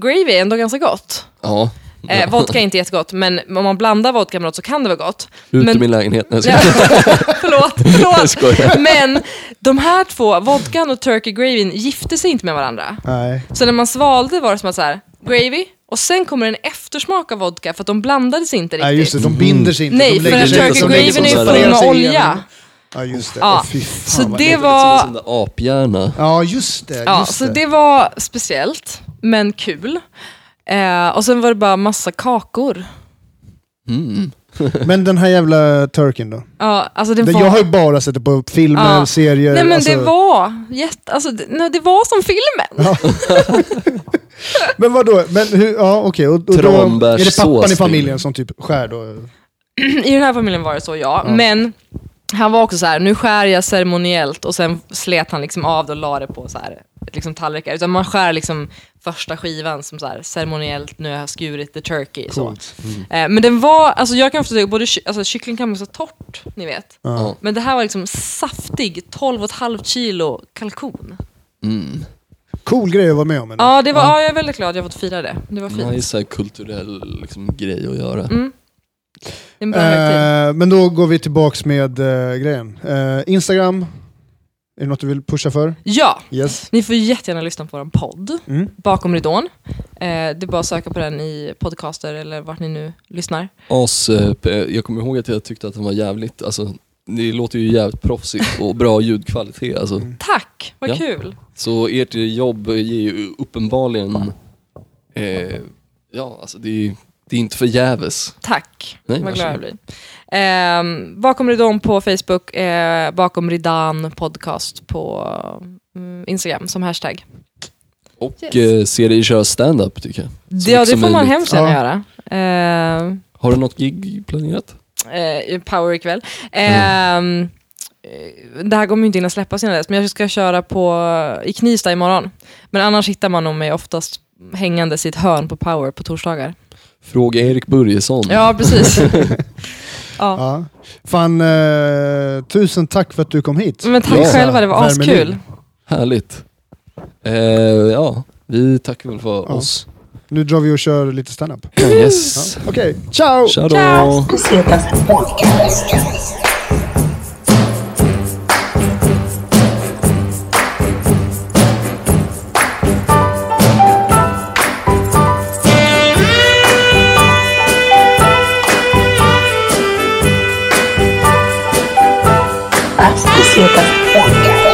C: gravy är ändå ganska gott.
B: Ja.
C: Eh, vodka är inte jättegott, men om man blandar vodka med något så kan det vara gott.
B: Ut
C: men,
B: ur min lägenhet. Nej, jag
C: Ja,
B: skojar.
C: förlåt,
B: Jag skojar.
C: förlåt. Men de här två, vodkan och turkey gravyn, gifte sig inte med varandra.
A: Nej.
C: Så när man svalde var det som att så här, gravy, och sen kommer en eftersmak av vodka för att de blandades inte riktigt.
A: Nej, just det.
B: Mhm.
A: De binder sig inte.
C: Nej,
A: de
C: för
A: lägger
C: en
A: sig-
B: turkey
A: de
C: turkey
A: lägger
C: gravyn är
A: sig- de
C: ju
B: som
A: lägger
C: full med
A: sig
C: olja.
A: igenom. Ja, just det.
C: Ja.
A: Åh, fy fan,
C: Så
A: vad
C: det
A: läckert.
B: Som
C: var...
B: en sån där aphjärna.
A: Ja, just det.
C: Ja,
A: just
C: så det var speciellt, men kul. Eh, och sen var det bara massa kakor.
B: Mm.
A: Men den här jävla turken då?
C: Ja, alltså den
A: Det-
C: var...
A: Jag har ju bara sett det på filmer,
C: Ja.
A: serier.
C: Nej men
A: alltså-
C: det var jätte, alltså, det, nej, det var som filmen.
A: Men vadå? Men hur, ja okej. Och, och då, är det pappan
B: Tranbärssås
A: i
B: till.
A: familjen som typ skär då?
C: I den här familjen var det så ja, men han var också så här, nu skär jag ceremoniellt och sen slet han liksom av det och la det på så här, liksom tallrikar. Utan man skär liksom första skivan som så här ceremoniellt, nu har jag skurit the turkey.
A: Coolt.
C: Så. Eh, men den var, alltså jag kan förstå det, både ky- alltså, kyckling kan vara så torrt, ni vet.
B: Ja.
C: Men det här var liksom saftig, 12,5 kilo kalkon.
B: Mm.
A: Cool grej att vara med om. ändå.
C: Ja, det var, ja, jag är väldigt glad jag har fått fira det. Det var fint.
B: Nice så här kulturell liksom, grej att göra.
C: Det är en bra högtid.
A: Eh, men då går vi tillbaks med eh, grejen. Eh, Instagram, är det något du vill pusha för?
C: Ja,
A: Yes.
C: ni får jättegärna lyssna på vår podd.
A: Mm.
C: Bakom ridån. Eh, det är bara att söka på den i podcaster eller vart ni nu lyssnar.
B: As, eh, p- jag kommer ihåg att jag tyckte att den var jävligt, alltså, det låter ju jävligt proffsigt och bra ljudkvalitet. Alltså.
A: Mm.
C: Tack, vad
B: Ja.
C: kul!
B: Så ert jobb ger ju uppenbarligen, eh, ja alltså det är, ju- det är inte förgäves.
C: Tack,
B: Nej,
C: vad glad jag
B: varsågod.
C: blir. Eh, bakom ridån på Facebook, eh, bakom ridan podcast på mm, Instagram som hashtag.
B: Och
C: Yes.
B: eh, se dig köra stand-up tycker jag. Så
C: ja,
B: mycket
C: det
B: som
C: får man
B: möjligt.
C: hemskt gärna
A: Ja.
C: göra. Eh,
B: Har du något gig planerat?
C: eh, Power ikväll. Ehm, eh, det här kommer ju inte hinna släppas innan dess, men jag ska köra på, i Knivsta imorgon. Men annars hittar man nog mig oftast hängandes i ett hörn på Power på torsdagar.
B: Fråga Erik Börjesson.
C: Ja, precis. ja.
A: Ja. Fan, eh, tusen tack för att du kom hit.
C: Men tack
A: Lisa
C: själva, det var
A: Wermelin.
C: askul.
B: Härligt. Eh, ja, vi tackar väl för
A: Ja.
B: oss.
A: Nu drar vi och kör lite standup.
B: Yes.
A: Okej, ciao!
B: Tja då.
C: Ciao.
D: Buceta Podcast. Buceta Podcast.